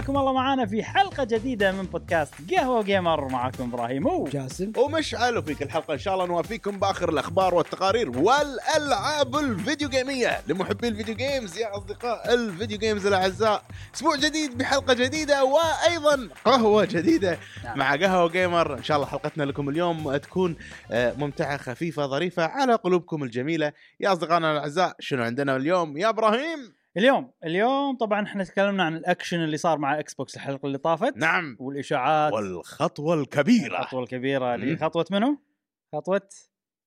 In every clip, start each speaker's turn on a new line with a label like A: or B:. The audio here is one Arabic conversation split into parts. A: رجعنا في حلقه جديده من بودكاست قهوه جيمر معكم ابراهيم و
B: جاسم
C: ومشعل وفي كل حلقه ان شاء الله نوافيكم باخر الاخبار والتقارير والالعاب الفيديو جيميه لمحبي الفيديو جيمز يا اصدقاء الفيديو جيمز الاعزاء اسبوع جديد بحلقه جديده وايضا قهوه جديده
A: نعم.
C: مع قهوه جيمر ان شاء الله حلقتنا لكم اليوم تكون آه، ممتعه خفيفه ظريفه على قلوبكم الجميله يا اصدقائنا الاعزاء شنو عندنا اليوم يا ابراهيم
A: اليوم اليوم طبعا احنا تكلمنا عن الاكشن اللي صار مع اكس بوكس الحلقه اللي طافت
C: نعم
A: والاشاعات
C: والخطوه الكبيره
A: الخطوه الكبيره اللي
C: مم.
A: خطوه منو؟ خطوه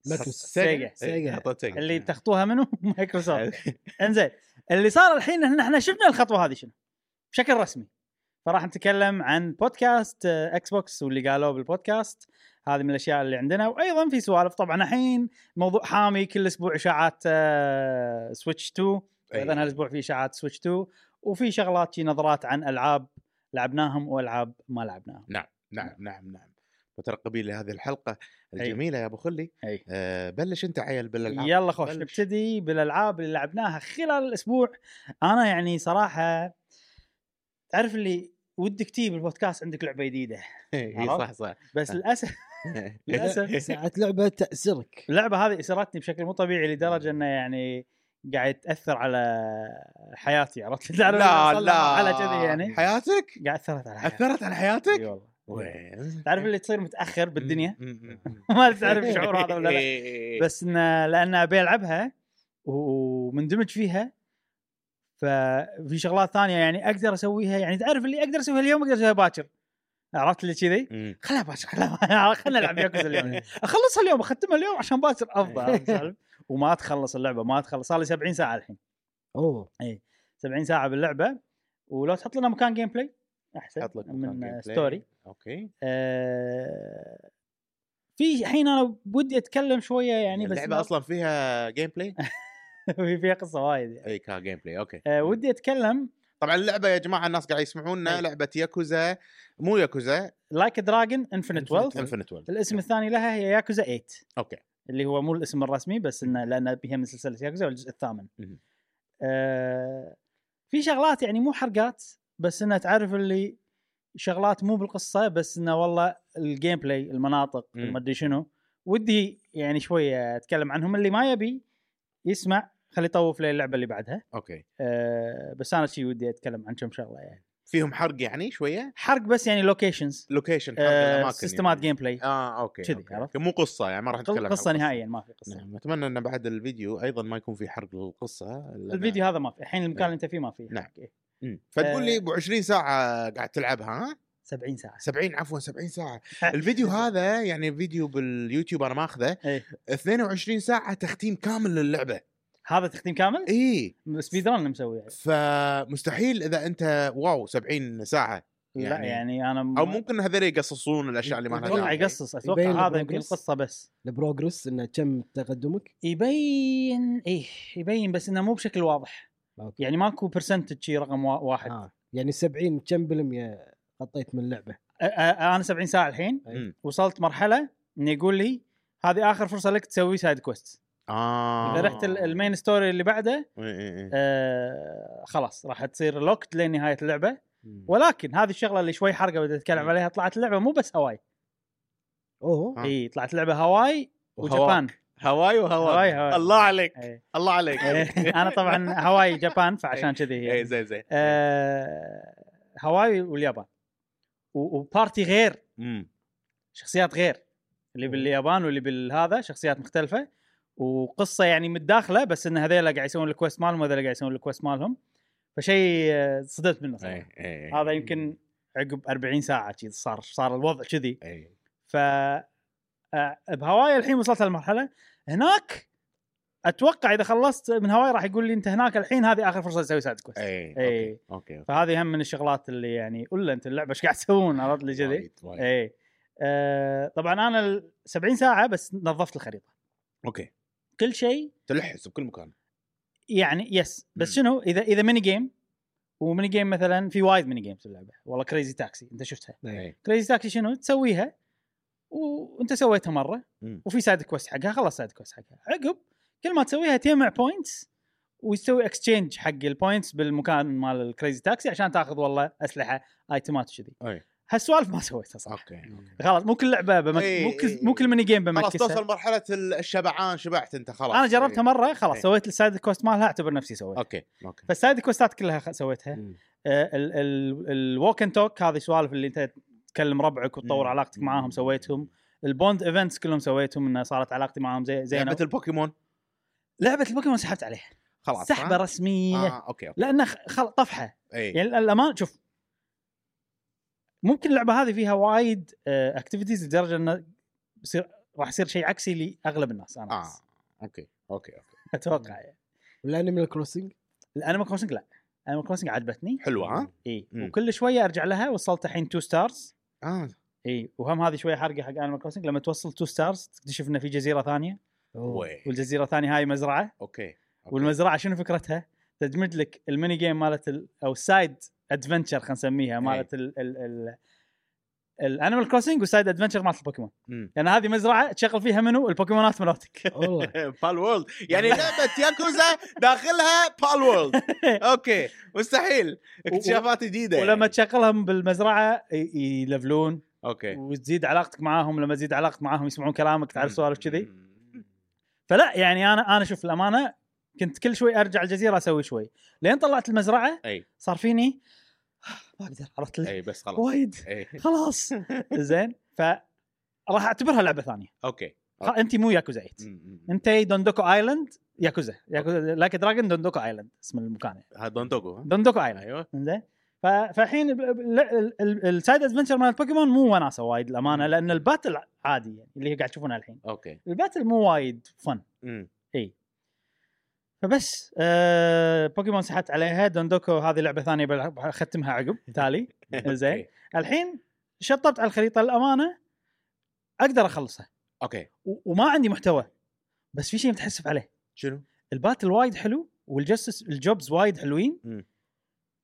B: مايكروس-
A: سيجا
B: سيجا.
C: خطوة سيجا.
A: اللي تخطوها منو؟ مايكروسوفت انزين اللي صار الحين ان احنا شفنا الخطوه هذه شنو بشكل رسمي فراح نتكلم عن بودكاست آه، اكس بوكس واللي قالوه بالبودكاست هذه من الاشياء اللي عندنا وايضا في سوالف طبعا الحين موضوع حامي كل اسبوع اشاعات آه، سويتش 2 ايضا
C: أي.
A: هالاسبوع في اشاعات سويتش 2 وفي شغلات شي نظرات عن العاب لعبناهم والعاب ما لعبناها
C: نعم
A: إمم.
C: نعم نعم مترقبين لهذه الحلقه
A: أيوه.
C: الجميله يا ابو خلي
A: اي
C: آه، بلش انت عيل بالالعاب
A: يلا خوش
C: بلش.
A: نبتدي بالالعاب اللي لعبناها خلال الاسبوع انا يعني صراحه تعرف اللي ودك تجيب البودكاست عندك لعبه جديده
C: اي
A: عرفت؟
C: إيه، صح صح
A: بس للاسف للاسف
B: ساعة لعبة تأسرك
A: اللعبه هذه اسرتني بشكل مو طبيعي لدرجه انه يعني قاعد تاثر على حياتي عرفت تعرف اللي
C: لا
A: وصل
C: لا
A: على كذي يعني
C: حياتك
A: قاعد اثرت على حياتي
C: اثرت على
A: اي
C: حياتك
A: والله
C: وين إمم،
A: تعرف اللي تصير متاخر بالدنيا
C: م- م- م.
A: ما تعرف الشعور هذا ولا لا
C: إي- إي- إي.
A: بس انه لان ابي العبها ومندمج فيها ففي شغلات ثانيه يعني اقدر اسويها يعني تعرف اللي اقدر اسويها اليوم اقدر اسويها باكر عرفت اللي كذي؟
C: م.
A: خلها باكر خلها خلنا نلعب ياكوزا اليوم اخلصها اليوم اختمها اليوم عشان باكر افضل عرفت
C: إيه.
A: شلون؟ وما تخلص اللعبه ما تخلص صار لي 70 ساعه الحين إيه.
B: اوه
A: 70 ساعه باللعبه ولو تحط لنا مكان جيم بلاي احسن
C: حط لك مكان
A: من
C: gameplay.
A: ستوري
C: اوكي
A: آه، في الحين انا ودي اتكلم شويه يعني بس
C: اللعبه
A: ما-
C: اصلا فيها جيم بلاي
A: في فيها قصه وايد يعني.
C: اي كان جيم بلاي اوكي
A: آه، ودي اتكلم
C: طبعا اللعبه يا جماعه الناس قاعد يسمعونا
A: أي.
C: لعبه ياكوزا مو ياكوزا
A: لايك دراجون انفنت ويلث
C: انفنت ويلد
A: الاسم الثاني لها هي ياكوزا 8
C: اوكي
A: اللي هو مو الاسم الرسمي بس انه لان بها من سلسله ياكوزا والجزء الثامن
C: مهم.
A: آه في شغلات يعني مو حرقات بس انها تعرف اللي شغلات مو بالقصه بس انه والله الجيم بلاي المناطق
C: مم.
A: ما ادري شنو ودي يعني شويه اتكلم عنهم اللي ما يبي يسمع خليه يطوف للعبه اللي بعدها
C: اوكي
A: آه بس انا شي ودي اتكلم عن كم شغله يعني
C: فيهم حرق يعني شويه
A: حرق بس يعني لوكيشنز
C: لوكيشن حرق
A: آه،
C: الاماكن
A: سيستمات
C: يعني.
A: جيم بلاي
C: اه اوكي
A: كذي،
C: أوكي.
A: عرفت؟
C: مو قصه يعني ما راح نتكلم عن
A: قصه
C: القصة.
A: نهائيا ما في قصه
C: نعم اتمنى ان بعد الفيديو ايضا ما يكون في حرق للقصه لأن-
A: الفيديو هذا ما في الحين المكان
C: نعم.
A: اللي انت فيه ما فيه
C: نعم.
A: حق، إيه.
C: مم. فتقول
A: آه.
C: لي ابو 20 ساعه قاعد تلعبها ها
A: 70 ساعه
C: 70 عفوا 70 ساعه الفيديو هذا يعني فيديو باليوتيوب انا ماخذه
A: إيه.
C: 22 ساعه تختيم كامل للعبه
A: هذا تختيم كامل
C: اي
A: سبيد ران مسوي يعني.
C: فمستحيل اذا انت واو 70 ساعه
A: لا يعني انا
C: او ممكن يعني هذول يقصصون الاشياء اللي ما لها
A: اتوقع
C: داعي.
A: يقصص
B: يبين
A: اتوقع هذا
B: البروجرس.
A: يمكن القصه بس
B: البروجرس انه كم تقدمك
A: يبين ايه يبين بس انه مو بشكل واضح
B: أوكي.
A: يعني ماكو برسنتج شي رقم وا- واحد
B: آه. يعني 70 كم بالمية غطيت من اللعبة
A: أ- أ- انا 70 ساعه الحين
B: إيه.
C: مم.
A: وصلت مرحله انه يقول لي هذه اخر فرصه لك تسوي سايد كويست
C: اه
A: اذا رحت ال- أه، المين ستوري اللي بعده
C: إي إي إي.
A: آه خلاص راح تصير لوكت لين نهايه اللعبه
C: مم.
A: ولكن هذه الشغله اللي شوي حرقه بدي اتكلم
C: مم.
A: عليها طلعت اللعبه مو بس هواي
B: اوه
C: آه.
A: اي طلعت لعبه هواي وجابان
C: هواي وهواي
A: هواي هواي. إيه.
C: الله عليك
A: إي.
C: الله عليك
A: إي. انا طبعا هواي جابان فعشان كذي
C: اي
A: هي
C: زين زين
A: آه، هواي واليابان و- وبارتي غير
C: مم.
A: شخصيات غير اللي باليابان واللي بالهذا شخصيات مختلفه وقصه يعني متداخله بس ان هذيلا قاعد يسوون الكويست مالهم وهذيلا قاعد يسوون الكويست مالهم فشيء آه، صدمت منه
C: إي
A: صراحه
C: إي.
A: هذا يمكن عقب 40 ساعه كذي صار صار الوضع كذي
C: إي.
A: ف آه، بهواي الحين وصلت هالمرحله هناك اتوقع اذا خلصت من هواي راح يقول لي انت هناك الحين هذه اخر فرصه تسوي سايد كويست
C: اي
A: إي.
C: اوكي اوكي
A: فهذه هم من الشغلات اللي يعني قول له انت اللعبه ايش قاعد تسوون عرفت لي كذي
C: وايد، وايد.
A: اي آه طبعا انا ال 70 ساعه بس نظفت الخريطه
C: اوكي
A: كل شيء
C: تلحس بكل مكان
A: يعني يس بس
C: مم.
A: شنو اذا اذا ميني جيم وميني جيم مثلا في وايد ميني جيمز باللعبه والله كريزي تاكسي انت شفتها
C: إي.
A: كريزي تاكسي شنو تسويها وانت سويتها مره
C: مم.
A: وفي سايد كويست حقها خلاص سايد كويست حقها عقب كل ما تسويها تجمع بوينتس ويسوي اكسشينج حق البوينتس بالمكان مال الكريزي تاكسي عشان تاخذ والله اسلحه ايتمات وكذي
C: أي.
A: هالسوالف ما سويتها صراحه
C: اوكي
A: خلاص مو كل لعبه بمك...
C: إي،
A: مو كل
C: إي.
A: مو كل ميني جيم
C: خلاص
A: بمكسها
C: توصل مرحله ال- الشبعان شبعت انت خلاص إيه.
A: انا جربتها مره خلاص
C: إي.
A: سويت السايد كوست مالها اعتبر نفسي سويت
C: اوكي اوكي
A: فالسايد كوستات كلها خ- سويتها آه،
B: مم.
A: الووك اند توك هذه السوالف اللي انت تكلم ربعك وتطور
C: مم.
A: علاقتك معاهم سويتهم البوند ايفنتس كلهم سويتهم انه صارت علاقتي معاهم زي زينه
C: لعبه البوكيمون
A: لعبه البوكيمون سحبت عليها
C: خلاص
A: سحبه
C: ها؟
A: رسميه
C: آه إيه. اوكي اوكي
A: لانه خ- خل... طفحه
C: اي
A: يعني الامان شوف ممكن اللعبه هذه فيها وايد آه، اكتيفيتيز لدرجه انه بصير راح يصير شيء عكسي لاغلب الناس انا
C: اه
A: آه.
C: اوكي اوكي اوكي
A: اتوقع يعني
B: والانيمال كروسنج
A: الانيمال كروسنج لا الانيمال كروسنج عجبتني
C: حلوه ها؟
A: اي
C: مم.
A: وكل شويه ارجع لها وصلت الحين 2 ستارز
C: اه
A: اي وهم هذه شويه حرقه حق انيمال كروسنج لما توصل 2 ستارز تكتشف انه في جزيره ثانيه
C: وي.
A: والجزيره الثانيه هاي مزرعه
C: اوكي أوكي.
A: والمزرعه شنو فكرتها؟ تدمج لك الميني جيم مالت ال او السايد ادفنتشر خلينا
C: إيه.
A: نسميها مالت ال ال ال الانيمال كروسنج والسايد ادفنتشر مالت البوكيمون
C: مم.
A: لان هذه مزرعه تشغل فيها منو؟ البوكيمونات مالتك
B: والله
C: بال وورلد يعني لعبه ياكوزا داخلها بال وورلد اوكي مستحيل اكتشافات جديده يعني.
A: ولما تشغلهم بالمزرعه ي- يلفلون
C: اوكي
A: وتزيد علاقتك معاهم لما تزيد علاقتك معاهم يسمعون كلامك تعرف
C: إيه. مم.
A: سوالف كذي
C: مم.
A: فلا يعني انا انا شوف الامانه كنت كل شوي ارجع الجزيره اسوي شوي لين طلعت المزرعه
C: اي
A: صار فيني "آه، ما اقدر عرفت لي
C: اي إيه، بس خلاص إيه.
A: وايد
C: اي
A: خلاص زين ف راح اعتبرها لعبه ثانيه
C: اوكي
A: خ- انت مو ياكوزا 8
C: مم.
A: انت دوندوكو ايلاند ياكوزا ياكوزا لايك دراجون دوندوكو ايلاند اسم المكان يعني.
C: ها دونتوغو ها
A: دوندوكو ايلاند
C: ايوه
A: زين ف- فالحين ب- ب- ال- ال- ال- السايد ادفنشر مال بوكيمون مو وناسه وايد الامانه لان الباتل عادي يعني اللي قاعد تشوفونه الحين
C: اوكي
A: الباتل مو وايد فن
C: مم.
A: فبس آه بوكيمون سحبت عليها دوندوكو هذه لعبه ثانيه بلعب- اختمها عقب تالي زين
C: أوكي.
A: الحين شطبت على الخريطه الامانه اقدر اخلصها
C: اوكي
A: و- وما عندي محتوى بس في شيء متحسف عليه
C: شنو؟
A: الباتل وايد حلو والجسس الجوبز وايد حلوين
C: مم.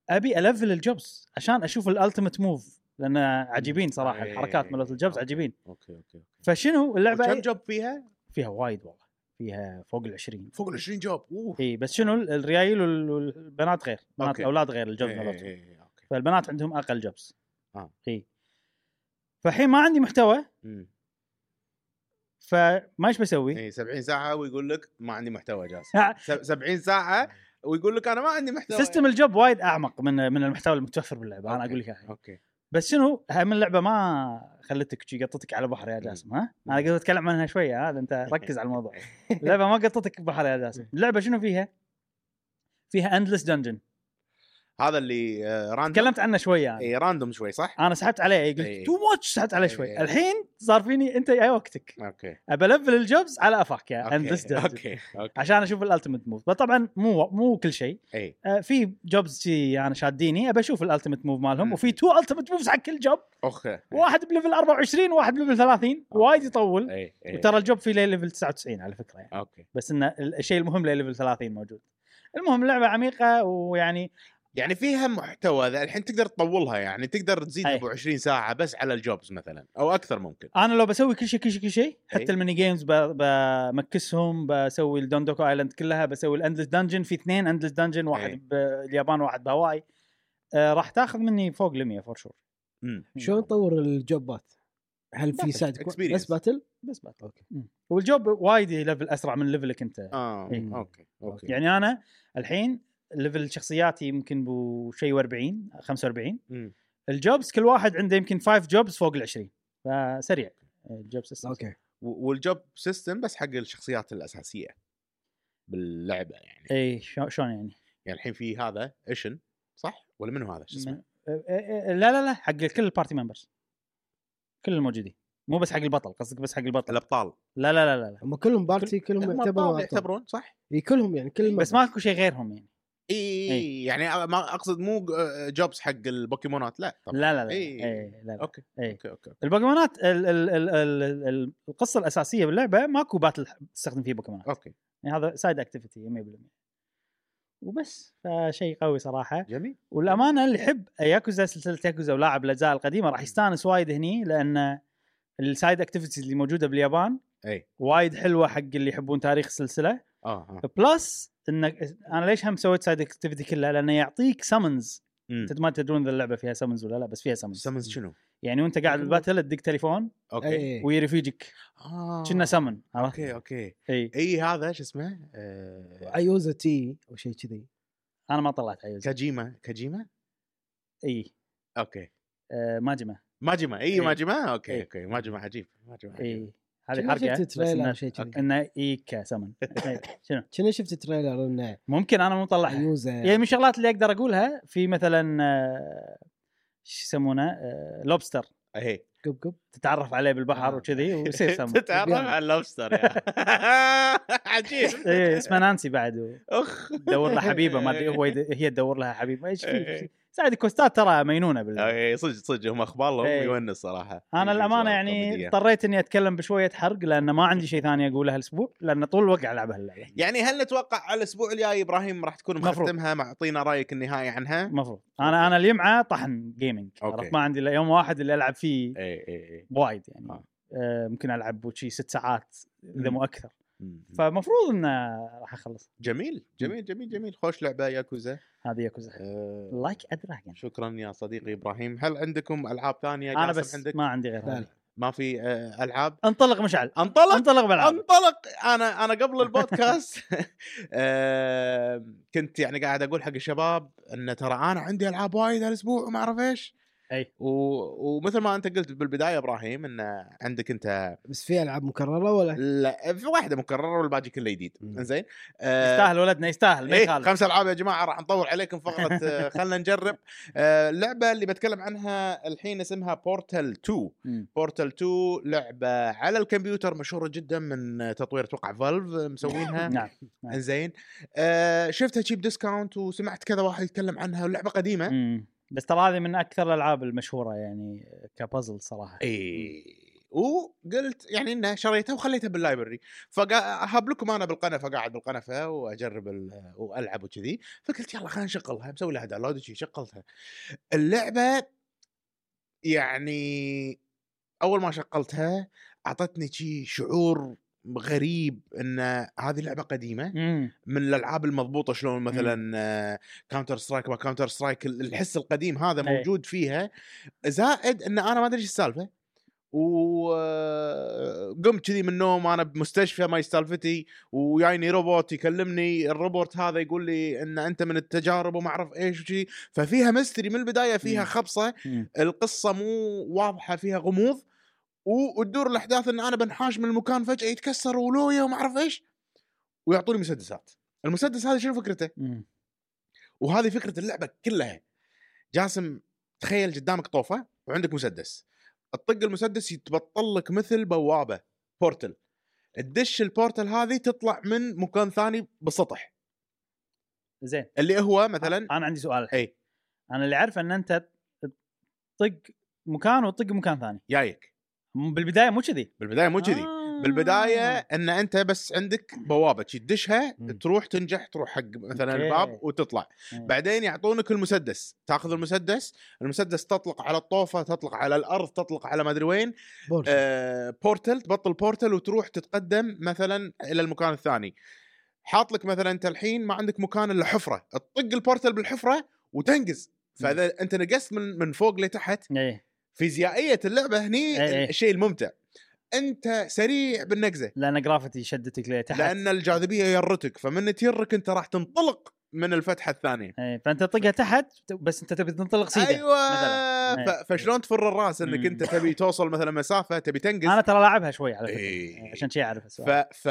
A: ابي الفل الجوبز عشان اشوف الالتيميت موف لان عجيبين صراحه
C: أي.
A: الحركات مالت الجوبز
C: أوكي.
A: عجيبين
C: اوكي اوكي
A: فشنو اللعبه
C: كم جوب فيها؟
A: فيها وايد والله فيها فوق ال 20
C: فوق ال 20 جوب اوه
A: اي بس شنو ال- الريايل وال- والبنات غير بنات
C: أوكي.
A: الاولاد غير الجوبز
C: إي-
A: مالتهم
C: إي- إي، اوكي
A: فالبنات عندهم اقل جوبز
C: آه.
A: اي فالحين ما عندي محتوى
C: مم.
A: فما ايش بسوي؟
C: اي 70 ساعه ويقول لك ما عندي محتوى جاهز
A: ها.
C: سب- 70 ساعه ويقول لك انا ما عندي محتوى
A: سيستم الجوب وايد اعمق من من المحتوى المتوفر باللعبه انا
C: أوكي.
A: اقول لك إياها.
C: اوكي
A: بس شنو هم اللعبه ما خلتك شي قطتك على بحر يا جاسم ها انا قلت اتكلم عنها شويه هذا انت ركز على الموضوع اللعبه ما قطتك بحر يا جاسم اللعبه شنو فيها فيها اندلس دنجن
C: هذا اللي آه، راندوم
A: تكلمت عنه شويه انا
C: اي راندوم إيه، شوي صح؟
A: انا سحبت عليه قلت
C: إي.
A: تو ماتش سحبت عليه شوي
C: إي.
A: الحين صار فيني انت يا وقتك
C: اوكي
A: ابى الفل الجوبز على افاك يا اندلس
C: اوكي
A: دنجن
C: اوكي اوكي
A: عشان اشوف الالتيميت موف طبعا مو مو كل شيء
C: اي
A: آه، في جوبز شي انا شاديني ابى اشوف الالتيميت موف مالهم
C: مم. إيه.
A: وفي تو التيميت موفز حق كل جوب
C: اوكي
A: واحد بليفل 24 وواحد بليفل 30 وايد يطول
C: اي اي
A: وترى الجوب فيه ليفل 99 على فكره يعني
C: اوكي
A: بس انه الشيء المهم ليفل 30 موجود المهم اللعبه عميقه ويعني
C: يعني فيها محتوى ذا الحين تقدر تطولها يعني تقدر تزيد
A: أي.
C: ابو 20 ساعه بس على الجوبز مثلا او اكثر ممكن
A: انا لو بسوي كل شيء كل شيء كل شيء
C: إي.
A: حتى الميني جيمز ب- بمكسهم بسوي الدوندوكو ايلاند كلها بسوي الاندلس دنجن في اثنين اندلس دنجن
C: إي.
A: واحد باليابان وواحد بهاواي آه، راح تاخذ مني فوق ال 100 فور شور
C: امم
B: شلون نطور الجوبات؟ هل في
A: باتل،
B: سايد كويست؟
C: experience.
B: بس باتل؟
A: بس باتل
B: اوكي
A: والجوب وايد ليفل اسرع من ليفلك انت
C: اه
A: إي.
C: اوكي اوكي
A: إيه. يعني انا الحين ليفل شخصياتي يمكن بو شيء 40 45
C: مم.
A: الجوبز كل واحد عنده يمكن 5 جوبز فوق ال 20 فسريع الجوب سيستم
B: اوكي
C: و- والجوب سيستم بس حق الشخصيات الاساسيه باللعبه يعني
A: اي شو- شلون يعني؟
C: يعني الحين في هذا ايشن صح ولا منو هذا شو اسمه
A: ما- أه- أه- لا لا لا حق كل البارتي ممبرز كل الموجودين مو بس حق البطل قصدك بس حق البطل
C: الابطال
A: لا لا لا لا, لا.
B: هم كلهم بارتي
C: هم
B: كلهم
C: أبطال
B: يعتبروا
C: يعتبرون صح
B: اي كلهم يعني كل
A: بس ماكو شيء غيرهم يعني
C: اي
A: إيه.
C: إي. يعني أ- ما اقصد مو جوبز حق البوكيمونات لا طبعا
A: لا لا لا,
C: إي.
A: إي، لا, لا.
C: اوكي
A: إي.
C: اوكي اوكي
A: البوكيمونات ال- ال- ال- ال- ال- القصه الاساسيه باللعبه ماكو باتل تستخدم فيه بوكيمونات
C: اوكي
A: يعني هذا سايد اكتيفيتي 100% وبس فشيء قوي صراحه
C: جميل
A: والامانه اللي يحب ياكوزا سلسله ياكوزا ولاعب الاجزاء القديمه راح يستانس وايد هني لان السايد اكتيفيتيز اللي موجوده باليابان
C: اي
A: وايد حلوه حق اللي يحبون تاريخ السلسله
C: اه ها.
A: بلس انك انا ليش هم سويت سايد اكتيفيتي كلها؟ لانه يعطيك سمنز
C: مم.
A: ما تدرون اذا اللعبه فيها سمنز ولا لا بس فيها سمنز
C: سمنز شنو؟
A: يعني وانت قاعد بالباتل تدق تليفون
C: اوكي
B: اي
A: ويرفيجك
C: آه.
A: كنا سمن عرفت؟
C: اوكي اوكي
A: اي
C: اي هذا شو اسمه؟ آه،
B: ايوزا تي او شيء كذي
A: انا ما طلعت عيوز
C: كاجيما كاجيما
A: اي
C: اوكي
A: آه ماجمه
C: ماجما اي
A: إيه.
C: ماجما اوكي
A: إيه.
C: اوكي ماجما عجيب ماجما عجيب
A: اي هذه
B: شنو
A: حركه
B: شفت
A: بس
B: تريلر
A: إنه-
B: شيء كذي.
A: انه ايكا سمن شنو
B: كنا شفت تريلر انه
A: ممكن انا مو مطلعها
B: ايوزا
A: يعني من الشغلات اللي اقدر اقولها في مثلا آه، شو يسمونه آه، لوبستر
C: اي
B: قب قب
A: تتعرف عليه بالبحر
C: آه.
A: وكذي ويصير سمك
C: تتعرف على اللوبستر يا. عجيب
A: إيه، اسمه نانسي بعد
C: اخ
A: ودور له حبيبه ما ادري هو يد- هي تدور لها حبيبه ايش في سعد كوستات ترى مينونه بال...
C: اي صدق صدق هم اخبار لهم
A: إيه.
C: يونس صراحه
A: انا
C: إيه،
A: الامانه
C: شغلة
A: يعني
C: كوميدية.
A: اضطريت اني اتكلم بشويه حرق لان ما عندي شيء ثاني اقوله هالاسبوع لان طول الوقت العب هاللعبه
C: يعني هل نتوقع على الاسبوع الجاي ابراهيم راح تكون
A: مفروض.
C: مختمها معطينا رايك النهائي عنها؟
A: المفروض انا انا اليمعه طحن جيمنج
C: أوكي.
A: عرفت ما عندي الا يوم واحد اللي العب فيه
C: اي اي اي
A: وايد يعني
C: آه.
A: آه، ممكن العب وشي ست ساعات اذا
C: مم.
A: مو اكثر
C: مم.
A: فمفروض انه راح اخلص
C: جميل
A: إمم.
C: جميل جميل جميل خوش لعبه ياكوزا
A: هذه ياكوزا
C: آه،
A: لايك ادراجن
C: شكرا يا صديقي ابراهيم هل عندكم العاب ثانيه
A: انا
C: قاسم
A: بس
C: عندك
A: ما عندي غير
B: لا
A: هذه.
B: لا.
C: ما في آه، العاب
A: انطلق مشعل
C: انطلق
A: انطلق بالعاب
C: انطلق انا انا قبل البودكاست آه، كنت يعني قاعد اقول حق الشباب ان ترى انا عندي العاب وايد هالاسبوع وما اعرف ايش
A: أي.
C: و... ومثل ما انت قلت بالبدايه ابراهيم ان عندك انت
B: بس في العاب مكرره ولا
C: لا في واحده مكرره والباقي كله جديد
A: إمم.
B: مم.
C: زين آه،
A: يستاهل ولدنا يستاهل ما
C: ايه
A: يخالف
C: خمس العاب يا جماعه راح نطول عليكم فقره آه، خلنا نجرب آه، اللعبه اللي بتكلم عنها الحين اسمها بورتال 2
A: مم.
C: بورتال 2 لعبه على الكمبيوتر مشهوره جدا من آه، تطوير توقع فالف آه، مسوينها
A: نعم نعم.
C: زين آه، شفتها تشيب ديسكاونت وسمعت كذا واحد يتكلم عنها اللعبه قديمه
A: مم. بس ترى هذه من اكثر الالعاب المشهوره يعني كبازل صراحه
C: إيه. اي وقلت يعني انه شريتها وخليتها باللايبرري فهب لكم انا بالقنفه قاعد بالقنفه واجرب ال- والعب وكذي فقلت يلا خلينا نشغلها مسوي لها داونلود وشي شغلتها اللعبه يعني اول ما شغلتها اعطتني شي شعور غريب ان هذه لعبه قديمه
A: مم.
C: من الالعاب المضبوطه شلون مثلا كاونتر سترايك ما كاونتر سترايك الحس القديم هذا
A: إيه.
C: موجود فيها زائد ان انا ما ادري ايش السالفه وقمت آه، كذي من النوم انا بمستشفى ما سالفتي ويايني روبوت يكلمني الروبوت هذا يقول لي ان انت من التجارب وما اعرف ايش وشي ففيها مستري من البدايه فيها
A: مم.
C: خبصه
A: مم.
C: القصه مو واضحه فيها غموض و- وتدور الاحداث ان انا بنحاش من المكان فجاه يتكسر ولويا وما اعرف ايش ويعطوني مسدسات المسدس هذا شنو فكرته؟
A: مم.
C: وهذه فكره اللعبه كلها جاسم تخيل قدامك طوفه وعندك مسدس تطق المسدس يتبطل لك مثل بوابه بورتل تدش البورتل هذه تطلع من مكان ثاني بالسطح
A: زين
C: اللي هو إيه، مثلا
A: انا عندي سؤال الحين.
C: اي
A: انا اللي عارف ان انت تطق مكان وتطق مكان ثاني
C: جايك
A: م- بالبدايه مو كذي
C: بالبدايه مو كذي
A: آه.
C: بالبدايه ان انت بس عندك بوابه شي تدشها
B: مم.
C: تروح تنجح تروح حق مثلا
A: أوكي.
C: الباب وتطلع
A: إيه.
C: بعدين يعطونك المسدس تاخذ المسدس المسدس تطلق على الطوفه تطلق على الارض تطلق على ما ادري وين
B: بورش
C: آه، بورتل تبطل بورتل وتروح تتقدم مثلا الى المكان الثاني حاط لك مثلا انت الحين ما عندك مكان الا حفره تطق البورتل بالحفره وتنقز فاذا انت نقزت من من فوق لتحت
A: ايه
C: فيزيائيه اللعبه هني
A: إيه.
C: الشيء الممتع انت سريع بالنقزه
A: لان جرافيتي شدتك لتحت
C: لان الجاذبيه يرتك فمن تيرك انت راح تنطلق من الفتحه الثانيه
A: ايه فانت تطقها تحت بس انت تبي تنطلق سيده
C: ايوه
A: مثلاً. نعم.
C: ف- فشلون تفر الراس انك
A: مم.
C: انت تبي توصل مثلا مسافه تبي تنقز
A: انا ترى لاعبها شوي على فكره
C: إيه.
A: عشان شي اعرف
C: ف
A: السؤال
C: ف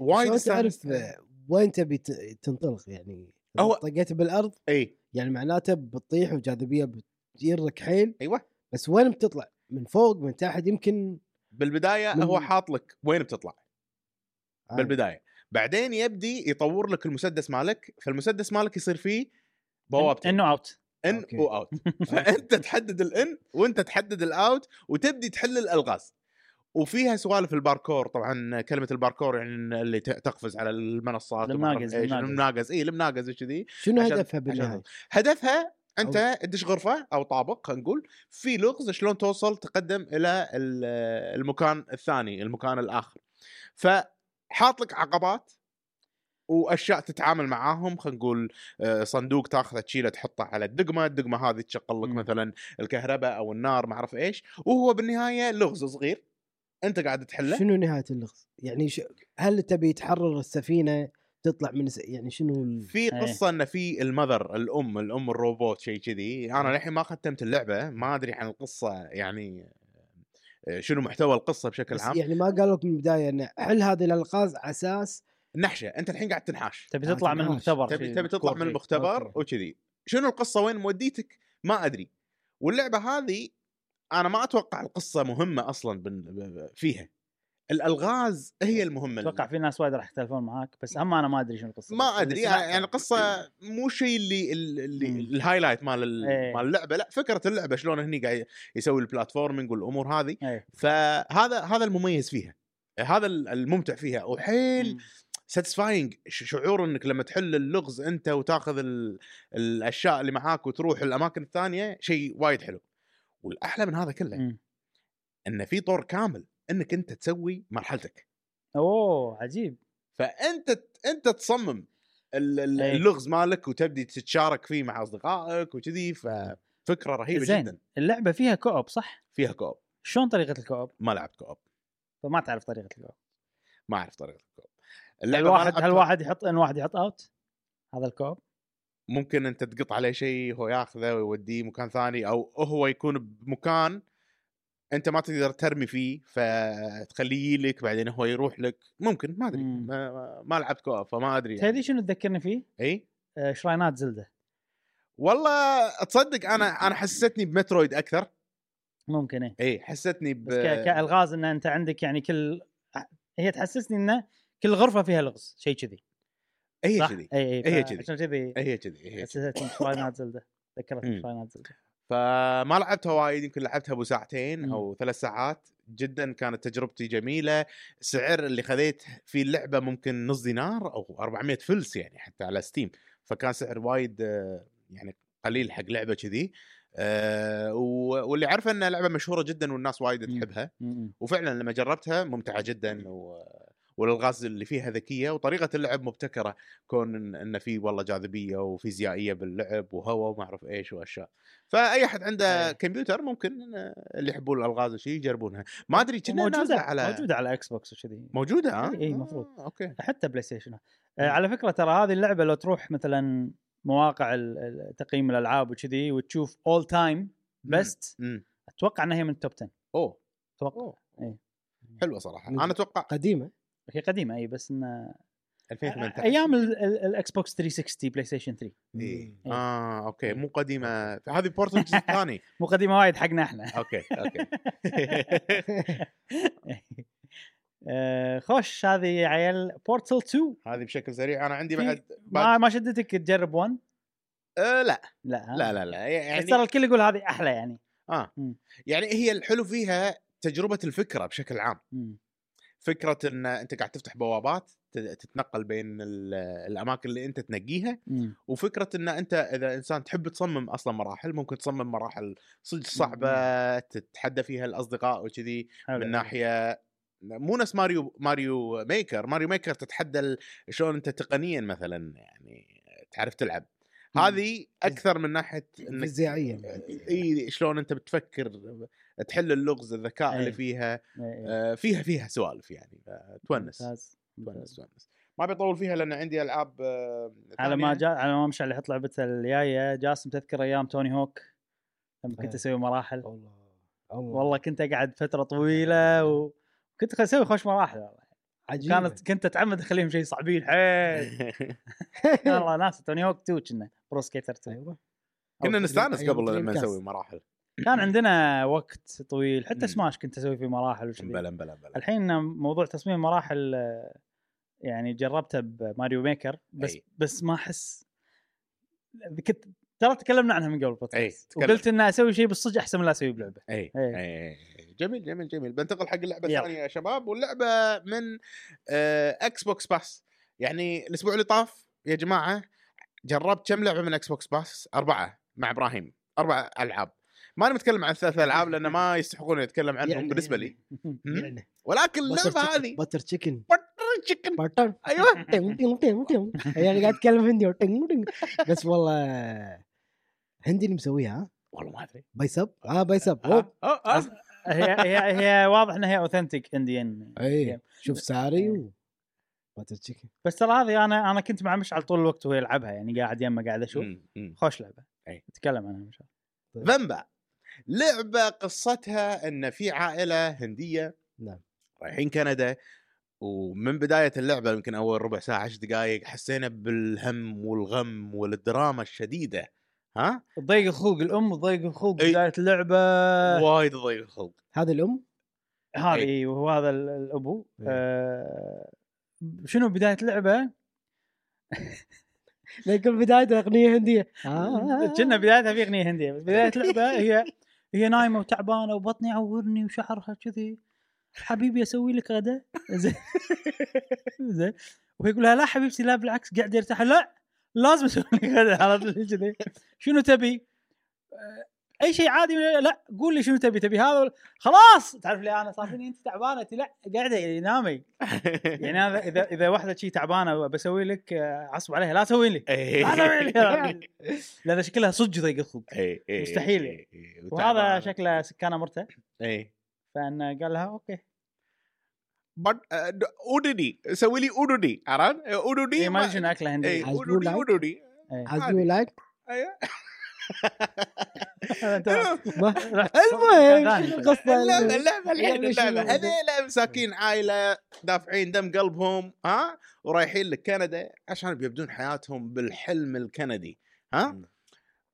C: وايد
B: شلون
C: استانست.
B: تعرف آه، وين تبي ت- تنطلق يعني إذا
C: هو-
B: طقيت بالارض
C: اي
B: يعني معناته بتطيح والجاذبيه بتجرك حيل
C: ايوه
B: بس وين بتطلع؟ من فوق من تحت يمكن
C: بالبدايه
B: من-
C: هو حاط لك وين بتطلع
B: عادي.
C: بالبدايه بعدين يبدي يطور لك المسدس مالك فالمسدس مالك يصير فيه بوابتين
A: انه اوت
C: ان
B: أوكي.
C: واوت فانت تحدد الان وانت تحدد الاوت وتبدي تحل الالغاز وفيها سوالف الباركور طبعا كلمه الباركور يعني إن اللي ت- تقفز على المنصات وما أعرف
A: المناقز،
C: إيش،
A: المناقز.
C: المناقز اي المناقز وكذي
B: شنو
C: عشان-
B: هدفها
C: عشان
B: بالنهايه؟
C: هدفها انت تدش غرفه او طابق خلينا نقول في لغز شلون توصل تقدم الى ال- المكان الثاني المكان الاخر فحاط لك عقبات واشياء تتعامل معاهم خلينا نقول آه، صندوق تاخذه تشيله تحطه على الدقمه، الدقمه هذه تشغل لك
A: مم.
C: مثلا الكهرباء او النار ما اعرف ايش، وهو بالنهايه لغز صغير انت قاعد تحله
B: شنو نهايه اللغز؟ يعني ش... هل تبي تحرر السفينه تطلع من س... يعني شنو ال...
C: في
A: إيه.
C: قصه ان في المذر الام الام الروبوت شيء كذي انا
A: إيه.
C: للحين ما ختمت اللعبه ما ادري عن القصه يعني آه، شنو محتوى القصه بشكل
B: بس
C: عام
B: يعني ما قالوا لك من البدايه ان حل هذه الالغاز على اساس
C: نحشه انت الحين قاعد تنحاش
A: تبي
B: آه،
A: تطلع من
B: تنحاش.
A: المختبر
C: تبي
A: شي
C: تبي تطلع
A: مذكور
C: من
A: فيه.
C: المختبر
B: أوكي.
C: وكذي شنو القصه وين موديتك ما ادري واللعبه هذه انا ما اتوقع القصه مهمه اصلا بن- فيها الالغاز
A: إيه.
C: هي المهمه
A: اتوقع في ناس وايد راح يختلفون معاك بس اما انا ما ادري شنو القصه
C: ما
A: بس اللي
C: ادري
A: سمعته.
C: يعني يعني القصه مو شيء اللي اللي
A: مم.
C: الهايلايت مال ال-
A: إيه.
C: مال اللعبه لا فكره اللعبه شلون هني قاعد يسوي البلاتفورمينج والامور هذه
A: إيه.
C: فهذا هذا المميز فيها هذا الممتع فيها وحيل
A: مم.
C: ساتسفاينج شعور انك لما تحل اللغز انت وتاخذ ال... الاشياء اللي معاك وتروح الاماكن الثانيه شيء وايد حلو والاحلى من هذا كله
A: مم.
C: ان في طور كامل انك انت تسوي مرحلتك
A: اوه عجيب
C: فانت انت تصمم ال... ال-
A: إيه.
C: اللغز مالك وتبدي تتشارك فيه مع اصدقائك وكذي ففكره رهيبه
A: زين.
C: جدا
A: اللعبه فيها كوب صح؟
C: فيها كوب
A: شلون طريقه الكوب؟
C: ما لعبت كوب
A: فما تعرف طريقه الكوب
C: ما اعرف طريقه الكوب
A: هل
C: اللعبة ما
A: واحد
C: لعبتها.
A: هل واحد يحط ان واحد يحط اوت هذا الكوب
C: ممكن انت تقط عليه شيء هو ياخذه ويوديه مكان ثاني او هو يكون بمكان انت ما تقدر ترمي فيه فتخليه لك بعدين هو يروح لك ممكن ما ادري
A: مم.
C: ما, ما- ما لعبت كوب فما ادري يعني.
A: تدري شنو تذكرني فيه؟
C: اي
A: آه، شراينات زلده
C: والله تصدق انا انا حسستني بمترويد اكثر
A: ممكن ايه
C: اي حسستني إيه، ب
A: بس ك- كالغاز ان انت عندك يعني كل هي تحسسني انه كل غرفه فيها لغز شيء كذي
C: هي
A: صح؟
C: كذي
A: اي
C: هي
A: اي
C: كذي.
A: عشان كذي
C: هي كذي هي كذي.
A: حسستني شراينات زلده ذكرتني
C: مم.
A: شراينات زلده
C: فما لعبتها وايد يمكن لعبتها ابو ساعتين
A: إمم.
C: او ثلاث ساعات جدا كانت تجربتي جميله سعر اللي خذيت في اللعبه ممكن نص دينار او 400 فلس يعني حتى على ستيم فكان سعر وايد آه، يعني قليل حق لعبه كذي آه، و- واللي عارفه انها لعبه مشهوره جدا والناس وايد
A: مم.
C: تحبها
A: مم.
C: وفعلا لما جربتها ممتعه جدا و... والالغاز اللي فيها ذكيه وطريقه اللعب مبتكره كون ان, إن في والله جاذبيه وفيزيائيه باللعب وهواء وما اعرف ايش واشياء فاي احد عنده
A: أيه.
C: كمبيوتر ممكن إن- اللي يحبون الالغاز وشي يجربونها ما ادري كنا
A: موجوده
C: نازله
A: على
C: على
A: موجوده على اكس بوكس وكذي
C: موجوده ها
A: إيه، إيه، مفروض.
C: آه، اوكي
A: حتى بلاي ستيشن
C: إيه.
A: آه على فكره ترى هذه اللعبه لو تروح مثلا مواقع ال- ال- تقييم الالعاب وكذي وتشوف اول تايم بست
C: امم
A: اتوقع انها هي من التوب 10
C: اوه
A: اتوقع
C: اوه
A: إيه.
C: حلوه صراحه
B: ممكن.
C: انا اتوقع
B: قديمه
A: هي قديمه اي بس انه
C: 2018
A: ايام ال- ال- الاكس بوكس 360 بلاي ستيشن 3
C: إيه.
A: إيه.
C: اه اوكي مو قديمه هذه بورتل الجزء الثاني
A: مو قديمه وايد حقنا احنا
C: اوكي اوكي
A: آه، خوش هذه يا عيال بورتل 2
C: هذه بشكل سريع انا عندي
A: في-
C: بعد
A: ما ما شدتك تجرب 1
C: أه لا
A: لا ها؟
C: لا لا لا يعني
A: بس ترى الكل يقول هذه احلى يعني
C: اه
A: مم.
C: يعني هي الحلو فيها تجربه الفكره بشكل عام
A: مم.
C: فكره ان انت قاعد تفتح بوابات ت- تتنقل بين ال- الاماكن اللي انت تنقيها
A: مم.
C: وفكره ان انت اذا انسان تحب تصمم اصلا مراحل ممكن تصمم مراحل صدق صعبه تتحدى فيها الاصدقاء وكذي
A: حلو.
C: من ناحيه مو نفس ماريو ماريو ميكر ماريو ميكر تتحدى ال- شلون انت تقنيا مثلا يعني تعرف تلعب
A: مم. إيه.
C: هذه اكثر من ناحيه انك
B: فيزيائيا
C: اي شلون انت بتفكر تحل اللغز الذكاء
A: أي.
C: اللي فيها
A: إيه، إيه.
C: آه، فيها فيها سوالف يعني آه، تونس
A: ممتاز.
C: تونس تونس ما بيطول فيها لان عندي العاب آه،
A: على ما
C: ثانية.
A: جا على ما مشعل يحط لعبته الجايه جاسم تذكر ايام توني هوك لما كنت
B: إيه.
A: اسوي
C: آه،
A: مراحل
B: والله والله
A: والله كنت اقعد فتره طويله وكنت اسوي خوش مراحل والله
B: عجيب
A: كانت كنت اتعمد اخليهم شيء صعبين حيل والله ناس توني هوك 2 كنا برو سكيتر 2
B: ايوه
C: كنا
B: أو
C: نستانس
B: دريم-
C: قبل
B: أيوة،
C: لما
B: دريم
C: نسوي
B: كاست.
C: مراحل
A: كان عندنا وقت طويل
C: مم.
A: حتى سماش كنت اسوي فيه مراحل وشذي
C: بلا بلا بلا
A: الحين موضوع تصميم مراحل آه، يعني جربته بماريو ميكر بس
C: أي.
A: بس ما احس كنت ترى تكلمنا عنها من قبل
C: أي،
A: البودكاست
C: تكلم.
A: وقلت ان اسوي شيء بالصدق احسن من لا اسويه بلعبه
C: اي
A: إيه.
C: إي. جميل جميل جميل بنتقل حق اللعبه
A: يلا.
C: الثانيه يا شباب واللعبه من آه، اكس بوكس باس يعني الاسبوع اللي طاف يا جماعه جربت كم لعبه من اكس بوكس باس اربعه مع ابراهيم اربع العاب ما انا متكلم عن الثلاث العاب لان ما يستحقون يتكلم عنهم
B: يعني-
C: بالنسبه لي
B: يعني
C: ولكن
B: بتر
C: اللعبه
B: تشيكن-
C: هذه
B: بتر تشيكن
C: بطر تشيكن
B: بارتر
C: ايوه
B: تيم تيم تيم تيم يعني قاعد اتكلم هندي وتيم تيم. بس والله uh, هندي اللي مسويها ها
C: والله ما ادري
B: بايسب اه بايسب
C: أوه،
B: أوه.
C: أوه، أوه.
A: هي هي هي واضح انها هي اوثنتيك انديان
B: اي شوف ساري و باتر تشيكن
A: بس ترى هذه انا انا كنت مع مشعل طول الوقت وهو يلعبها يعني قاعد يمه قاعد اشوف
C: مم، مم.
A: خوش لعبه
C: إي.
A: نتكلم عنها مشعل
C: فامبا لعبه قصتها ان في عائله هنديه
B: نعم.
C: رايحين كندا ومن بدايه اللعبه يمكن اول ربع ساعه عشر دقائق حسينا بالهم والغم والدراما الشديده ها
A: تضيق الخلق الام تضيق الخلق
C: إي.
A: بدايه اللعبه آه.
C: وايد ضيق الخلق
B: هذه الام
A: هذه
C: إي.
A: إي، وهذا ال- الابو
B: إي.
A: آه، شنو بدايه اللعبه؟
B: لأن كل بدايه اغنيه هنديه آه.
A: كنا بدايتها في اغنيه هنديه بس بدايه اللعبه هي هي نايمه وتعبانه وبطني يعورني وشعرها كذي حبيبي اسوي لك غدا زين زين وهي يقول لها لا حبيبتي لا بالعكس قاعد يرتاح لا لازم اسوي لك غدا عرفت اللي كذي شنو تبي؟ آه، اي شيء عادي لا قول لي شنو تبي تبي هذا ولا- خلاص تعرف لي انا صار فيني انت تعبانه أنت لا قاعده يعني نامي يعني هذا اذا اذا واحده شي تعبانه بسوي لك آه، عصب عليها لا تسوي لي
C: إيه.
A: لا تسوي لي عرفت؟ لان شكلها صدق ضيق الخلق يعني
C: إيه،
A: مستحيل يعني. وهذا شكله سكانه مرته
C: إيه.
A: فان قال لها اوكي
C: اودودي آه، سوي لي اودودي عرفت؟ اودودي
A: هي ما ادري شنو اكله
C: إيه،
A: هنديه
B: عاد قول
C: اودودي
B: لك.
C: اودودي
A: إيه.
B: As you like
C: أيوة.
B: ما- يعني
A: رحت-
B: المهم شنو
C: اللعبه
B: القصه
C: اللعبه الحين
B: اللعبة يعني شنو؟
C: اللعبه هذيلا مساكين عائله دافعين دم قلبهم ها ورايحين لكندا عشان بيبدون حياتهم بالحلم الكندي ها
B: مم.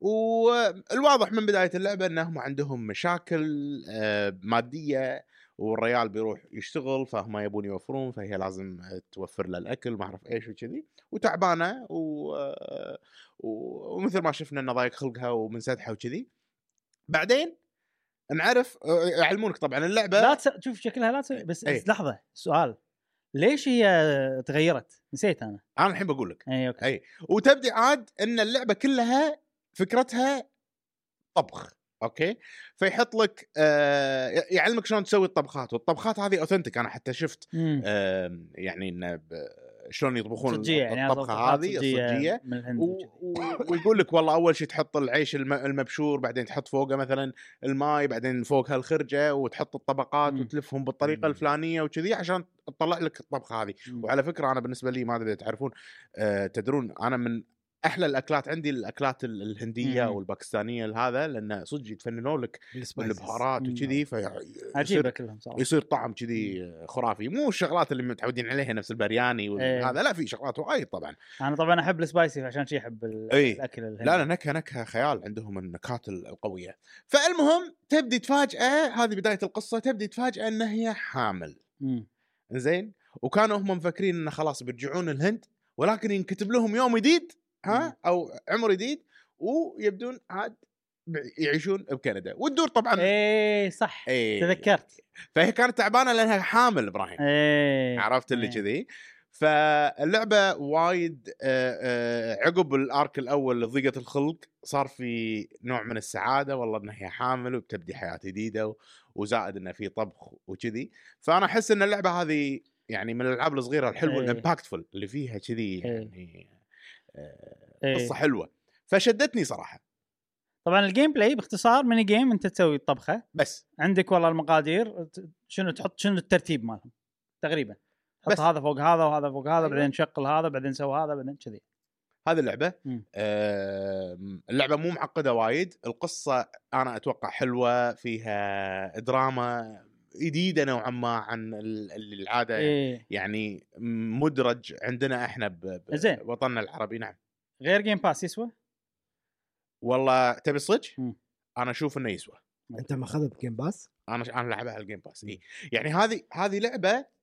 C: والواضح من بدايه اللعبه انهم عندهم مشاكل آه، ماديه والريال بيروح يشتغل فهم يبون يوفرون فهي لازم توفر له الاكل ما اعرف ايش وكذي وتعبانه و... آه، و- ومثل ما شفنا انه ضايق خلقها ومنسدحه وكذي بعدين نعرف آه، يعلمونك طبعا اللعبه
A: لا تس... شوف شكلها لا تسوي بس
C: إيه.
A: بس لحظه سؤال ليش هي تغيرت؟ نسيت انا
C: انا الحين بقول لك
A: اي اوكي
C: إيه. وتبدي عاد ان اللعبه كلها فكرتها طبخ اوكي فيحط لك آه يعلمك شلون تسوي الطبخات والطبخات هذه اوثنتك انا حتى شفت
A: مم.
C: آه يعني إن ب- شلون يطبخون
A: صجيه يعني
C: الطبخه هذه الصجيه
A: من الهند
C: و... و- ويقول لك والله اول شيء تحط العيش الم... المبشور بعدين تحط فوقه مثلا الماي بعدين فوقها الخرجه وتحط الطبقات
A: مم.
C: وتلفهم بالطريقه
B: مم.
C: الفلانيه وكذي عشان تطلع لك الطبخه هذه وعلى فكره انا بالنسبه لي ما ادري إذا تعرفون آه تدرون انا من احلى الاكلات عندي الاكلات ال- الهنديه
A: مم.
C: والباكستانيه هذا لان صدق يتفننون لك البهارات
A: مم.
C: وكذي
A: عجيبه
C: فيصير
A: كلهم صراحه
C: يصير طعم كذي خرافي مو الشغلات اللي متعودين عليها نفس البرياني
A: إيه.
C: وهذا لا في شغلات وايد طبعا
A: انا طبعا احب السبايسي عشان شي احب ال-
C: إيه.
A: الاكل الهندي
C: لا لا نكهه نكهه خيال عندهم النكهات ال- القويه فالمهم تبدي تفاجئه هذه بدايه القصه تبدي تفاجئه ان هي حامل
A: مم.
C: زين وكانوا هم مفكرين انه خلاص بيرجعون الهند ولكن ينكتب لهم يوم جديد
A: مم.
C: ها او عمر جديد ويبدون عاد ب- يعيشون بكندا وتدور طبعا
A: ايه صح
C: اي
A: تذكرت
C: فهي كانت تعبانه لانها حامل ابراهيم
A: ايه
C: إيه. عرفت اللي
A: إيه.
C: كذي فاللعبه وايد آه، آه، عقب الارك الاول اللي ضيقت الخلق صار في نوع من السعاده والله انها هي حامل وبتبدي حياه جديده و- وزائد انه في طبخ وكذي فانا احس ان اللعبه هذه يعني من الالعاب الصغيره الحلوه
A: إيه.
C: الامباكتفul اللي فيها كذي
A: إيه.
C: يعني آه،
A: إيه.
C: قصه حلوه فشدتني صراحه
A: طبعا الجيم بلاي باختصار ميني جيم انت تسوي الطبخه
C: بس
A: عندك والله المقادير ت- شنو تحط شنو الترتيب مالهم تقريبا تحط
C: بس.
A: هذا فوق هذا وهذا فوق هذا
C: أيوة.
A: بعدين شغل هذا بعدين سوي هذا بعدين كذي
C: هذه اللعبه
A: مم.
C: آم، اللعبه مو معقده وايد القصه انا اتوقع حلوه فيها دراما جديده نوعا ما عن ال- اللي العاده إيه.
A: ايه
C: يعني مدرج عندنا احنا ب- ب-
A: زين.
C: بوطننا العربي نعم
A: غير جيم باس يسوى
C: والله تبي صدق
A: مم.
C: انا اشوف انه يسوى
B: انت ماخذها بجيم باس
C: انا انا لعبها على الجيم باس إيه. يعني هذه هذه لعبه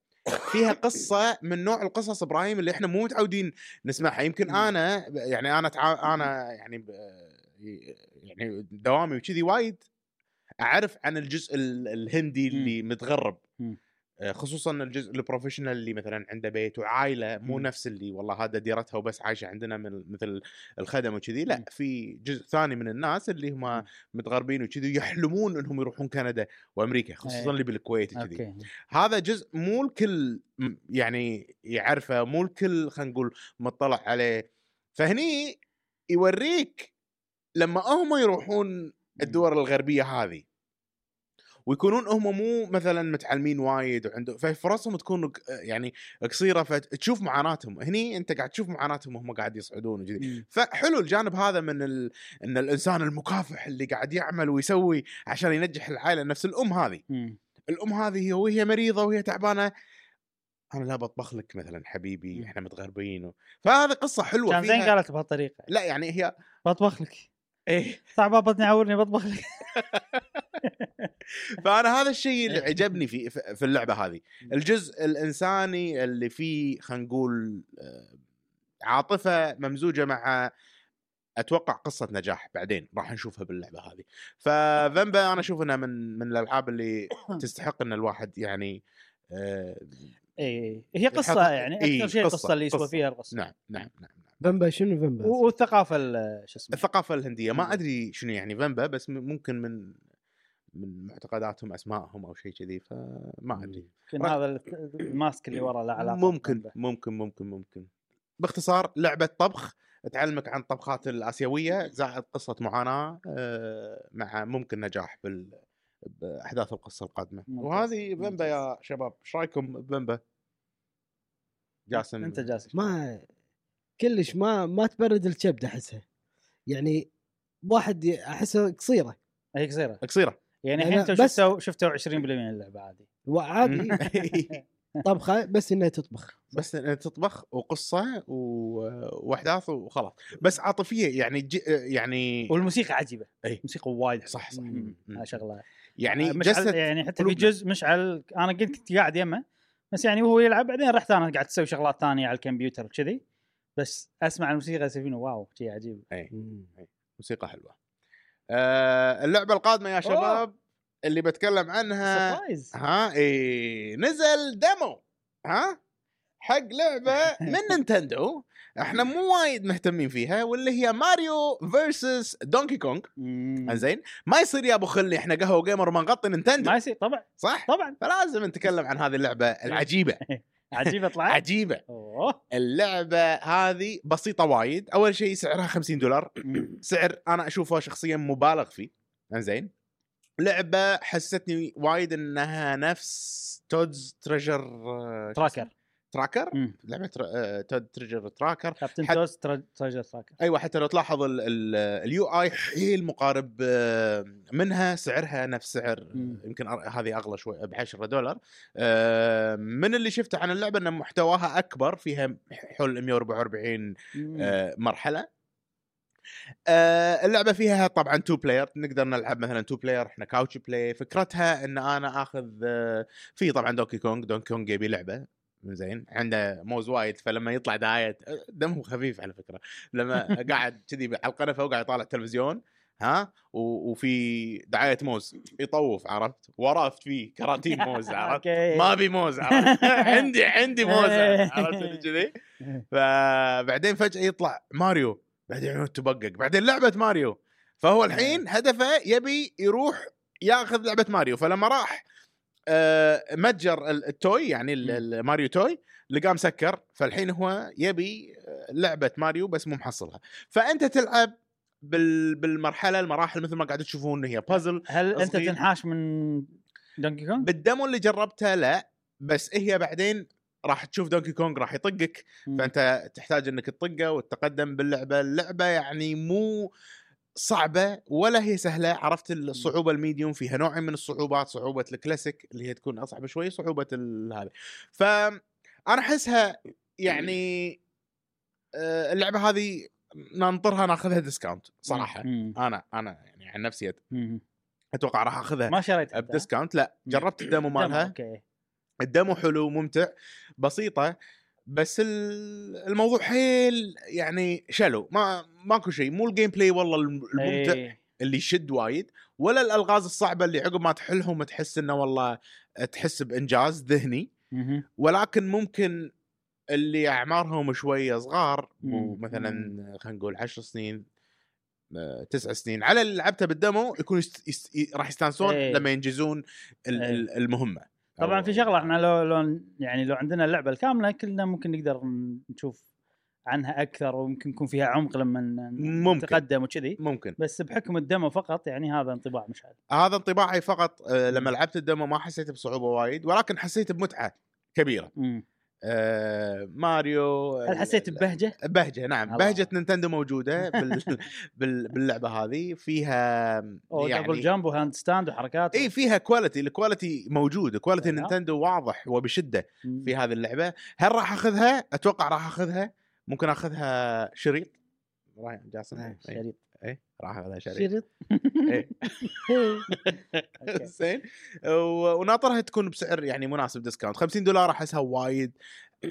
C: فيها قصه من نوع القصص ابراهيم اللي احنا مو متعودين نسمعها يمكن
A: مم.
C: انا ب- يعني انا تع... انا يعني ب... يعني دوامي وكذي وايد اعرف عن الجزء ال- الهندي اللي متغرب
A: مم.
C: آه، خصوصا الجزء البروفيشنال اللي مثلا عنده بيت وعائله مو
A: مم.
C: نفس اللي والله هذا ديرتها وبس عايشه عندنا من مثل الخدم وكذي
A: مم.
C: لا في جزء ثاني من الناس اللي هم متغربين وكذي يحلمون انهم يروحون كندا وامريكا
A: إيه.
C: خصوصا اللي بالكويت وكذي
A: اوكي
C: هذا جزء مو الكل م- يعني يعرفه مو الكل خلينا نقول مطلع عليه فهني يوريك لما هم يروحون الدول الغربيه هذه ويكونون هم مو مثلا متعلمين وايد وعنده ففرصهم تكون ق- يعني قصيره فتشوف معاناتهم هني انت قاعد تشوف معاناتهم وهم قاعد يصعدون وكذي
A: مم.
C: فحلو الجانب هذا من ال... ان الانسان المكافح اللي قاعد يعمل ويسوي عشان ينجح العائله نفس الام هذه
A: مم.
C: الام هذه وهي مريضه وهي تعبانه انا لا بطبخ لك مثلا حبيبي
A: مم.
C: احنا متغربين و... فهذه قصه حلوه
A: كان زين
C: فيها
A: قالت بهالطريقه
C: لا يعني هي
A: بطبخ لك إيه.
C: ايه
A: تعبان بطني عورني بطبخ لك
C: فانا هذا الشيء اللي
A: إيه.
C: عجبني في في في اللعبه هذه
A: مم.
C: الجزء الانساني اللي فيه خلينا نقول آه، عاطفه ممزوجه مع اتوقع قصه نجاح بعدين راح نشوفها باللعبه هذه فذنبا انا اشوف انها من من الالعاب اللي تستحق ان الواحد يعني آه،
A: اي إيه، هي قصه
C: يحط-
A: يعني
C: إي،
A: اكثر شيء
C: قصة-
A: قصه اللي يسوى
C: قصة.
A: فيها القصه
C: نعم نعم نعم
B: فمبا شنو فمبا؟
A: و- والثقافه ال- شو اسمه
C: الثقافه الهنديه
A: مم.
C: ما ادري شنو يعني فنبا بس م- ممكن من من معتقداتهم اسمائهم او شيء كذي فما ادري
A: يمكن
C: رأ-
A: هذا الت- الماسك اللي ورا له علاقه
C: ممكن
A: بذنبه.
C: ممكن ممكن ممكن باختصار لعبه طبخ تعلمك عن الطبخات الاسيويه زائد قصه معاناه آه، مع ممكن نجاح بال باحداث القصه القادمه
A: ممتاز،
C: وهذه
A: ممتاز.
C: بمبا يا شباب ايش رايكم بمبا جاسم
A: انت جاسم
B: ما كلش ما ما تبرد الكبد احسها يعني واحد ي- احسها قصيره
A: هي قصيره
C: قصيره
A: يعني
B: لا،
A: الحين
B: لا،
A: انتم
B: بس-
A: شفتوا شفتوا 20% من اللعبه عادي
B: وعادي
C: Mm-hmm.
B: طبخه بس انها تطبخ
C: بس إنها تطبخ وقصه و- واحداث وخلاص بس عاطفيه يعني جي يعني
A: والموسيقى عجيبه
C: إي.
A: موسيقى وايد
C: صح، صح.
A: مم.
C: مم.
A: هاي شغله
C: يعني
A: مشعل
C: جسد
A: يعني حتى في
C: قلوبنا.
A: جزء مشعل انا قلت كنت قاعد يمه بس يعني وهو يلعب بعدين رحت انا قاعد اسوي شغلات ثانيه على الكمبيوتر وكذي بس اسمع الموسيقى يصير فيني واو شيء عجيب
C: إيه. موسيقى حلوه آه اللعبه القادمه يا شباب اللي بتكلم عنها
A: سربرايز
C: ها اي نزل ديمو ها حق لعبه من نينتندو احنا مو وايد مهتمين فيها واللي هي ماريو فيرسس دونكي كونغ
A: مم.
C: زين ما يصير يا ابو خلي احنا قهوه جيمر ما نغطي نينتندو
A: ما إيه. يصير طبعا
C: صح
A: طبعا
C: فلازم نتكلم عن هذه اللعبه العجيبه
A: عجيبه طلعت
C: عجيبه
A: اوه
C: اللعبه هذه بسيطه وايد اول شيء سعرها 50 دولار
A: مم.
C: سعر انا اشوفه شخصيا مبالغ فيه زين لعبه حستني وايد انها نفس تودز تريجر آه،
A: تراكر
C: تراكر
A: مم.
C: لعبه تر... آه، تود تريجر تراكر
A: كابتن
C: حت-
A: توز ترا- تراجر تراكر
C: ايوه حتى لو تلاحظ ال- ال- اليو اي حيل مقارب آه، منها سعرها نفس سعر آه،
A: مم.
C: يمكن أر- هذه اغلى شوي ب 10 دولار آه، من اللي شفته عن اللعبه ان محتواها اكبر فيها حول 144
A: مم.
C: آه، مرحله آه، اللعبه فيها طبعا تو بلاير نقدر نلعب مثلا تو بلاير احنا كاوتش بلاي فكرتها ان انا اخذ آه، في طبعا دونكي كونج دونكي كونج يبي لعبه زين عنده موز وايد فلما يطلع دايت آه، دمه خفيف على فكره لما قاعد كذي على القنفه وقاعد يطالع التلفزيون ها و- وفي دعايه موز يطوف عرفت ورافت فيه كراتين موز عرفت
A: أوكي.
C: ما ابي موز عرفت عندي عندي موز عرفت اللي كذي فبعدين فجاه يطلع ماريو بعدين عيون تبقق بعدين لعبه ماريو فهو الحين هدفه يبي يروح ياخذ لعبه ماريو فلما راح آه، متجر ال- التوي يعني ال-
A: مم.
C: ال- ماريو توي لقاه مسكر فالحين هو يبي آه، لعبه ماريو بس مو محصلها فانت تلعب بال- بالمرحله المراحل مثل ما قاعد تشوفون هي بازل
A: هل انت
C: صغير.
A: تنحاش من دونكي كونغ؟
C: بالدمو اللي جربته لا بس هي بعدين راح تشوف دونكي كونغ راح يطقك فانت تحتاج انك تطقه وتتقدم باللعبه، اللعبه يعني مو صعبه ولا هي سهله، عرفت الصعوبه الميديوم فيها نوع من الصعوبات، صعوبه الكلاسيك اللي هي تكون اصعب شوي، صعوبه ال- هذا. ف انا احسها يعني آه، اللعبه هذه ننطرها ناخذها ديسكاونت صراحه
A: مم.
C: انا انا يعني عن نفسي
A: مم.
C: اتوقع راح اخذها
A: ما شريت أنت، ها؟
C: بديسكاونت لا جربت الدمو
A: دمو،
C: آه. مالها
A: اوكي
C: الدمو حلو ممتع بسيطه بس ال- الموضوع حيل يعني شلو ما ماكو شيء مو الجيم بلاي والله الم- الممتع
A: إيه.
C: اللي يشد وايد ولا الالغاز الصعبه اللي عقب ما تحلهم تحس انه والله تحس بانجاز ذهني
A: مهم.
C: ولكن ممكن اللي اعمارهم شويه صغار
A: مم.
C: ومثلا
A: مم.
C: خلينا نقول 10 سنين آه، تسع سنين على اللي لعبته بالدمو يكون يست... يست... ي- راح يستانسون
A: إيه.
C: لما ينجزون ال...
A: إيه.
C: ال- المهمه
A: طبعا
C: أو-
A: في شغله احنا لو لو يعني لو عندنا اللعبه الكامله كلنا ممكن نقدر نشوف عنها اكثر وممكن يكون فيها عمق لما ن-
C: ممكن.
A: نتقدم وكذي
C: ممكن
A: بس بحكم الدمو فقط يعني هذا انطباع مش عارف
C: هذا انطباعي فقط آه، لما
A: إمم.
C: لعبت الدمو ما حسيت بصعوبه وايد ولكن حسيت بمتعه كبيره
A: مم.
C: آه، ماريو
A: هل حسيت ببهجه؟
C: بهجه نعم
A: الله.
C: بهجه نينتندو موجوده بال... بال... باللعبه هذه فيها
A: او يعني دبل جامب وهاند ستاند وحركات
C: اي فيها كواليتي الكواليتي موجود كواليتي
A: أي نعم.
C: نينتندو واضح وبشده
A: مم.
C: في هذه اللعبه هل راح اخذها اتوقع راح اخذها ممكن اخذها شريط راح جاسم
B: نعم،
C: إي،
A: إيه، شريط.
C: إي، راح اخذها شريط
B: شريط
C: إي.
A: أوكي.
C: زين و- وناطرها تكون بسعر يعني مناسب ديسكاونت 50 دولار احسها وايد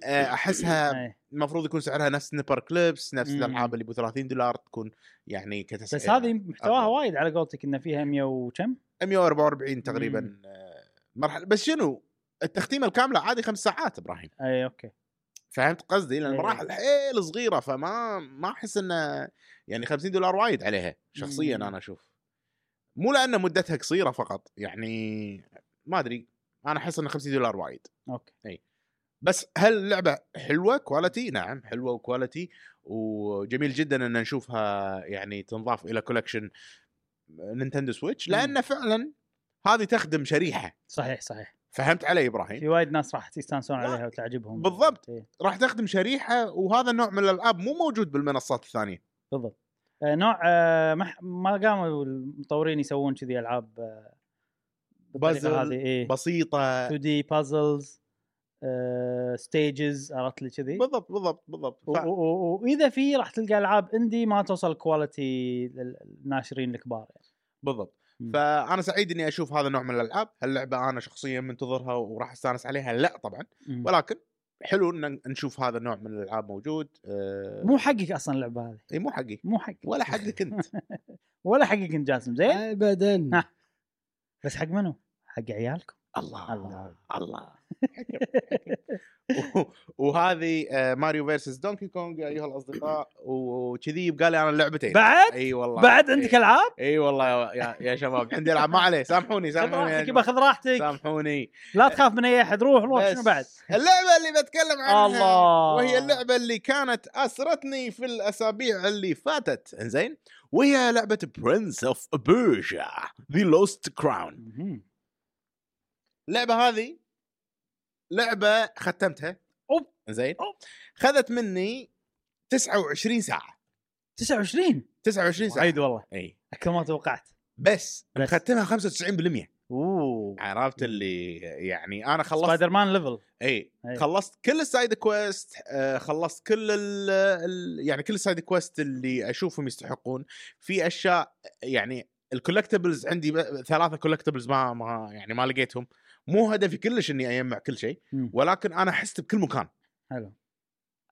C: آه، احسها
A: إيه.
C: المفروض يكون سعرها نفس نيبر كليبس نفس
A: مم.
C: الالعاب اللي ب 30 دولار تكون يعني كتسعير
A: إمم. بس هذه محتواها
C: أفضل.
A: وايد على قولتك انه فيها 100 وكم
C: 144 تقريبا
A: مم.
C: آه، مرحله بس شنو التختيمه الكامله عادي خمس ساعات ابراهيم
A: اي اوكي
C: فهمت قصدي لان
A: إيه.
C: المراحل حيل صغيره فما ما احس انه يعني 50 دولار وايد عليها شخصيا
A: مم.
C: انا اشوف مو لان مدتها قصيره فقط يعني ما ادري انا احس ان 50 دولار وايد
A: اوكي
C: بس هل اللعبه حلوه كواليتي نعم حلوه وكواليتي وجميل جدا ان نشوفها يعني تنضاف الى كولكشن نينتندو سويتش لان فعلا هذه تخدم شريحه
A: صحيح صحيح
C: فهمت علي ابراهيم
A: في وايد ناس راح يستانسون
C: إيه. لا.
A: عليها وتعجبهم
C: بالضبط.
A: إيه.
C: راح تخدم شريحه وهذا النوع من الالعاب مو موجود بالمنصات الثانيه
A: بالضبط آه، نوع آه، ما ح- ما قاموا المطورين يسوون كذي العاب آه، بالطريقه
C: بازل،
A: هذه إيه. اي
C: بسيطه
A: 2 دي بازلز ستيجز آه، عرفت لي كذي
C: بالضبط بالضبط بالضبط
A: و-
C: ف...
A: و- و- واذا في راح تلقى العاب اندي ما توصل كواليتي الناشرين الكبار يعني.
C: بالضبط
A: مم.
C: فانا سعيد اني اشوف هذا النوع من الالعاب هاللعبه انا شخصيا منتظرها وراح استانس عليها لا طبعا
A: مم.
C: ولكن حلو ان نشوف هذا النوع من الالعاب موجود آه،
A: مو حقك اصلا اللعبه هذه
C: إي مو حقي
A: مو حقك
C: ولا حقك انت
A: ولا حقك انت جاسم زين
B: ابدا
A: طيب. ها. بس حق منو؟ حق عيالكم
C: الله
B: نعم.
A: الله.
C: الله حكم، حكم. و- وهذه آه، ماريو فيرسس دونكي كونج يا ايها الاصدقاء و- وكذي يبقى لي انا اللعبتين
A: بعد
C: اي إيه. والله إيه.
A: بعد عندك العاب؟
C: اي والله يا- يا, يا شباب عندي العاب ما عليه سامحوني
A: خذ
C: سامحوني يا
A: راحتك
C: جماعة.
A: يبا خذ راحتك
C: سامحوني
A: لا تخاف من اي احد روح روح
C: بس
A: شنو بعد؟
C: اللعبه اللي بتكلم عنها
A: الله.
C: وهي اللعبه اللي كانت اسرتني في الاسابيع اللي فاتت انزين وهي لعبه برنس اوف بيرجا ذا لوست كراون
A: مهم.
C: اللعبه هذه لعبه ختمتها
A: أوب.
C: زين
A: أوب.
C: خذت مني 29 ساعه
A: 29
C: 29 ساعه
A: عيد والله
C: اي
A: اكثر ما توقعت
C: بس,
A: بس.
C: ختمها 95%
A: اوه
C: عرفت اللي يعني انا خلصت
A: سبايدر مان ليفل
C: اي
A: أي.
C: خلصت كل السايد كويست آه، خلصت كل ال ال- يعني كل السايد كويست اللي اشوفهم يستحقون في اشياء يعني الكولكتبلز عندي ب- ثلاثه كولكتبلز ما ما يعني ما لقيتهم مو هدفي كلش اني اجمع كل شيء
A: مم.
C: ولكن انا حست بكل مكان
A: حلو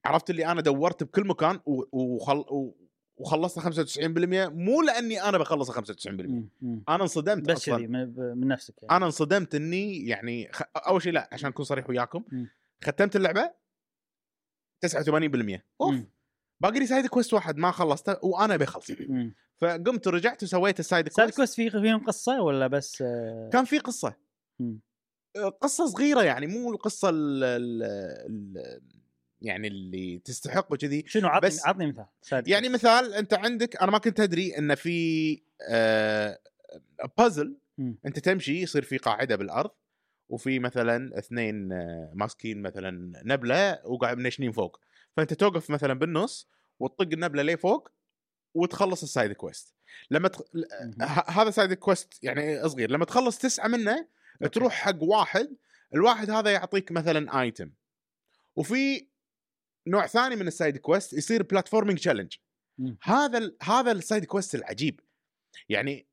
C: عرفت اللي انا دورت بكل مكان و- وخل و- وخلصت 95% مو لاني انا بخلص 95%
A: مم. مم.
C: انا انصدمت
A: بس
C: اصلا
A: كذي من, من نفسك يعني
C: انا انصدمت اني يعني خ... اول شيء لا عشان اكون صريح وياكم
A: مم.
C: ختمت اللعبه 89% اوف
A: مم.
C: باقي لي سايد كويست واحد ما خلصته وانا بخلص
A: مم.
C: فقمت ورجعت وسويت السايد
A: سايد
C: كويست
A: كويست في فيهم قصه ولا بس آه،
C: كان في قصه
A: مم.
C: آه، قصه صغيره يعني مو القصه ال... ال... ال... يعني اللي تستحق وكذي
A: شنو عطني
C: بس-
A: عطني مثال سايد
C: يعني مثال انت عندك انا ما كنت ادري ان في آه بازل
A: مم.
C: انت تمشي يصير في قاعده بالارض وفي مثلا اثنين آه، ماسكين مثلا نبله وقاعد منشنين فوق فانت توقف مثلا بالنص وتطق النبله لفوق وتخلص السايد كويست لما تخ... ل-
A: مهم.
C: ه- هذا سايد كويست يعني صغير لما تخلص تسعه منه
A: أوكي.
C: تروح حق واحد الواحد هذا يعطيك مثلا ايتم وفي نوع ثاني من السايد كويست يصير بلاتفورمينج تشالنج
A: مم.
C: هذا ال- هذا السايد كويست العجيب يعني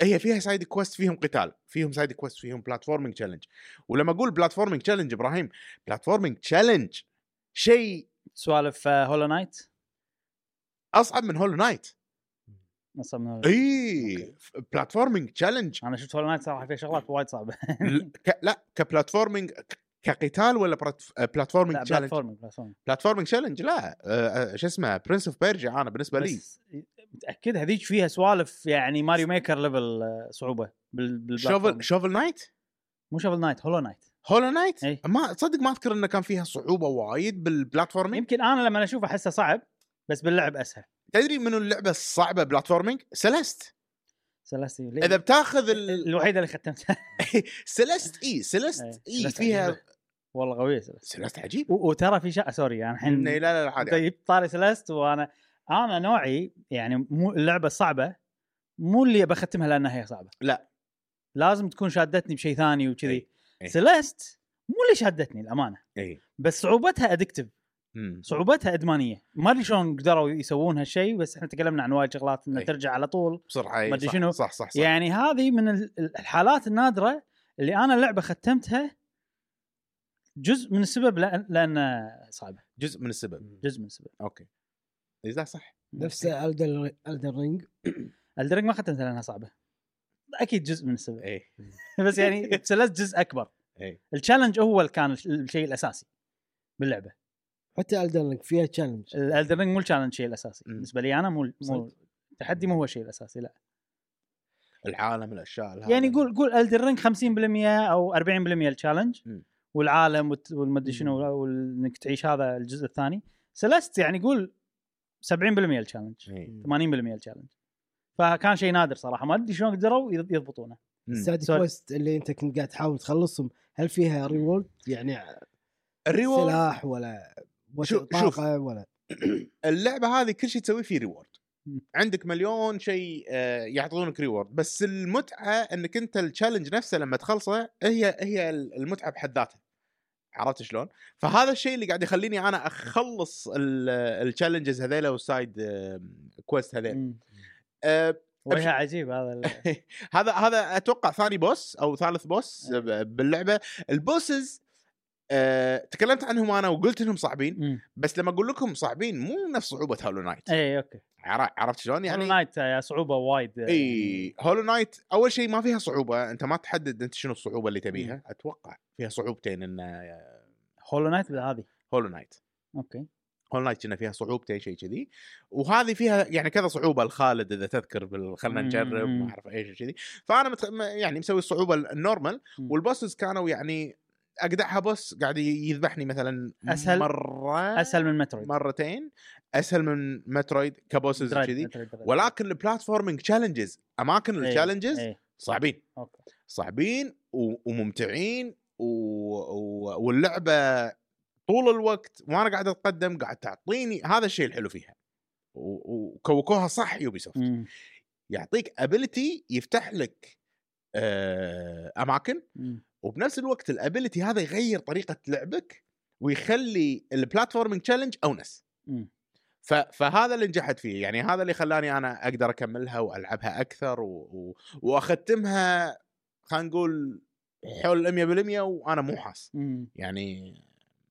C: هي فيها سايد كويست فيهم قتال فيهم سايد كويست فيهم بلاتفورمينج تشالنج ولما اقول بلاتفورمينج تشالنج ابراهيم بلاتفورمينج تشالنج شيء
A: سوالف آه، هولو نايت
C: اصعب من هولو نايت
A: نصب من ال-
C: اي بلاتفورمينج تشالنج
A: انا شفت هول نايت صراحه فيها شغلات وايد صعبه
C: ل- ك... لا كبلاتفورمينج ك- كقتال ولا آه، برات- بلاتفورمينج
A: لا
C: تشالنج
A: بلاتفورمينج بلاتفورمينج
C: بلاتفورمينج تشالنج لا آه، آه، شو اسمه برنس اوف بيرجيا انا بالنسبه لي
A: بس متاكد هذيك فيها سوالف يعني ماريو ميكر ليفل آه، صعوبه بال بالبلاتفورمينج.
C: شوفل شوفل نايت
A: مو شوفل نايت هولو نايت
C: هولو نايت
A: إي.
C: ما تصدق ما اذكر انه كان فيها صعوبه وايد بالبلاتفورمينج
A: يمكن انا لما اشوفه احسه صعب بس باللعب اسهل
C: تدري منو اللعبه الصعبه بلاتفورمينج سلست
A: سلستي ليه؟
C: اذا بتاخذ ال...
A: الوحيده اللي ختمتها
C: سلست اي سلست
A: إي،
C: اي
A: سلست
C: E إيه، فيها
A: إيه. عجيبة. والله قويه سلست
C: سلست عجيب
A: و- وترى في شيء سوري انا الحين
C: إنه- لا لا لا
A: انت
C: عادي
A: جبت طاري سلست وانا انا نوعي يعني مو اللعبه الصعبه مو اللي بختمها لانها هي صعبه
C: لا. إيه،
A: لازم تكون شادتني بشيء ثاني وكذي
C: إي، إي.
A: سلست مو اللي شادتني الامانه
C: اي
A: بس صعوبتها ادكتف
C: إيه. مم.
A: صعوبتها ادمانيه ما ادري شلون قدروا يسوون هالشيء بس احنا تكلمنا عن وايد شغلات انه
C: إي.
A: ترجع على طول
C: بسرعه إي،
A: ما أدري
C: إيه، صح-
A: شنو.
C: صح صح صح
A: يعني هذه من ال- ال- الحالات النادره اللي انا اللعبه ختمتها جزء من السبب لأن لان صعبه
C: جزء من السبب
A: جزء من السبب
C: اوكي اذا صح
B: نفس الدر رينج
A: الدرج ما ختمتها لانها صعبه اكيد جزء من السبب
C: اي
A: بس يعني ثلاث جزء اكبر
C: إي.
A: التشالنج هو اللي كان الش- الشيء الاساسي باللعبه
B: حتى الدر رينج فيها
A: إيه.
B: تشالنج
A: الدرج مو التشالنج الشيء الاساسي
C: مم.
A: بالنسبه لي انا مو مو
B: صدق.
A: التحدي مو هو الشيء الاساسي لا
C: العالم الاشياء الهذا.
A: يعني قول قول الدرينج 50% او 40% التشالنج
C: مم.
A: والعالم وت- والمدري
B: مم.
A: شنو وال- انك تعيش هذا الجزء الثاني سلست يعني قول 70% التشالنج
C: إي.
A: 80% التشالنج فكان شيء نادر صراحه ما ادري شلون قدروا يض- يضبطونه
C: مم.
B: السايد
A: سوري.
B: كويست اللي انت كنت قاعد تحاول تخلصهم هل فيها ريورد يعني
C: الريورد
B: سلاح ولا
C: شوف-
B: طاقة
C: شوف.
B: ولا
C: اللعبه هذه كل شيء تسويه فيه ريورد
A: مم.
C: عندك مليون شيء آه، يعطونك ريورد بس المتعه انك انت التشالنج نفسه لما تخلصه هي هي المتعه بحد ذاتها عرفت شلون؟ فهذا الشيء اللي قاعد يخليني انا اخلص التشالنجز هذيلا والسايد آه، كويست هذيلا
A: مم.
C: آه،
A: وجهه عجيب هذا ال-
C: هذا هذا اتوقع ثاني بوس او ثالث بوس
A: إيه.
C: آه، باللعبه البوسز آه، تكلمت عنهم انا وقلت انهم صعبين
A: مم. إيه،
C: بس لما اقول لكم صعبين مو نفس صعوبه هولو نايت
A: اي اوكي
C: عر- عرفت شلون
A: يعني
C: يعني إيه.
A: نايت يا صعوبه وايد آه، يعني إيه.
C: اي هولو نايت اول شيء ما فيها صعوبه انت ما تحدد انت شنو الصعوبه اللي
A: إيه.
C: تبيها اتوقع فيها صعوبتين آه، ان
A: هولو نايت ولا هذه
C: هولو نايت
A: اوكي
C: آه، هولو نايت كنا فيها صعوبتين شيء كذي وهذه فيها يعني كذا صعوبه الخالد اذا تذكر بال- خلنا
A: مم.
C: نجرب ما اعرف ايش كذي فانا متخ... م- يعني مسوي الصعوبه النورمال
A: مم.
C: والبوسز كانوا يعني اقدعها بوس قاعد ي- يذبحني مثلا
A: أسهل-
C: مره
A: اسهل من مترويد
C: مرتين اسهل من مترويد كبوسز
A: درايد-
C: كذي
A: مترويد إيه، درايد.
C: ولكن البلاتفورمينج تشالنجز اماكن التشالنجز
A: إي.
C: صعبين
A: اوكي
C: صعبين و- وممتعين و... و... واللعبه طول الوقت وانا قاعد اتقدم قاعد تعطيني هذا الشيء الحلو فيها و- وكوكوها صح يوبي سوفت
A: مم.
C: يعطيك ابيلتي يفتح لك آه، اماكن
A: مم.
C: وبنفس الوقت الابيلتي هذا يغير طريقه لعبك ويخلي البلاتفورمينج تشالنج اونس
A: مم.
C: ف... فهذا اللي نجحت فيه يعني هذا اللي خلاني انا اقدر اكملها والعبها اكثر و... و... واختمها خلينا نقول حول ال 100% وانا مو حاس
A: مم.
C: يعني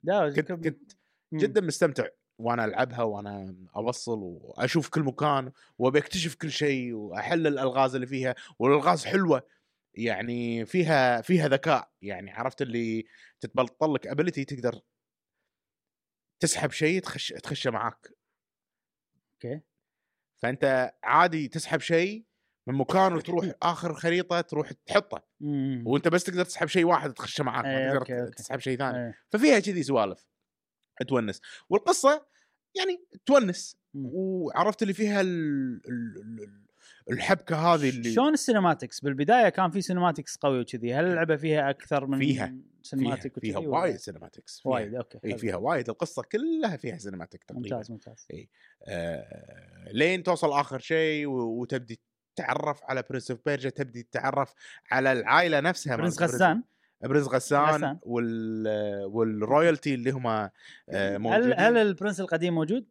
A: لا
C: كنت كنت
A: مم.
C: جدا مستمتع وانا العبها وانا اوصل واشوف كل مكان وبكتشف كل شيء واحل الالغاز اللي فيها والالغاز حلوه يعني فيها فيها ذكاء يعني عرفت اللي تتبلطل لك ابيلتي تقدر تسحب شيء تخش تخشه معاك
A: أوكي.
C: فانت عادي تسحب شيء من مكان وتروح اخر خريطه تروح تحطه
A: مم.
C: وانت بس تقدر تسحب شيء واحد تخشه معاك
A: إيه،
C: ما تقدر
A: أوكي، أوكي.
C: تسحب شيء ثاني
A: إيه.
C: ففيها كذي سوالف تونس والقصه يعني تونس
A: مم.
C: وعرفت اللي فيها ال- ال- ال- ال- الحبكه هذه اللي
A: شلون السينماتكس بالبدايه كان في سينماتكس قوي وكذي هل اللعبه فيها اكثر من
C: إيه. فيها- فيها,
A: سينماتيك وكذي
C: فيها
A: ولا-
C: وايد سينماتكس فيها-
A: وايد اوكي
C: اي
A: حلو.
C: فيها إيه، وايد القصه كلها فيها سينماتيك تقريبا
A: ممتاز ممتاز
C: آه لين توصل اخر شيء و- وتبدي تتعرف على برنس اوف بيرجا تبدي تتعرف على العائله نفسها مالت
A: برنس غسان
C: برنس غسان
A: غسان.
C: وال والرويالتي اللي هم آه، موجودين
A: هل هل البرنس القديم موجود؟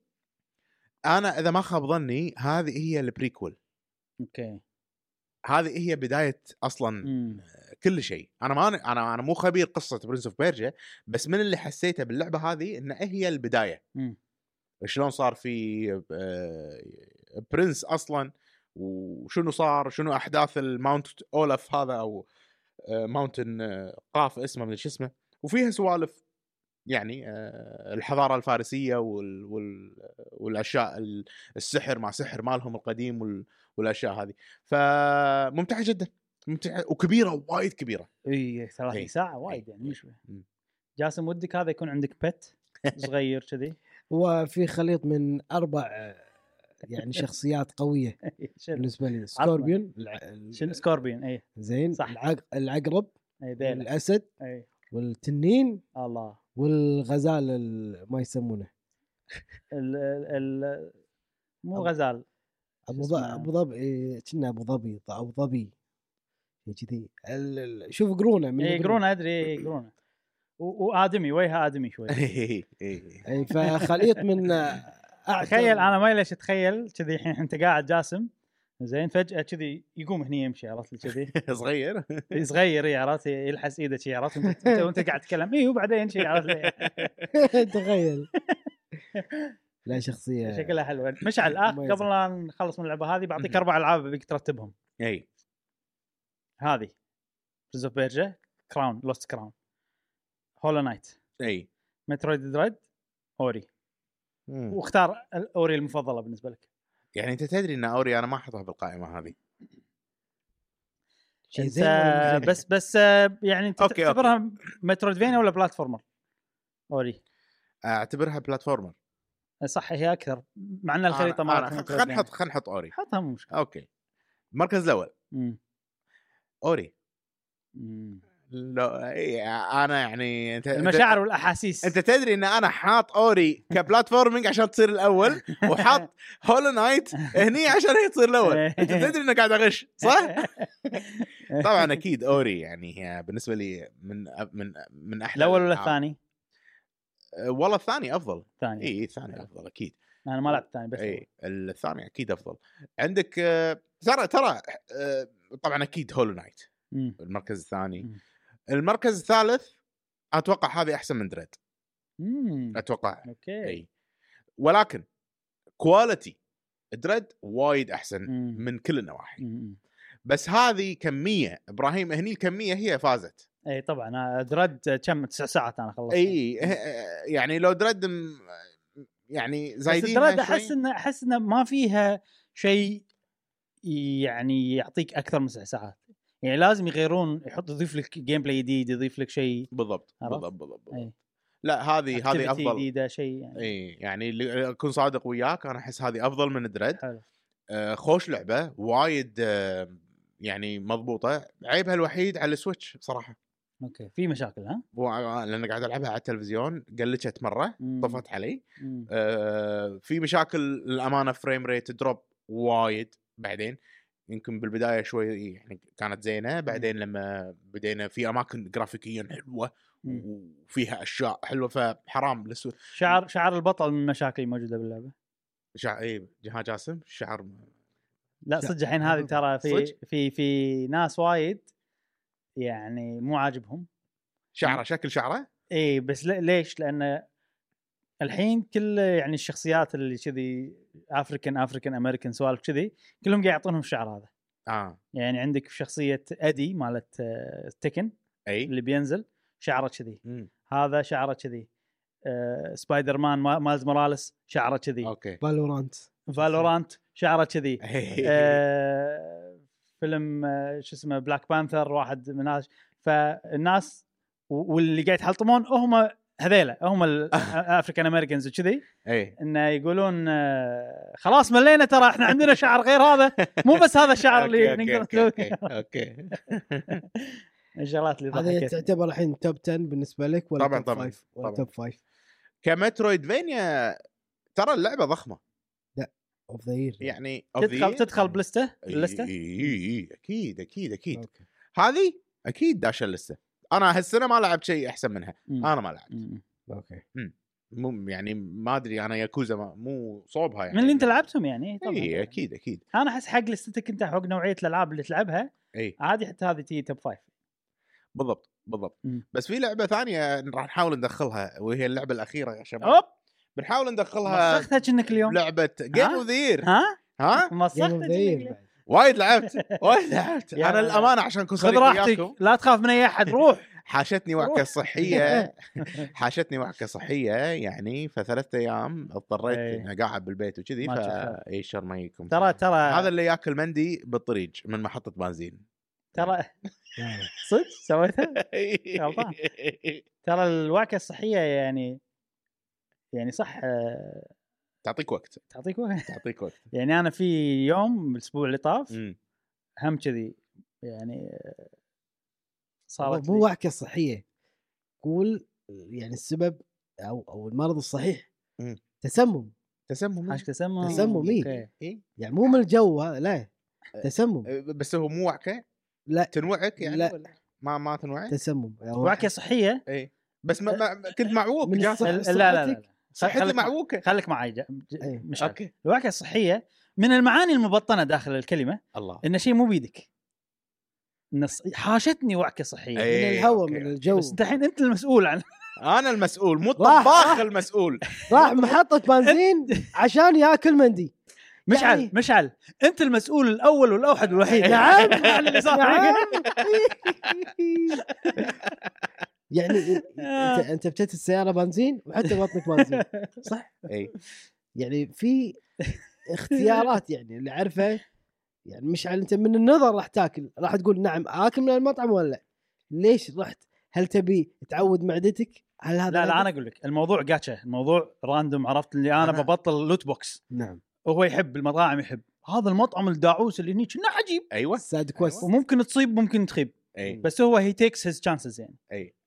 C: انا اذا ما خاب ظني هذه هي البريكول
A: اوكي
C: هذه هي بدايه اصلا
A: مم.
C: كل شيء انا ما انا انا مو خبير قصه برنس اوف بيرجا بس من اللي حسيته باللعبه هذه ان هي البدايه
A: مم.
C: شلون صار في آه، برنس اصلا وشنو صار شنو احداث الماونت اولف هذا او ماونتن آه، قاف اسمه من شو اسمه وفيها سوالف يعني آه، الحضاره الفارسيه وال... وال... والاشياء ال- السحر مع سحر مالهم القديم وال... والاشياء هذه فممتعه جدا ممتعه وكبيره وايد كبيره
A: اي 30
C: إي.
A: ساعه إيه، وايد
C: إي.
A: يعني مش
C: إيه. مم.
A: جاسم ودك هذا يكون عندك بت صغير كذي
B: وفي خليط من اربع آه، يعني شخصيات قويه
A: شنو
B: بالنسبه لي سكوربيون الع- ال-
A: إيه. شنو سكوربين اي
B: زين
A: صح.
B: العق- العقرب
A: اي ذيلا.
B: الاسد
A: اي
B: والتنين
A: الله
B: والغزال ال- ما يسمونه
A: ال ال ال- مو
B: أبو-
A: غزال
B: ابو ظ-
A: اسمه؟
B: ابو ظبي إيه، كنا ابو ظبي ط- ابو ظبي شي كذي ال- ال- شوف قرونه من
A: اي إيه، قرونه ادري اي قرونه و- وادمي وجهه ادمي شوي
C: إيه،
B: إي، إيه، فخليط من آه، أعتر-
A: تخيل انا ما ليش اتخيل كذي الحين انت قاعد جاسم زين فجاه كذي يقوم هني يمشي عرفت لي كذي
C: إيه. صغير
A: صغير إي، عرفت يلحس ايده شي عرفت وأنت- وأنت- وانت قاعد تتكلم اي وبعدين شي عرفت إيه، لي
B: تخيل لا شخصيه
A: شكلها حلوه مشعل اخ
B: مميزة.
A: قبل لا نخلص من اللعبه هذه بعطيك
C: مهم.
A: اربع العاب ابيك ترتبهم
C: اي
A: هذه برنس اوف بيرجا كراون لوست كراون هولو نايت
C: اي
A: مترويد دريد اوري واختار اوري المفضله بالنسبه لك
C: يعني انت تدري ان اوري انا ما احطها بالقائمه هذه
B: شي زين ولا مو
A: انت
B: زين؟
A: بس بس آه، يعني انت
C: أوكي، أوكي.
A: تعتبرها مترويدفينيا ولا بلاتفورمر؟ اوري
C: اعتبرها بلاتفورمر
A: صح هي اكثر مع ان الخريطه ما يعني.
C: خلينا نحط خلينا نحط اوري
A: حطها مو مشكله
C: اوكي المركز الاول
A: مم.
C: اوري
A: مم.
C: لا إي، انا يعني انت
A: المشاعر والاحاسيس
C: انت تدري ان انا حاط اوري كبلاتفورمينج عشان تصير الاول وحاط هولو نايت هني عشان هي تصير الاول انت تدري انك قاعد اغش صح؟ طبعا اكيد اوري يعني هي بالنسبه لي من من من احلى
A: الاول ولا
C: الألعاب.
A: الثاني؟
C: أه، والله الثاني افضل
A: الثاني
C: اي الثاني افضل اكيد
A: انا ما لعبت الثاني بس
C: اي الثاني اكيد افضل عندك آه، ترى ترى آه، طبعا اكيد هولو نايت
A: مم.
C: المركز الثاني
A: مم.
C: المركز الثالث اتوقع هذه احسن من دريد
A: مم.
C: اتوقع
A: اوكي
C: اي ولكن كواليتي دريد وايد احسن
A: مم.
C: من كل النواحي
A: مم.
C: بس هذه كميه ابراهيم هني الكميه هي فازت
A: اي طبعا إيه، آه، درد كم تسع ساعات انا خلصت
C: اي آه، يعني لو دريد م- يعني
A: بس
C: زايدين
A: الدراد احس انه احس انه ما فيها شيء يعني يعطيك اكثر من تسع ساعات يعني لازم يغيرون يحط يضيف لك جيم بلاي جديد يضيف لك شيء
C: بالضبط
A: عرفت؟
C: بالضبط بالضبط
A: إي.
C: لا هذه
A: activity
C: هذه افضل
A: جديده شيء يعني
C: اي يعني اللي اكون صادق وياك انا احس هذه افضل من دريد
A: حلو
C: آه خوش لعبه وايد آه يعني مضبوطه عيبها الوحيد على السويتش صراحه
A: اوكي في مشاكل ها
C: و- لان قاعد العبها على التلفزيون قلشت مره
A: مم.
C: طفت علي
A: مم.
C: آه في مشاكل للامانه فريم ريت دروب وايد بعدين يمكن بالبدايه شوي يعني كانت زينه بعدين لما بدينا في اماكن جرافيكيا حلوه
A: مم.
C: وفيها اشياء حلوه فحرام لسو
A: شعر شعر البطل من المشاكل الموجوده باللعبه
C: شع... اي جها جاسم شعر
A: لا
B: شع-
A: صدق الحين هذه ترى في
C: صدق؟
A: في في ناس وايد يعني مو عاجبهم إيه.
C: شعره شكل شعره
A: اي إيه، بس ل- ليش؟ لان الحين كل يعني الشخصيات اللي كذي افريكان افريكان امريكان سوالف كذي كلهم قاعد يعطونهم الشعر هذا
C: اه
A: يعني عندك شخصيه ادي مالت آه، تكن
C: اي
A: اللي بينزل شعره كذي
C: مم.
A: هذا شعره كذي آه، سبايدر مان ما- مالز موراليس شعره كذي
C: اوكي
B: فالورانت
A: فالورانت شعره كذي آه، فيلم آه، شو اسمه بلاك بانثر واحد من هذا فالناس و- واللي قاعد يتحلطمون هم هذيلا هم الافريكان امريكانز وكذي
C: اي
A: انه يقولون آه، خلاص ملينا ترى احنا عندنا شعر غير هذا مو بس هذا الشعر اللي
C: أوكي،
A: نقدر
C: أوكي،
A: نسويه
C: أوكي، اوكي
A: الشغلات اللي
B: هذه
A: ضحكتني
B: تعتبر الحين توب 10 بالنسبه لك ولا
C: طبعاً،
B: توب
C: طبعاً،
B: 5 ولا
C: طبعاً.
B: توب 5
C: كمترويدفينيا ترى اللعبه ضخمه
B: اوف ذا يير
C: يعني of the
A: إيه. تدخل
C: year.
A: تدخل بلسته
C: إي-
A: بلسته
C: إي- إي- إي، اكيد اكيد اكيد
B: اوكي
C: هذه اكيد داشه اللسته انا هالسنه ما لعبت شيء احسن منها
A: مم.
C: انا ما لعبت
A: مم.
B: اوكي
C: مو يعني ما ادري انا ياكوزا ما- مو صوبها يعني
A: من اللي انت لعبتهم يعني طبعا
C: اي اكيد اكيد
A: انا احس حق لستك انت حق نوعيه الالعاب اللي تلعبها
C: اي
A: عادي حتى هذه تي توب فايف
C: بالضبط بالضبط
A: مم.
C: بس في لعبه ثانيه راح نحاول ندخلها وهي اللعبه الاخيره يا شباب
A: اوب
C: بنحاول ندخلها
A: مسختها كأنك اليوم
C: لعبه جيم
A: ها؟
C: اوف ذا
A: ها
C: ها
B: Game of
A: مسخت
B: the Year
A: جيبك.
B: بعد.
C: وايد لعبت وايد لعبت
A: يا-
C: انا الامانه عشان اكون
A: خذ
C: صريح وياكم
A: راحتك لا تخاف من اي احد روح
C: حاشتني وعكه صحيه حاشتني وعكه صحيه يعني فثلاث ايام اضطريت
A: إيه.
C: اني قاعد بالبيت وكذي
A: ما تشوف.
C: فاي شر ما يجيكم
A: ترى ترى
C: هذا اللي ياكل مندي بالطريق من محطه بنزين
A: ترى
B: لا، لا.
A: صدق سويتها غلطان. ترى الوعكه الصحيه يعني يعني صح آه،
C: تعطيك وقت
A: تعطيك وعي.
C: تعطيك وقت
A: يعني انا في يوم الاسبوع اللي طاف
C: مم.
A: هم كذي يعني آه، صارت
B: مو
A: لي.
B: وعكه صحيه قول يعني السبب او او المرض الصحيح
C: مم.
B: تسمم
C: تسمم
A: حاش تسمم
B: تسمم، إيه.
A: أوكي.
C: إيه؟
B: يعني مو من الجو هذا لا تسمم
C: بس هو مو وعكه
B: لا.
C: تنوعك يعني
B: لا.
C: ولا ما ما تنوعك
B: تسمم أو
A: وعكه صحيه
C: اي بس ما ما كنت معوق
B: أه، من
C: جاسم.
B: الصح-
A: لا لا لا, لا.
B: صحتك.
C: صحتي
A: خليك-
C: معوقه
A: خليك معي جا- ج-
B: إيه.
A: مش عارف.
C: اوكي
A: الوعكه الصحيه من المعاني المبطنه داخل الكلمه
C: الله
A: ان شيء مو بيدك إن الص- حاشتني وعكه صحيه
C: إيه.
B: من الهواء
C: أوكي.
B: من الجو
A: بس انت الحين انت المسؤول عن
C: انا المسؤول مو
B: راح-
C: الطباخ
B: راح.
C: المسؤول
B: راح محطه بنزين عشان ياكل مندي
A: مشعل
B: يعني-
A: مشعل انت المسؤول الاول والاوحد والوحيد
B: نعم
A: عن إيه. اللي صار.
B: نعم يعني انت انت بتت السياره بنزين وحتى بطنك بنزين صح
C: اي
B: يعني في اختيارات يعني اللي اعرفها يعني مشعل انت من النظر راح تاكل راح تقول نعم اكل من المطعم ولا لا؟ ليش رحت هل تبي تعود معدتك هل هذا
A: لا لا
B: عندك؟
A: انا اقول لك الموضوع جاتشا الموضوع راندوم عرفت اللي انا,
C: أنا-
A: ببطل لوت بوكس
B: نعم
A: وهو يحب المطاعم يحب هذا المطعم الداعوس اللي هني كنا عجيب
C: ايوه
B: ساد كويست
A: وممكن تصيب ممكن تخيب
C: اي
A: بس هو هي تيكس هيز تشانسز يعني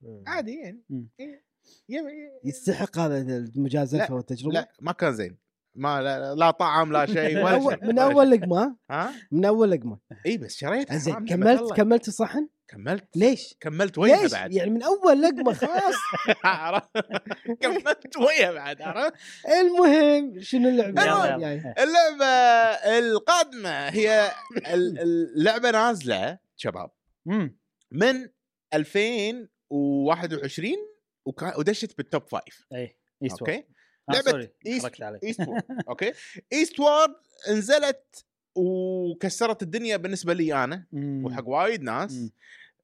B: نعم.
C: عادي يعني
A: مم.
C: إي. يم-
B: يستحق هذا المجازفه والتجربه
C: لا ما كان زين ما لا, لا- لا طعم لا شيء
B: من
C: ولا
B: اول
C: شيء
B: من
C: ولا
B: اول
C: شيء.
B: لقمه
C: ها
B: من اول لقمه
C: اي بس شريت
B: زين
C: حرام
B: كملت
C: نعمة الله.
B: كملت الصحن
C: كملت
B: ليش
C: كملت ويا
B: ليش
C: بعد
B: يعني من اول لقمه خلاص
C: عرفت؟ كملت ويا بعد عرفت
B: المهم شنو اللعبه
C: يلا،
A: يلا.
B: يعني
C: اللعبه القادمه هي ال- اللعبه نازله شباب
A: امم
C: من 2021 وكا- ودشت بالتوب فايف
A: اي ايست وورد.
C: اوكي
A: إيه. آه،
C: لعبة
A: سوري،
C: إيست-
A: حركت عليك
C: ايست وورد اوكي ايست وورد نزلت وكسرت الدنيا بالنسبه لي انا
A: مم.
C: وحق وايد ناس
A: مم.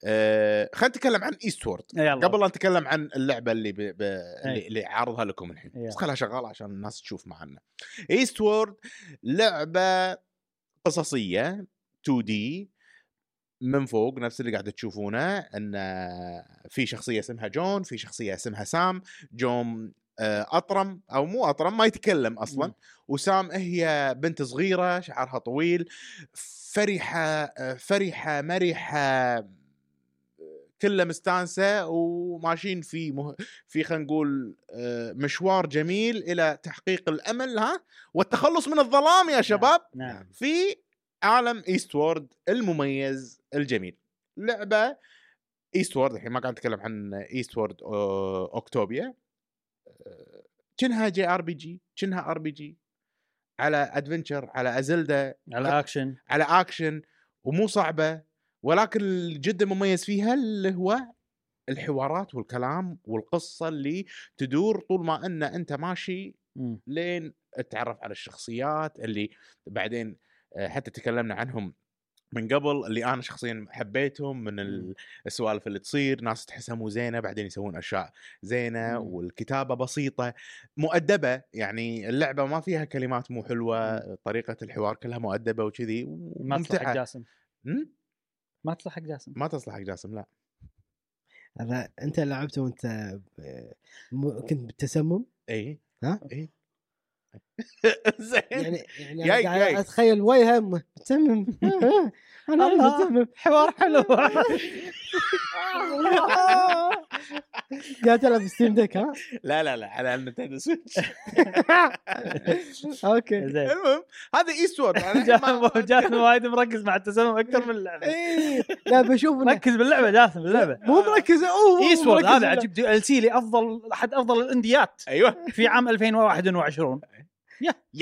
C: آه خلينا نتكلم عن ايست وورد
A: إيه، يلا
C: قبل لا نتكلم عن اللعبه اللي ب... ب... اللي- اللي عارضها لكم الحين
A: يلا.
C: بس خلها شغاله عشان الناس تشوف معنا ايست وورد لعبه قصصيه 2 دي من فوق نفس اللي قاعد تشوفونه ان في شخصيه اسمها جون في شخصيه اسمها سام جون آه، اطرم او مو اطرم ما يتكلم اصلا
A: مم.
C: وسام هي بنت صغيره شعرها طويل فرحه آه، فرحه مرحه كله مستانسه وماشيين في مه... في خلينا نقول آه، مشوار جميل الى تحقيق الامل ها والتخلص من الظلام يا شباب
A: نعم
C: في عالم ايست وورد المميز الجميل لعبه ايست وورد الحين ما قاعد اتكلم عن ايست وورد أو- اوكتوبيا آه، كنها جي ار بي جي كنها ار بي جي على ادفنتشر على ازلدا
A: على اكشن
C: على اكشن ومو صعبه ولكن الجد المميز فيها اللي هو الحوارات والكلام والقصه اللي تدور طول ما ان انت ماشي
A: مم.
C: لين تتعرف على الشخصيات اللي بعدين آه، حتى تكلمنا عنهم من قبل اللي انا شخصيا حبيتهم من ال- السوالف اللي تصير ناس تحسها مو زينه بعدين يسوون اشياء زينه
A: مم.
C: والكتابه بسيطه مؤدبه يعني اللعبه ما فيها كلمات مو حلوه طريقه الحوار كلها مؤدبه وكذي
A: ما تصلح حق
C: وممتعه
A: جاسم
C: مم؟
A: ما تصلح حق جاسم
C: ما تصلح حق جاسم لا
B: هذا انت لعبته وانت ب- م- كنت بالتسمم
C: اي
B: ها؟
C: اي إيه؟ زين
B: يعني يعني
C: جاي-
B: أنا قاعد
C: جاي.
B: اتخيل وجهه م- متسمم انا
A: الله.
B: متسمم
A: حوار حلو
B: قاعد تلعب ستيم ديك ها
C: لا لا لا على النتندو سويتش
B: اوكي
A: زين
C: المهم هذا ايست وورد
A: جاسم جاسم وايد مركز مع التسمم اكثر من اللعبه
B: إيه، لا بشوف إنه
A: ركز باللعبه جاسم باللعبه
B: مو مركز اوه مو
A: ايست وورد
B: مركز
A: هذا عجيب دي ال سي لافضل احد افضل الانديات
B: إيه،
C: ايوه
A: في عام 2021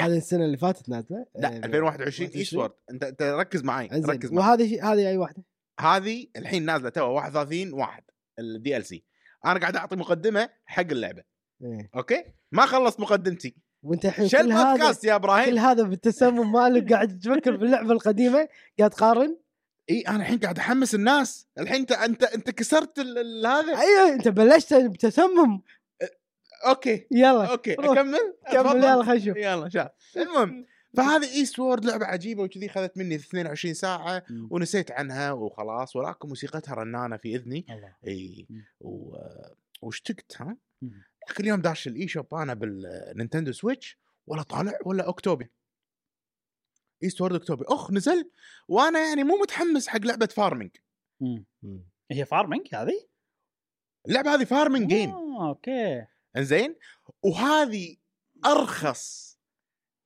B: هذه السنه اللي فاتت نازله
C: لا
B: آه،
C: 2021 ايست وورد انت انت ركز معي
B: انزين
C: ركز معي
B: وهذه شي- هذه اي واحده
C: هذه الحين نازله تو 31 واحد الدي ال سي انا قاعد اعطي مقدمه حق اللعبه
B: إيه.
C: اوكي ما خلصت مقدمتي
B: وانت الحين
C: شو
B: كل هذا
C: البودكاست يا ابراهيم
B: كل هذا بالتسمم مالك قاعد تفكر باللعبه القديمه قاعد تقارن
C: اي انا الحين قاعد احمس الناس الحين انت انت انت كسرت ال- ال- هذا
B: ايوه انت بلشت بتسمم
C: اوكي
B: يلا
C: اوكي
B: روح.
C: اكمل
B: كمل
C: أتفضل.
B: يلا خلينا نشوف
C: يلا شاف المهم فهذه ايست وورد لعبه عجيبه وكذي خذت مني 22 ساعه
A: مم.
C: ونسيت عنها وخلاص ولكن موسيقتها رنانه في اذني
A: الله
C: اي
A: مم.
C: إيه، و... واشتقت ها
A: مم.
C: يا اخي اليوم داش الاي شوب انا بالنينتندو سويتش ولا طالع ولا اكتوبي ايست وورد اكتوبي اخ نزل وانا يعني مو متحمس حق لعبه فارمنج
A: مم. هي فارمنج هذه؟
C: اللعبه هذه فارمنج جيم
A: آه، اوكي
C: انزين وهذه ارخص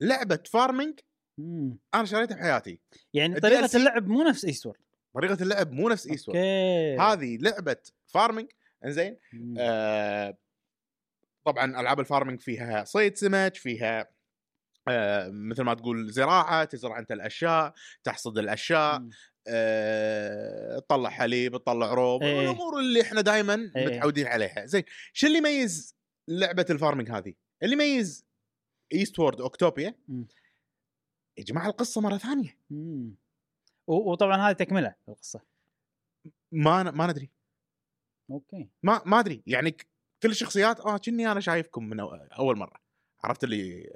C: لعبه فارمنج
A: مم.
C: انا شريتها بحياتي
A: يعني
C: ال
A: طريقه
C: DLC
A: اللعب مو نفس ايست وورد
C: طريقه اللعب مو نفس ايست وورد
A: اوكي
C: هذه لعبه فارمنج انزين
A: مم.
C: آه طبعا العاب الفارمنج فيها صيد سمك فيها آه مثل ما تقول زراعه تزرع انت الاشياء تحصد الاشياء
A: مم.
C: آه، تطلع حليب تطلع روب
A: إيه.
C: الامور اللي احنا دائما
A: إيه.
C: متعودين عليها زين شو اللي يميز لعبه الفارمنج هذه اللي يميز ايست وورد اوكتوبيا
A: مم.
C: يا جماعه القصه مره ثانيه
A: مم. و- وطبعا هذه تكمله القصه
C: ما ما ندري
A: اوكي
C: ما ما ادري يعني ك- كل الشخصيات اه كني انا شايفكم من أو- اول مره عرفت اللي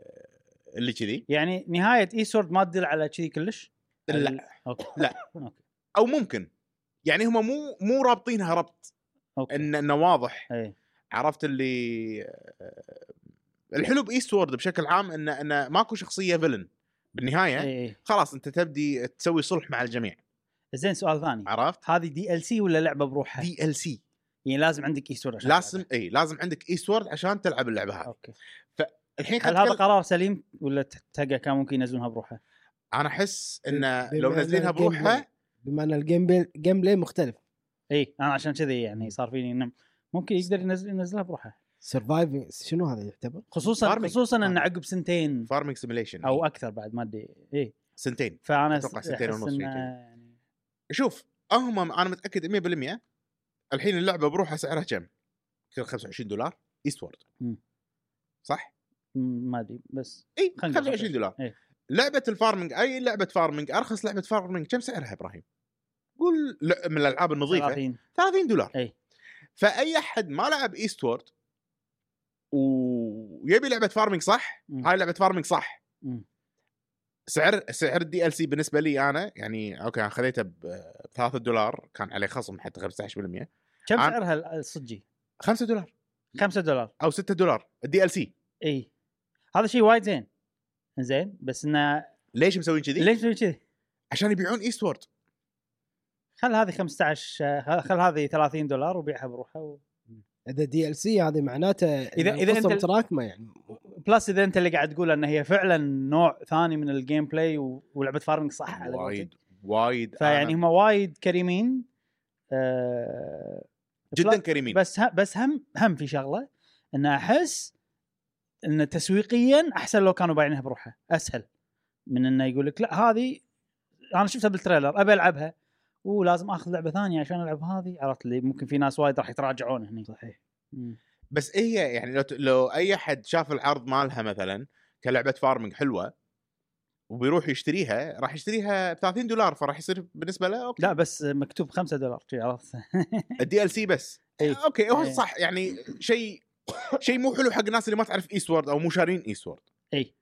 C: اللي كذي
A: يعني نهايه اي سورد ما تدل على كذي كلش
C: لا
A: اوكي
C: لا.
A: اوكي
C: او ممكن يعني هم مو مو رابطينها ربط
A: اوكي
C: ان انه واضح
A: اي
C: عرفت اللي آه، الحلو بايست وورد بشكل عام انه انه ماكو شخصيه فيلن بالنهايه
A: اي
C: خلاص انت تبدي تسوي صلح مع الجميع
A: إيه. زين سؤال ثاني
C: عرفت
A: هذه دي ال سي ولا لعبه بروحها؟
C: دي ال سي
A: يعني لازم عندك اي سورد عشان
C: لازم
A: تلعبها.
C: اي لازم عندك ايست وورد عشان تلعب اللعبه هذه
A: اوكي
C: الحين
A: هل
C: خلنا
A: هذا
C: نتكلم-
A: قرار سليم ولا تحتاج كان ممكن ينزلونها بروحها؟
C: انا احس انه لو
B: بما إن
C: منزلينها
B: الجيم
C: بروحها
B: بما ان الجيم بلاي جيم بلاي مختلف
A: اي انا إيه، عشان كذي يعني صار فيني انه ممكن يقدر ينزل ينزلها بروحها
B: سرفايفنج شنو هذا يعتبر؟
A: خصوصا
C: فارمينج.
A: خصوصا انه عقب سنتين
C: فارمنج سيميليشن
A: او اكثر بعد ما ادري اي
C: سنتين
A: فانا
C: أتوقع
A: أحس
C: سنتين ونص
A: إنه
C: شيء كذي.
A: يعني
C: شوف هم انا متاكد 100% الحين اللعبه بروحها سعرها كم؟ يمكن 25 دولار ايست وورد
A: مم.
C: صح؟
A: م- ما ادري بس
C: اي
A: خلينا نقول
C: 25 دولار
A: إيه.
C: لعبه الفارمنج اي لعبه فارمنج ارخص لعبه فارمنج كم سعرها ابراهيم؟ قول ل- من الالعاب النظيفه
A: 30
C: 30 دولار
A: إي.
C: فاي احد ما لعب ايست وورد ويبي لعبه فارمنج صح
A: مم.
C: هاي لعبه فارمنج صح
A: مم.
C: سعر سعر الدي ال سي بالنسبه لي انا يعني اوكي انا خذيته ب 3 دولار كان عليه خصم حتى 15%
A: كم
C: عن-
A: سعرها ال- الصجي؟
C: 5 دولار
A: 5 دولار
C: او 6 دولار الدي ال سي
A: اي هذا شيء وايد زين زين بس انه
C: ليش مسوين كذي؟
A: ليش تسوي كذي؟
C: عشان يبيعون ايست وورد
A: خل هذه 15 آه، خل هذه 30 دولار وبيعها بروحها و...
B: اذا دي ال سي هذه معناته
A: إذا- إذا أنت-
B: متراكمه يعني
A: بلس اذا انت اللي قاعد تقول ان هي فعلا نوع ثاني من الجيم بلاي و... ولعبه فارمنج صح على
C: وايد
A: قولتك.
C: وايد أنا
A: فيعني هم وايد كريمين آه...
C: جدا
A: بلس-
C: كريمين
A: بس ه... بس هم هم في شغله ان احس ان تسويقيا احسن لو كانوا بايعينها بروحها اسهل من انه يقول لك لا هذه انا شفتها بالتريلر ابي العبها ولازم اخذ لعبه ثانيه عشان العب هذه عرفت لي ممكن في ناس وايد راح يتراجعون هني صحيح
C: بس إيه هي يعني لو, لو اي احد شاف العرض مالها مثلا كلعبه فارمنج حلوه وبيروح يشتريها راح يشتريها ب 30 دولار فراح يصير بالنسبه له اوكي
A: لا بس مكتوب 5 دولار شي عرفت
C: الدي ال سي بس
A: إيه.
C: اوكي هو
A: إيه.
C: صح يعني شيء شيء مو حلو حق الناس اللي ما تعرف ايست وورد او مو شارين ايست وورد
A: اي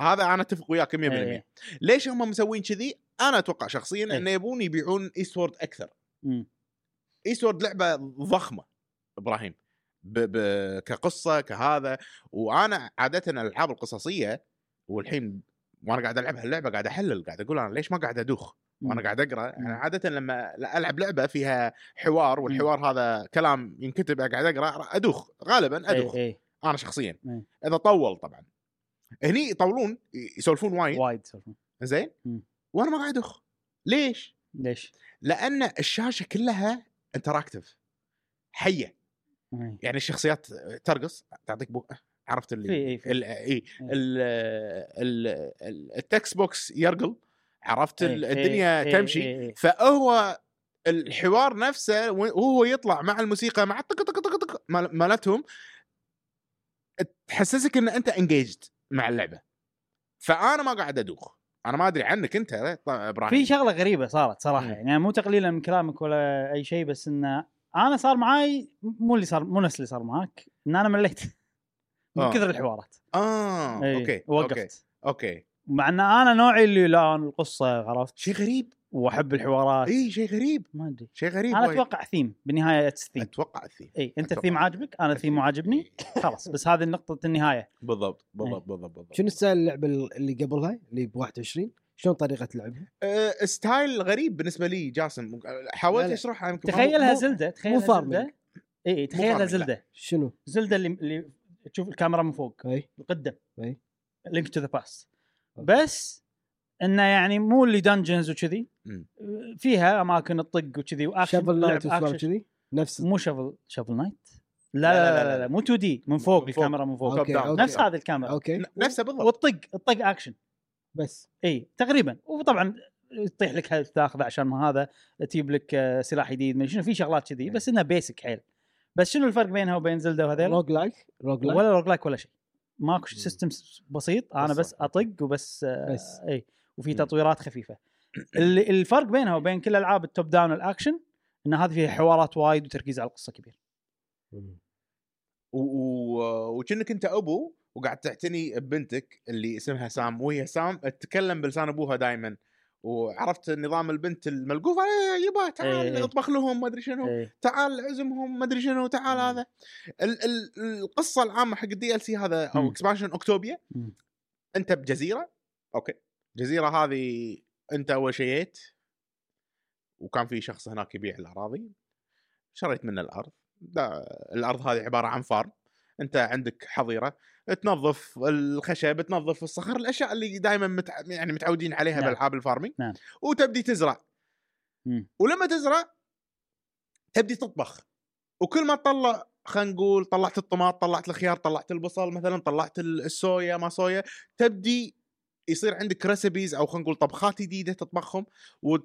C: هذا انا اتفق وياك 100%
A: إيه.
C: ليش هم مسوين كذي؟ انا اتوقع شخصيا
A: إيه.
C: انه يبون يبيعون ايست وورد اكثر
A: مم.
C: ايست وورد لعبه ضخمه ابراهيم ب... ب... كقصه كهذا وانا عاده الالعاب القصصيه والحين وانا قاعد العب هاللعبه قاعد احلل قاعد اقول انا ليش ما قاعد ادوخ وانا
A: مم.
C: قاعد اقرا
A: مم.
C: انا عاده لما العب لعبه فيها حوار والحوار هذا كلام ينكتب قاعد اقرا ادوخ غالبا ادوخ
A: اي اي
C: انا شخصيا
A: إيه.
C: اذا طول طبعا هني يطولون ي- يسولفون وايد
A: وايد سولفون.
C: زين
A: مم.
C: وانا ما قاعد ادوخ ليش؟
A: ليش؟
C: لان الشاشه كلها انتراكتيف حيه
A: إي.
C: يعني الشخصيات ترقص تعطيك بو... عرفت اللي
A: في اي في
C: ال... اي ال... ال... ال... التكست بوكس يرقل عرفت ال...
A: إي، إي،
C: الدنيا
A: إي،
C: تمشي
A: إي، إي.
C: فهو الحوار نفسه وهو يطلع مع الموسيقى مع الطق طق طق طق مال- مالتهم تحسسك ان انت انجيجد مع اللعبه فانا ما قاعد ادوخ انا ما ادري عنك انت طبعاً ابراهيم
A: في شغله غريبه صارت صراحه
C: مم.
A: يعني مو تقليلا من كلامك ولا اي شيء بس انه انا صار معاي مو اللي صار مو نفس اللي صار معاك ان انا مليت من
C: آه.
A: كثر الحوارات
C: اه
A: إي،
C: اوكي اوكي
A: وقفت
C: اوكي
A: مع ان انا نوعي اللي لا أنا القصه عرفت
C: شيء غريب
A: واحب الحوارات
C: اي شيء غريب
A: ما ادري
C: شيء غريب
A: انا
C: وايد.
A: اتوقع ثيم بالنهايه اتس ثيم
C: اتوقع الثيم
A: اي انت
C: أتوقع.
A: الثيم عاجبك انا الثيم عاجبني خلاص بس هذه نقطه النهايه
C: بالضبط
A: إيه.
C: بالضبط بالضبط بالضبط
B: شنو ستايل اللعبه اللي قبلها اللي ب 21 شلون طريقه لعبها؟
C: أه، ستايل غريب بالنسبه لي جاسم
B: لا
C: حاولت
B: لا.
C: اشرحها يمكن ما-
A: تخيلها
B: مو-
A: زلده
B: مو
A: تخيلها
B: فارمينج.
A: زلده اي اي
C: فارمينج،
A: تخيلها
C: لا.
A: زلده
B: شنو؟
A: زلده اللي, اللي تشوف الكاميرا من فوق
B: اي
A: القدم
B: إي.
A: لينك تو ذا باست
B: أوكي.
A: بس انه يعني مو اللي دنجنز وكذي
C: مم.
A: فيها اماكن الطق وكذي واكشن
B: شافل
A: لعب
B: نايت وشلون
A: أكشن.
B: كذي؟ نفس
A: مو شفل شفل نايت لا لا لا, لا, لا, مو 2 دي من فوق
C: من فوق.
A: الكاميرا من فوق
C: أوكي،
B: اوكي
C: أوكي.
B: اوكي
A: نفس هذه الكاميرا
B: اوكي
C: ن- نفسه بالضبط
A: والطق الطق اكشن
B: بس
A: اي تقريبا وطبعا يطيح لك هيلث تاخذه عشان ما هذا تجيب لك آه، سلاح جديد من شنو في شغلات كذي بس انها بيسك حيل بس شنو الفرق بينها وبين زلدا وهذيلا؟
B: روج لايك روج لايك
A: ولا روج لايك ولا شيء ماكو
C: مم.
A: سيستم بسيط انا
C: بس
A: بس
C: صح.
A: اطق وبس آه،
B: بس.
A: اي وفي
C: مم.
A: تطويرات خفيفه ال- الفرق بينها وبين كل العاب التوب داون الاكشن ان هذه فيها حوارات وايد وتركيز على القصه كبير
C: و- و- وكأنك انت ابو وقاعد تعتني ببنتك اللي اسمها سام وهي سام تتكلم بلسان ابوها دائما وعرفت نظام البنت الملقوفه "إيه يبا تعال
A: إيه.
C: اطبخ لهم ما ادري شنو
A: إيه.
C: تعال عزمهم ما ادري شنو تعال
A: مم.
C: هذا ال ال القصه العامه حق الدي ال سي هذا
A: مم.
C: او اكسبانشن اوكتوبيا
A: مم.
C: انت بجزيره اوكي الجزيره هذه انت اول شيء جيت وكان في شخص هناك يبيع الاراضي شريت منه الارض دا الارض هذه عباره عن فارم انت عندك حظيره تنظف الخشب تنظف الصخر الاشياء اللي دائما متع... يعني متعودين عليها
A: نعم.
C: نعم. بالعاب الفارمينج
A: نعم.
C: وتبدي تزرع
A: مم.
C: ولما تزرع تبدي تطبخ وكل ما تطلع خلينا نقول طلعت الطماط طلعت الخيار طلعت البصل مثلا طلعت ال- الصويا ما صويا تبدي يصير عندك ريسبيز او خلينا نقول طبخات جديده تطبخهم و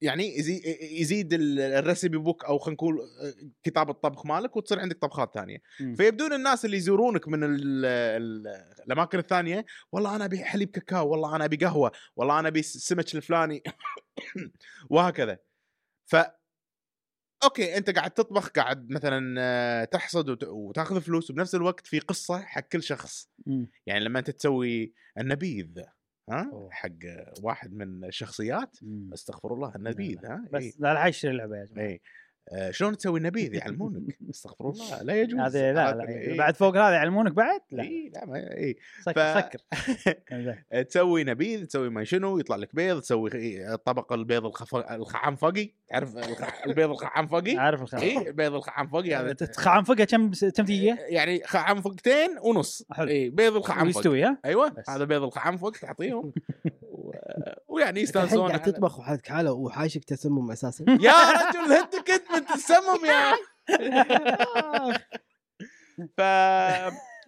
C: يعني يزي- يزيد ال- الريسبي بوك او خلينا نقول آه، كتاب الطبخ مالك وتصير عندك طبخات ثانيه
A: مم.
C: فيبدون الناس اللي يزورونك من ال ال الاماكن الثانيه والله انا ابي حليب كاكاو والله انا ابي قهوه والله انا ابي السمك الفلاني وهكذا ف اوكي انت قاعد تطبخ قاعد مثلا آه، تحصد وت- وتاخذ فلوس وبنفس الوقت في قصه حق كل شخص
A: مم.
C: يعني لما انت تسوي النبيذ ها
A: أوه.
C: حق واحد من الشخصيات
A: مم.
C: استغفر الله النبيذ ها إي.
A: نعم، بس لا لا عايش اللعبه يا جماعه
C: اي آه، شلون تسوي النبيذ يعلمونك استغفر الله لا يجوز
A: هذه لا لا
C: إي.
A: بعد فوق هذا يعلمونك بعد لا
C: اي إيه، لا ما اي ف-
A: سكر سكر زين.
C: تسوي نبيذ تسوي ما شنو يطلع لك بيض تسوي إي، الطبق البيض الخف... الخعنفقي تعرف الخ- البيض الخعنفقي
A: عارف الخبر
C: اي البيض الخعنفقي
A: يعني
C: هذا
A: خعنفقها كم كم دقيقه؟
C: يعني خعنفقتين ونص
A: حلو.
C: اي بيض الخعنفق
A: ويستوي ها؟
C: ايوه
A: بس.
C: هذا بيض الخعنفق تعطيهم و... ويعني
B: الحين
C: يستانسون
B: قاعد
C: على-
B: تطبخ وحالك حاله وحايشك تسمم اساسا
C: يا رجل انت كنت من السمم يا ف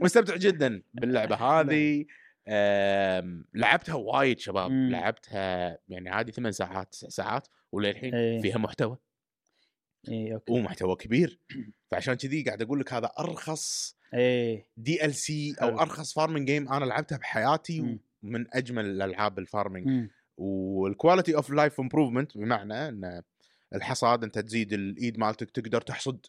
C: مستمتع جدا باللعبه
A: نعم.
C: هذه أم، لعبتها وايد شباب
A: مم.
C: لعبتها يعني عادي ثمان ساعات تسع ساعات
A: إيه.
C: وللحين فيها محتوى
A: اي اوكي
C: ومحتوى كبير فعشان كذي قاعد اقول لك هذا ارخص
A: اي
C: دي ال سي
A: حلو.
C: او ارخص فارمنج جيم انا لعبتها
A: مم.
C: بحياتي ومن اجمل الالعاب الفارمنج
A: مم.
C: والكواليتي اوف لايف امبروفمنت بمعنى ان الحصاد انت تزيد الايد مالتك تقدر تحصد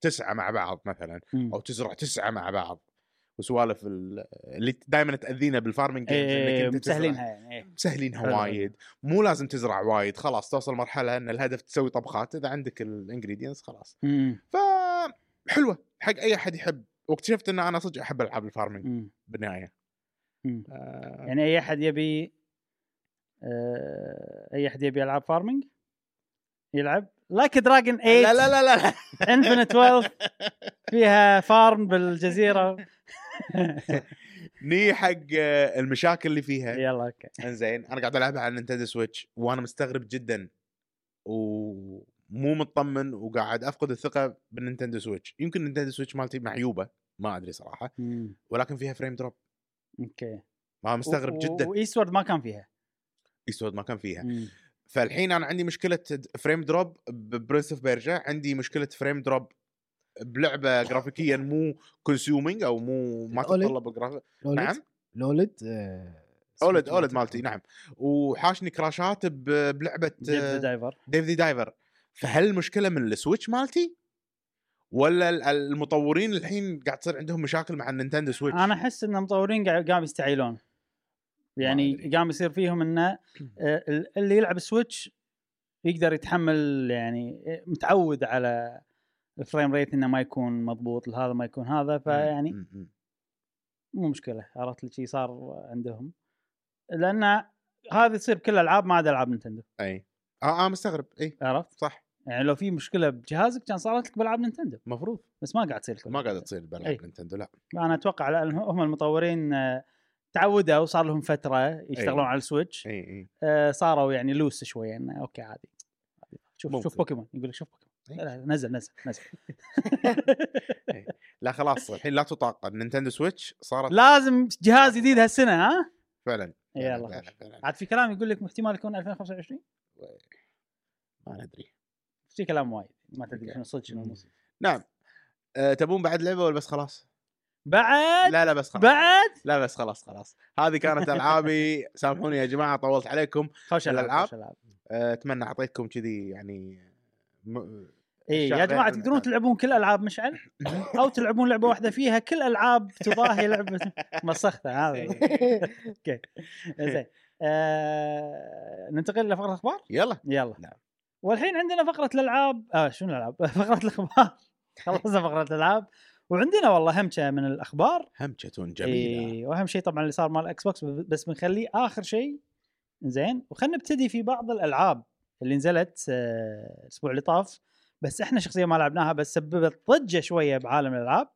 C: تسعه مع بعض مثلا
A: مم.
C: او تزرع تسعه مع بعض وسوالف ال- اللي دائما تاذينا بالفارمنج جيمز
A: اي
C: انت تزرع-
A: إيه، مسهلينها يعني إي. حلو.
C: مسهلينها وايد مو لازم تزرع وايد خلاص توصل مرحله ان الهدف تسوي طبخات اذا عندك الانجريدينتس خلاص
A: مم.
C: فحلوه حق اي احد يحب واكتشفت ان انا صدق احب العاب الفارمنج
A: مم.
C: بالنهايه
A: مم.
C: آه،
A: يعني اي احد يبي آه، اي احد يبي العاب فارمنج يلعب لايك دراجون 8
C: لا لا لا لا, لا.
A: انفنت ويلث فيها فارم بالجزيره
C: ني حق آه، المشاكل اللي فيها
A: يلا اوكي
C: انزين انا قاعد العبها على نينتندو سويتش وانا مستغرب جدا ومو مطمن وقاعد افقد الثقه بالنينتندو سويتش يمكن نينتندو سويتش مالتي معيوبه ما ادري صراحه
A: مم.
C: ولكن فيها فريم دروب
A: اوكي
C: ما مستغرب جدا
A: وايستورد ما كان فيها
C: يسود ما كان فيها
A: مم.
C: فالحين انا عندي مشكله د- فريم دروب ببرنس اوف بيرجا عندي مشكله فريم دروب بلعبه جرافيكيا مو كونسيومينج او مو ما
B: الأولد؟
C: تتطلب جرافيك
B: لو
C: نعم
B: الاولد آه،
C: اولد اولد مالتي نعم وحاشني كراشات ب- بلعبه
A: ديف دايفر
C: ديف ذا دايفر فهل المشكله من السويتش مالتي؟ ولا ال- المطورين الحين قاعد تصير عندهم مشاكل مع النينتندو سويتش؟
A: انا احس ان المطورين قاعد- قام يستعيلون يعني
C: أدري.
A: قام يصير فيهم انه آه، ال- اللي يلعب سويتش يقدر يتحمل يعني آه، متعود على الفريم ريت انه ما يكون مضبوط هذا ما يكون هذا فيعني
C: م- م- م.
A: مو مشكله عرفت لي شي صار عندهم لان هذا يصير بكل الالعاب ما عدا العاب نينتندو
C: اي اه انا مستغرب اي
A: عرفت؟
C: صح
A: يعني لو في مشكله بجهازك كان صارت لك بالعاب نينتندو
C: المفروض
A: بس ما قاعد تصير لكم.
C: ما قاعده تصير
A: أي.
C: بالعاب نينتندو لا
A: انا اتوقع لان هم المطورين آه، تعودوا وصار لهم فتره يشتغلون
C: أي.
A: على السويتش
C: اي اي
A: آه، صاروا يعني لوس شوي انه اوكي عادي شوف
C: ممكن. إيه.
A: شوف بوكيمون يقول لك شوف بوكيمون
C: أي.
A: لا لا نزل نزل نزل
C: لا خلاص الحين لا تطاقم نينتندو سويتش صارت
A: لازم جهاز جديد هالسنه ها
C: فعلا فعلاً،
A: يلا
C: فعلاً،
A: خش.
C: فعلاً.
A: عاد في كلام يقول لك احتمال يكون 2025
C: ما ندري
A: في كلام وايد ما تدري
C: أوكي.
A: شنو صدق شنو مو صدق.
C: نعم أه تبون بعد لعبه ولا بس خلاص؟
A: بعد
C: لا لا بس خلاص
A: بعد
C: لا بس خلاص خلاص هذه كانت العابي سامحوني يا جماعه طولت عليكم
A: خوش
C: الألعاب.
A: الالعاب خوش الالعاب
C: أه، اتمنى اعطيتكم كذي يعني م...
A: اي
C: الشعب
A: إيه، يا جماعه
C: يعرف
A: تقدرون
C: المكان.
A: تلعبون كل العاب مشعل او تلعبون لعبه واحده فيها كل العاب تضاهي لعبه مسختها
C: إيه.
A: هذا
C: نعم.
A: إيه، زين آه، ننتقل لفقره الاخبار
C: يلا
A: يلا
C: نعم.
A: والحين عندنا فقره الالعاب آه شنو الالعاب فقره الاخبار خلصنا فقره الالعاب وعندنا والله همشه من الاخبار
C: همشه جميله
A: إيه، واهم شيء طبعا اللي صار مال الاكس بوكس بس بنخليه اخر شيء زين وخلينا نبتدي في بعض الالعاب اللي نزلت آه، الاسبوع اللي طاف بس احنا شخصيا ما لعبناها بس سببت ضجه شويه بعالم الالعاب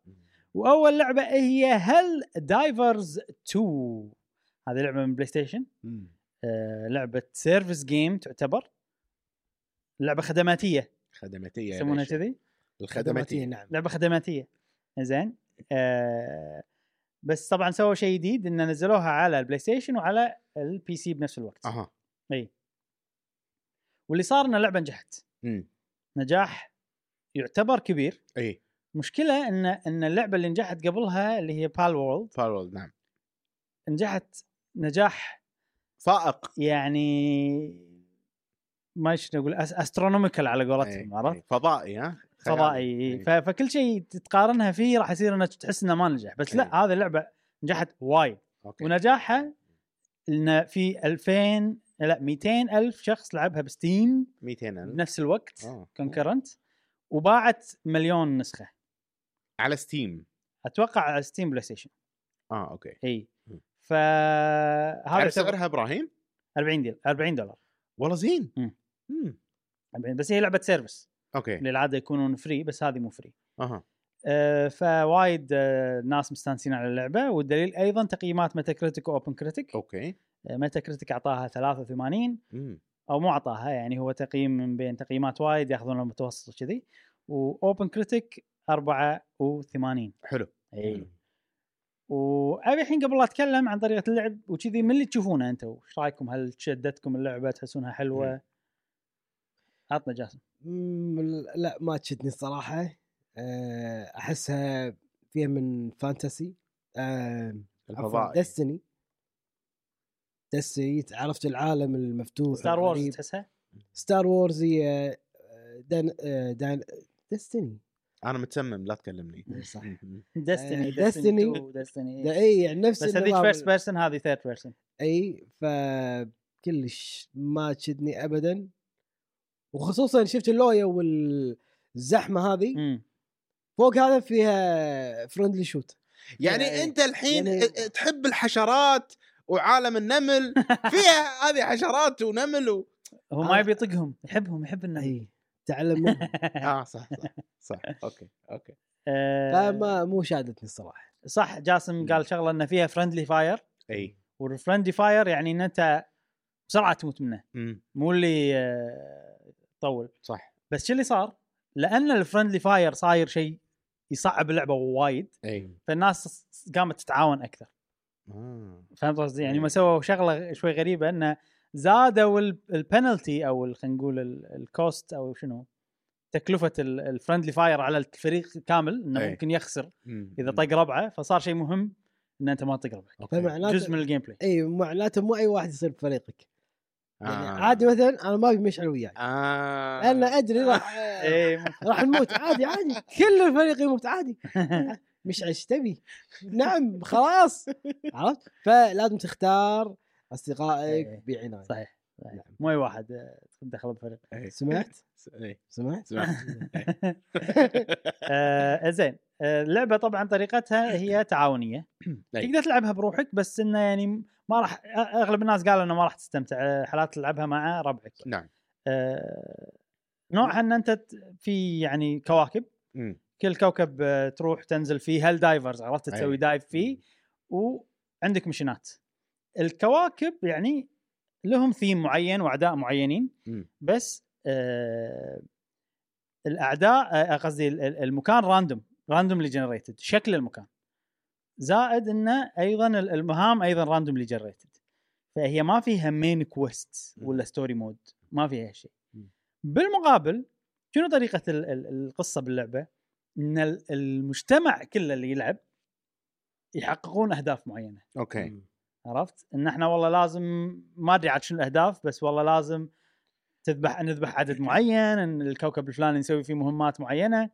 A: واول لعبه هي هل دايفرز 2 هذه لعبه من بلاي ستيشن
C: مم.
A: آه، لعبه سيرفيس جيم تعتبر لعبه خدماتيه
C: خدماتيه يا
A: يسمونها
C: باشا.
A: كذي
B: خدماتيه
C: الخدماتيه
B: نعم
A: لعبه خدماتيه زين آه بس طبعا سووا شيء جديد ان نزلوها على البلاي ستيشن وعلى البي سي بنفس الوقت
C: اها
A: واللي صار ان اللعبه نجحت
C: مم. إيه.
A: نجاح يعتبر كبير
C: اي
A: مشكله ان ان اللعبه اللي نجحت قبلها اللي هي بال وورلد
C: فارول نعم
A: نجحت نجاح
C: فائق
A: يعني ما شنو اقول أس- استرونوميكال على قولتهم
C: إيه،
A: عرفت
C: إيه. فضائي ها خيالي.
A: فضائي إي.
C: إيه.
A: ف- فكل شيء تقارنها فيه راح يصير انك تحس انه ما نجح بس
C: إي.
A: لا هذه اللعبه نجحت وايد
C: أوكي.
A: ونجاحها ان في 2000 لا 200 الف شخص لعبها بستيم
C: 200 ألف.
A: بنفس الوقت
C: آه.
A: كونكرنت وباعت مليون نسخه
C: على ستيم
A: اتوقع على ستيم بلاي ستيشن
C: اه اوكي
A: اي
C: مم.
A: فهذا
C: هذا
A: يعتبر
C: سعرها ابراهيم
A: 40 ديل 40 دولار
C: والله زين
A: مم.
C: مم.
A: 40 بس هي لعبه سيرفس
C: اوكي
A: للعاده يكونون فري بس هذه مو فري
C: اها
A: آه، فوايد آه، ناس مستانسين على اللعبه والدليل ايضا تقييمات ميتا كريتيك واوبن كريتيك
C: اوكي
A: ميتا كريتيك اعطاها 83
C: مم.
A: او مو اعطاها يعني هو تقييم من بين تقييمات وايد ياخذون المتوسط كذي واوبن كريتيك 84
C: حلو
A: اي
C: حلو.
A: وابي الحين قبل لا اتكلم عن طريقه اللعب وكذي من اللي تشوفونه انتم وش رايكم هل شدتكم اللعبه تحسونها حلوه؟ عطنا جاسم
B: مم، لا ما تشدني الصراحه أه، احسها فيها من فانتسي أه، عفوا
C: الفضائي
B: دستني دستني عرفت العالم المفتوح
A: ستار وورز
B: الغريب.
A: تحسها؟
B: ستار وورز هي أه، دان أه، دان دستني
C: انا متسمم لا تكلمني
B: صح
C: مم.
A: ديستني
B: Destiny.
A: ديستني
B: ده
A: ديستني
B: اي يعني نفس
A: بس هذيك
B: النظام
A: فيرست بيرسون هذه ثيرد بيرسون
B: اي فكلش ما تشدني ابدا وخصوصا شفت اللويا والزحمه هذه فوق هذا فيها فرندلي شوت
C: يعني
A: إيه.
C: انت الحين
B: يعني-
C: تحب الحشرات وعالم النمل فيها هذه حشرات ونمل و...
A: هو
B: آه.
A: ما يبي يطقهم يحبهم يحب النهي
B: اي تعلم منها
C: اه صح صح صح اوكي اوكي
B: فما مو شادتني الصراحه
A: آه، صح جاسم قال شغله ان فيها فرندلي فاير
C: اي
A: والفرندلي فاير يعني ان انت بسرعه تموت منه
C: مم.
A: مو اللي آه، طول
C: صح
A: بس شو اللي صار؟ لان الفرندلي فاير صاير شيء يصعب اللعبه وايد
C: اي
A: فالناس قامت تتعاون اكثر
C: آه.
A: فهمت قصدي؟ يعني
C: إيه.
A: ما سووا شغله شوي غريبه انه زادوا ال- البنالتي او ال- خلينا نقول ال- الكوست او شنو تكلفه ال- الفرندلي فاير على الفريق كامل انه
C: إيه.
A: ممكن يخسر
C: مم.
A: اذا طق ربعه فصار شيء مهم ان انت ما تطق ربعك
C: اوكي
B: فمعناته
A: جزء من الجيم بلاي
B: اي معناته مو اي واحد يصير بفريقك يعني
C: آه.
B: عادي مثلا انا ما ابي مشعل وياي
C: آه.
B: لان ادري راح
A: اي
C: إيه،
A: مو-
B: راح نموت عادي عادي كل الفريق يموت عادي مشعل ايش تبي؟ نعم خلاص عرفت؟ فلازم تختار
A: إيه.
B: اصدقائك بعنايه
A: صحيح صحيح.
C: نعم.
A: مو اي واحد آه، دخل بفريق
C: إيه.
B: سمعت؟
C: إيه.
B: سمعت؟
C: سمعت. إيه.
A: آه زين آه، اللعبه طبعا طريقتها هي تعاونيه
C: أي.
A: تقدر تلعبها بروحك بس انه يعني ما راح اغلب الناس قالوا انه ما راح تستمتع آه، حالات تلعبها مع ربعك
C: نعم
A: آه، نوعها ان انت ت- في يعني كواكب
C: مم.
A: كل كوكب آه، تروح تنزل فيه هل دايفرز عرفت
C: أي.
A: تسوي دايف
C: إمم.
A: فيه وعندك مشينات الكواكب يعني لهم ثيم معين واعداء معينين
C: مم.
A: بس آه الاعداء آه، قصدي ال- ال- المكان راندوم راندوملي جنريتد شكل المكان زائد انه ايضا ال- المهام ايضا راندوملي جنريتد فهي ما فيها مين كويست
C: مم.
A: ولا ستوري مود ما فيها هالشيء
C: مم.
A: بالمقابل شنو طريقه ال- ال- القصه باللعبه ان ال- المجتمع كله اللي يلعب يحققون اهداف معينه
B: إمم.
C: اوكي
A: عرفت؟ ان احنا والله لازم ما ادري عاد شنو الاهداف بس والله لازم تذبح نذبح عدد معين ان الكوكب الفلاني نسوي فيه مهمات معينه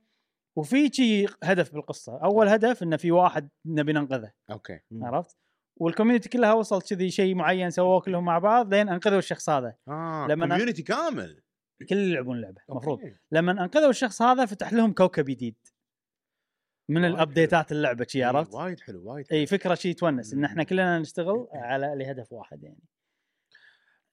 A: وفي شيء هدف بالقصه، اول
C: نعم.
A: هدف انه في واحد نبي ننقذه،
C: اوكي
A: عرفت؟ والكوميونتي كلها وصلت كذي شيء معين سووه كلهم مع بعض لين انقذوا الشخص هذا،
C: اه
A: لما أنا-
C: كوميونتي كامل
A: كل اللي يلعبون اللعبه المفروض،
C: أوكي.
A: لما انقذوا الشخص هذا فتح لهم كوكب جديد من
C: وايد حلو.
A: الابديتات اللعبه شي
C: إيه،
A: عرفت؟
C: وايد حلو وايد حلو.
A: اي فكره شيء تونس ان احنا
C: مم. إيه.
A: كلنا نشتغل على لهدف واحد يعني.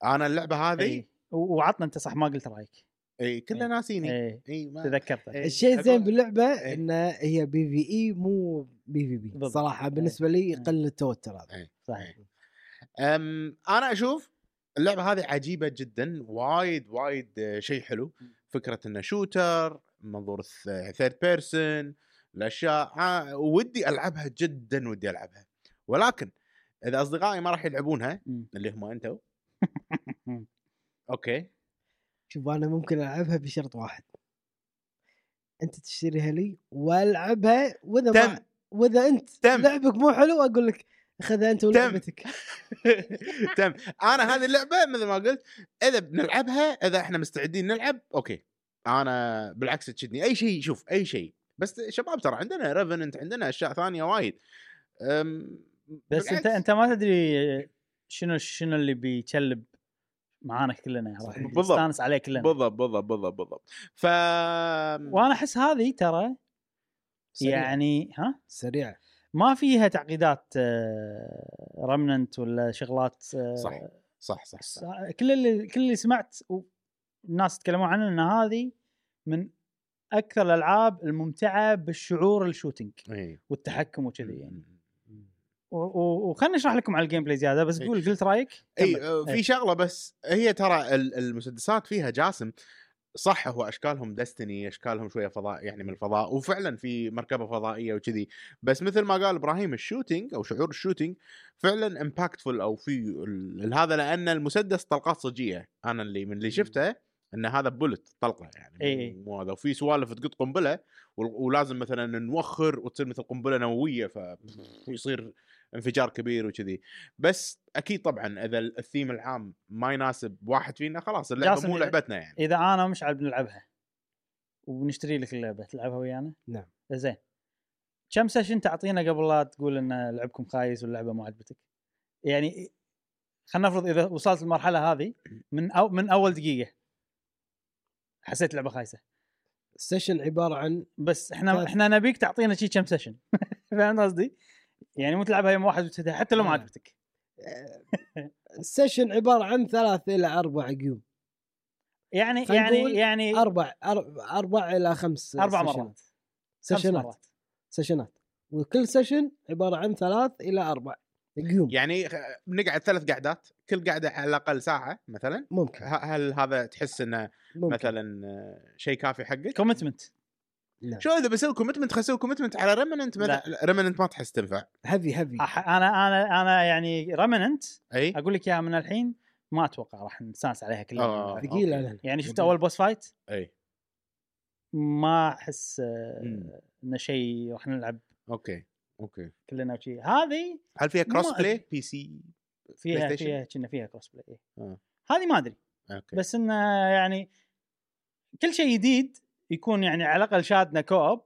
C: انا اللعبه هذه
A: اي إيه. و- وعطنا انت صح ما قلت رايك
C: اي كلها ناسيني
A: اي
C: اي ما
A: تذكرت
C: إيه.
B: الشيء الزين
C: أقول-
B: باللعبه
C: إيه.
B: انها هي بي في اي مو بي في بي
A: بالضبط.
B: صراحه بالنسبه لي يقلل التوتر هذا
C: إيه.
A: صحيح
C: أم انا اشوف اللعبه هذه عجيبه جدا وايد وايد آه، شيء حلو فكره انه شوتر منظور ثيرد بيرسون الاشياء آه، ودي العبها جدا ودي العبها ولكن اذا اصدقائي ما راح يلعبونها
A: مم.
C: اللي هم انتم اوكي
B: شوف انا ممكن العبها بشرط واحد انت تشتريها لي والعبها واذا ما
C: تم.
B: واذا انت
C: تم.
B: لعبك مو حلو اقول لك خذها انت ولعبتك
C: تم انا هذه اللعبه مثل ما قلت اذا بنلعبها اذا احنا مستعدين نلعب اوكي انا بالعكس تشدني اي شيء شوف اي شيء بس شباب ترى عندنا ريفننت عندنا اشياء ثانيه وايد أم،
A: بس
C: بالعكس.
A: انت انت ما تدري شنو شنو اللي بيكلب معانا كلنا راح
C: صحيح. بالضبط.
A: نستانس عليه كلنا
C: بالضبط بالضبط بالضبط بالضبط ف
A: وانا احس هذه ترى
B: سريعة.
A: يعني ها
B: سريعه
A: ما فيها تعقيدات رمننت ولا شغلات آه،
C: صح صح صح, صح.
A: س- كل اللي كل اللي سمعت والناس يتكلمون عنه ان هذه من اكثر الالعاب الممتعه بالشعور الشوتينج
C: إيه.
A: والتحكم وكذي يعني وخلنا نشرح لكم على الجيم بلاي زياده بس
C: إي.
A: قول قلت رايك كمل.
C: اي آه، في
A: إي.
C: شغله بس هي ترى ال- المسدسات فيها جاسم صح هو اشكالهم دستني اشكالهم شويه فضاء يعني من الفضاء وفعلا في مركبه فضائيه وكذي بس مثل ما قال ابراهيم الشوتينج او شعور الشوتينج فعلا امباكتفul او في ال- هذا لان المسدس طلقات صجيه انا اللي من اللي شفته ان هذا بولت طلقه يعني
A: إي.
C: مو- مو هذا وفي سوالف تقط قنبله ول- ولازم مثلا نوخر وتصير مثل قنبله نوويه فيصير انفجار كبير وكذي بس اكيد طبعا اذا الثيم العام ما يناسب واحد فينا خلاص اللعبه
A: جاسم
C: مو
A: إذا-
C: لعبتنا يعني
A: اذا انا ومشعل بنلعبها وبنشتري لك اللعبه تلعبها ويانا؟
B: نعم.
A: زين كم سيشن تعطينا قبل لا تقول ان لعبكم خايس واللعبه ما عجبتك؟ يعني خلينا نفرض اذا وصلت المرحله هذه من أو من اول دقيقه حسيت اللعبه خايسه
B: السيشن عباره عن
A: بس احنا
B: ثلاث.
A: احنا نبيك تعطينا شي كم سيشن فاهم قصدي؟ يعني مو تلعبها يوم واحد وتنتهي، حتى لو ما
B: آه.
A: عجبتك
B: السيشن عباره عن ثلاث الى اربع قيوم
A: يعني
B: خلينا
A: يعني
B: نقول
A: يعني
B: اربع أر- اربع الى خمس
A: اربع
B: سيشنات.
A: مرات خمس
B: سيشنات
A: مرات
B: سيشنات وكل سيشن عباره عن ثلاث الى اربع قيوم
A: إيه.
C: يعني خ- بنقعد ثلاث قعدات كل قعده على الاقل ساعه مثلا
A: طيب.
C: ه-
B: ممكن
C: هل هذا تحس انه
B: ممكن
C: مثلا آه، شيء كافي حقك؟
A: كومتمنت
B: نعم.
C: شو اذا بسوي كومتمنت خسوي كومتمنت على ريمننت مثلا ريمننت ما تحس تنفع
B: هذي هذي
A: أح- انا انا انا يعني رمننت
C: اي
A: اقول لك اياها من الحين ما اتوقع راح نستانس عليها
C: آه.
A: كلها
B: ثقيله
C: أوكي.
B: لنا.
A: يعني شفت
B: ممكن.
A: اول بوس فايت
C: اي
A: ما احس آه،
C: مم.
A: انه شيء راح نلعب
C: اوكي اوكي
A: كلنا وشي هذه
C: هل فيها
A: ما
C: كروس بلاي بي سي
A: فيها
C: PlayStation؟
A: فيها كنا فيها كروس بلاي
C: آه.
A: هذه ما ادري
C: اوكي
A: بس انه يعني كل شيء جديد يكون يعني على الاقل شادنا كوب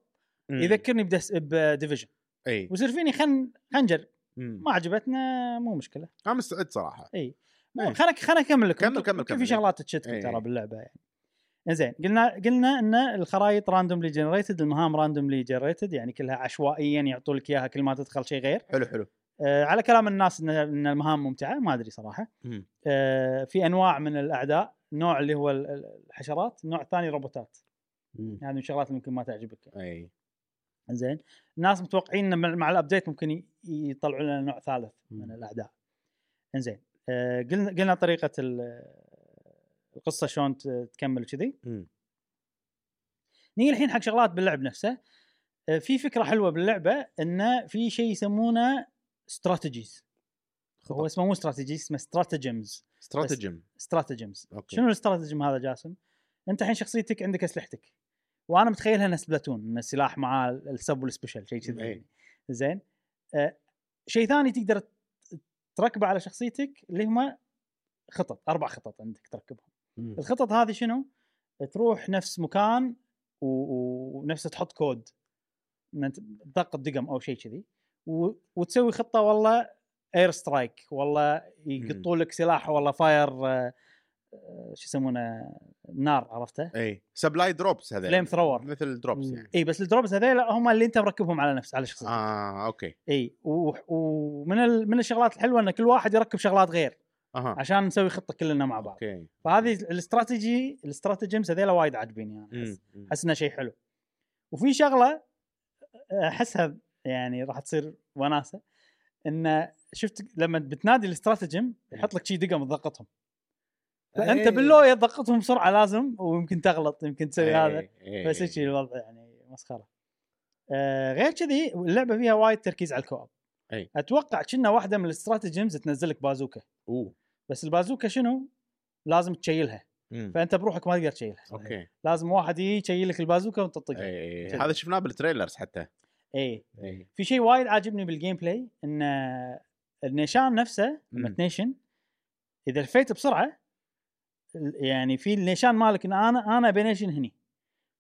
C: مم.
A: يذكرني بدس بديفيجن
C: اي
A: ويصير فيني خن خنجر
C: مم.
A: ما عجبتنا مو مشكله
C: انا مستعد صراحه إيه.
A: خلنا خلنا اكمل لكم
C: كمل- كمل-
A: في
C: كمل.
A: شغلات تشتكم
C: إيه.
A: ترى باللعبه يعني زين قلنا قلنا ان الخرائط راندوملي جنريتد المهام راندوملي جنريتد يعني كلها عشوائيا يعطوا لك اياها كل ما تدخل شيء غير
C: حلو حلو
A: آه على كلام الناس ان ان المهام ممتعه ما ادري صراحه
C: مم.
A: آه في انواع من الاعداء نوع اللي هو ال- ال- الحشرات النوع الثاني روبوتات
C: مم.
A: هذه من الشغلات اللي ممكن ما تعجبك
C: اي
A: زين الناس متوقعين إن مع- مع الابديت ممكن ي- يطلعوا لنا نوع ثالث من
C: مم.
A: الاعداء انزين آه، قلنا قلنا طريقه ال- القصه شلون ت- تكمل وكذي
C: مم.
A: نيجي الحين حق شغلات باللعب نفسه آه، في فكره حلوه باللعبه انه في شيء يسمونه استراتيجيز هو اسمه مو استراتيجي اسمه استراتيجمز
C: استراتيجم
A: استراتيجمز
C: اوكي
A: شنو الاستراتيجم هذا جاسم؟ انت الحين شخصيتك عندك اسلحتك وانا متخيلها انها سبلاتون ان السلاح معاه السب والسبيشل شيء كذي
C: إي.
A: يعني. زين آه شيء ثاني تقدر ت- تركبه على شخصيتك اللي هم خطط اربع خطط عندك تركبهم
B: مم.
A: الخطط هذه شنو؟ تروح نفس مكان و- و- ونفسه تحط كود ان انت تدق الدقم او شيء كذي و- وتسوي خطه والله اير سترايك والله يقطوا لك سلاح والله فاير آه، آه، شو يسمونه نار عرفته
C: اي سبلاي دروبس هذا
A: فليم ثرور
C: مثل دروبس
B: مم.
C: يعني
A: اي بس الدروبز هذيل هم اللي انت مركبهم على نفس على شخصيتك آه.
C: اه اوكي
A: اي و- ومن ال- من الشغلات الحلوه ان كل واحد يركب شغلات غير
C: اها
A: عشان نسوي خطه كلنا مع بعض
C: اوكي
A: فهذه الاستراتيجي الاستراتيجيمز هذيلا وايد يعني. عاجبيني انا أحس.
C: مم. مم.
A: احس انه شيء حلو وفي شغله احسها يعني راح تصير وناسه انه شفت لما بتنادي الاستراتيجم يحط لك شي دقم تضغطهم فانت
B: إيه.
A: باللوية تضغطهم بسرعه لازم ويمكن تغلط يمكن تسوي
C: إي،
A: هذا
C: إي،
A: بس
C: إي.
A: هيك الوضع يعني مسخره آه غير كذي اللعبه فيها وايد تركيز على الكوب
C: أي.
A: اتوقع كنا واحده من الاستراتيجيمز تنزل لك بازوكا
C: اوه
A: بس البازوكا شنو؟ لازم تشيلها
C: مم.
A: فانت بروحك ما تقدر تشيلها
C: اوكي
A: لازم واحد يجي يشيلك البازوكا وانت
C: إي،
A: تطقها
C: إي،
A: كذا.
C: هذا شفناه بالتريلرز حتى
A: اي
C: اي
A: في شيء وايد عاجبني بالجيم بلاي ان النيشان نفسه لما
C: مم.
A: تنيشن اذا لفيت بسرعه ال- يعني في النيشان مالك ان انا انا بنيشن هني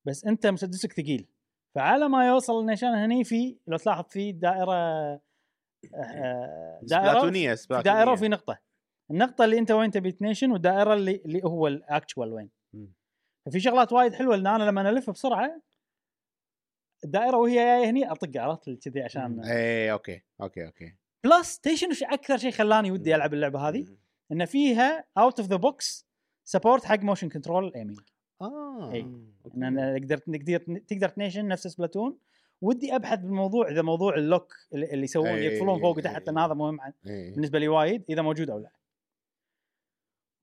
A: بس انت مسدسك ثقيل فعلى ما يوصل النيشان هني في لو تلاحظ في دائره آه، آه، دائره
C: سبلاتونية
A: في
C: سبلاتونية
A: دائره وفي نقطه النقطه اللي انت وين تبي تنيشن والدائره اللي, اللي هو الاكتشوال وين
C: مم.
A: ففي شغلات وايد حلوه لان انا لما الف بسرعه الدائره وهي جايه هني اطق عرفت كذي عشان
C: اي اوكي اوكي اوكي
A: بلس تدري شنو ش- اكثر شيء خلاني ودي العب اللعبه هذه
C: مم.
A: ان فيها اوت اوف ذا بوكس سبورت حق موشن كنترول الايمنج
B: آه.
C: اه
A: إي.
C: أوكي.
A: ان انا اقدر تقدر تقدر تنيشن نفس سبلاتون ودي ابحث بالموضوع اذا موضوع اللوك اللي اللي يسوون
C: إي،
A: يقفلون
C: إي،
A: فوق
C: إي،
A: وتحت
C: إي.
A: لان هذا مهم عن-
C: إي.
A: بالنسبه لي وايد اذا موجود او لا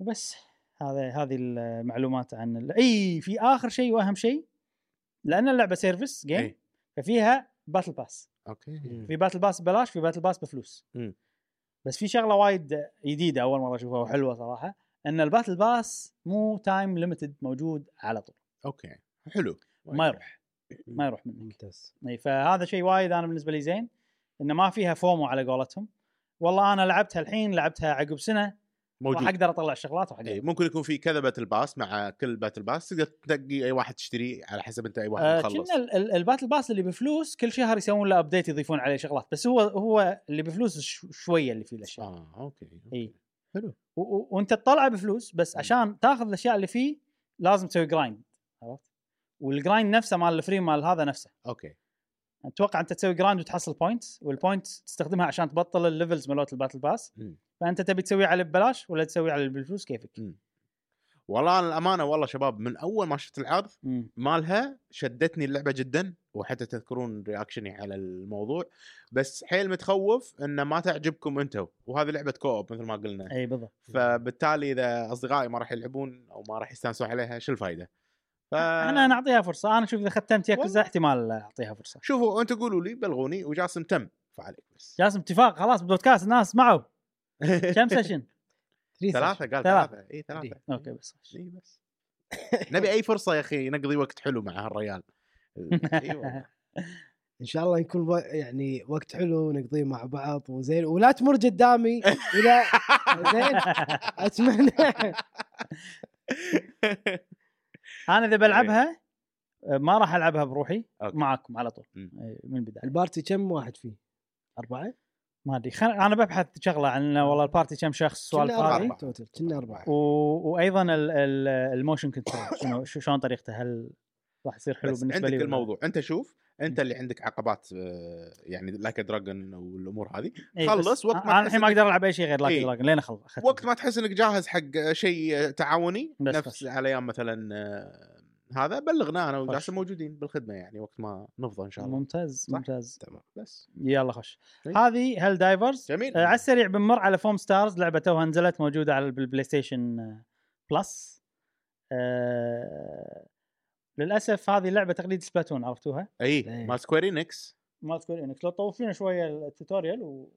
A: وبس هذا هذه المعلومات عن ال... اي في اخر شيء واهم شيء لان اللعبه سيرفيس جيم
C: إي.
A: ففيها باتل باس
C: اوكي
A: في باتل باس ببلاش في باتل باس بفلوس
C: مم.
A: بس في شغله وايد جديده اول مره اشوفها وحلوه صراحه ان الباتل باس مو تايم ليمتد موجود على طول
C: اوكي حلو
A: ما يروح ما يروح منك
B: ممتاز
A: اي فهذا شيء وايد انا بالنسبه لي زين انه ما فيها فومو على قولتهم والله انا لعبتها الحين لعبتها عقب سنه راح
C: موجود
A: اقدر اطلع الشغلات
C: اي
A: وحق
C: ممكن يكون في كذا باتل باس مع كل باتل باس تقدر تنقي اي واحد تشتري على حسب انت اي واحد مخلص
A: آه، كنا ال- ال- الباتل باس اللي بفلوس كل شهر يسوون له ابديت يضيفون عليه شغلات بس هو هو اللي بفلوس ش- شويه اللي فيه الاشياء
C: اه اوكي
A: اي
C: حلو.
A: و- و- وانت تطلعه بفلوس بس
C: مم.
A: عشان تاخذ الاشياء اللي فيه لازم تسوي جرايند عرفت؟ والجرايند نفسه مال الفري مال هذا نفسه
C: اوكي
A: اتوقع انت تسوي جرايند وتحصل بوينتس والبوينت تستخدمها عشان تبطل الليفلز مالت الباتل باس
C: مم.
A: فانت تبي تسويه على ببلاش ولا تسويه على بالفلوس كيفك
C: مم. والله أنا الامانه والله شباب من اول ما شفت العرض
A: مم.
C: مالها شدتني اللعبه جدا وحتى تذكرون رياكشني على الموضوع بس حيل متخوف انه ما تعجبكم انتم وهذه لعبه كوب مثل ما قلنا
A: اي بالضبط
C: فبالتالي اذا اصدقائي ما راح يلعبون او ما راح يستانسون عليها شو الفائده؟ ف...
A: احنا نعطيها فرصه انا شوف اذا ختمت ياكوزا
C: والله.
A: احتمال اعطيها فرصه
C: شوفوا انتم قولوا لي بلغوني وجاسم تم فعليك بس
A: جاسم اتفاق خلاص بودكاست الناس سمعوا كم سيشن؟
C: ثلاثة قال
A: ثلاثة.
C: ثلاثة اي ثلاثة
A: اوكي بس
C: اي بس إيه، أيوة. نبي اي فرصة يا اخي نقضي وقت حلو مع هالريال ايوه
B: ان شاء الله يكون و... يعني وقت حلو نقضيه مع بعض وزين ولا تمر قدامي الى زين اتمنى
A: انا اذا بلعبها آه، ما راح العبها بروحي
C: طيب. أوكي.
A: معاكم على طول
C: مم.
A: آه، من البدايه
B: البارتي كم واحد فيه؟ اربعه؟
A: ما ادري خل... انا ببحث شغله عن والله البارتي كم شخص سؤال
B: كنا
A: فاضي
B: اربعه توتل كنا اربعه
A: و... وايضا ال... ال... الموشن كنترول شنو شو- شلون طريقته هل راح يصير حلو
C: بس
A: بالنسبه
C: عندك
A: لي ولا-
C: الموضوع انت شوف انت اللي عندك عقبات آه، يعني لايك دراجون والامور هذه
A: إي،
C: خلص،
A: إيه، بس
C: وقت ما
A: انا الحين ما
C: تحس
A: اقدر العب اي شيء غير لاكي
C: إي.
A: دراجون لين اخلص أخذت
C: وقت ما تحس انك جاهز حق آه، شيء تعاوني
A: بس
C: نفس
A: بس.
C: على ايام مثلا آه، هذا بلغنا انا
A: خش.
C: وجاسم موجودين بالخدمه يعني وقت ما نفضى ان شاء الله
A: ممتاز
C: صح؟ طيب.
A: ممتاز
C: تمام بس
A: يلا خش
C: إي.
A: هذه هل دايفرز
C: جميل
A: آه، على السريع بنمر على فوم ستارز لعبه توها نزلت موجوده على البلاي ستيشن آه، بلس آه، للاسف هذه اللعبه تقليد سبلاتون عرفتوها
C: اي
B: إيه.
C: مال سكويرينكس
A: ما اذكر انك لو طوفينا شويه التوتوريال و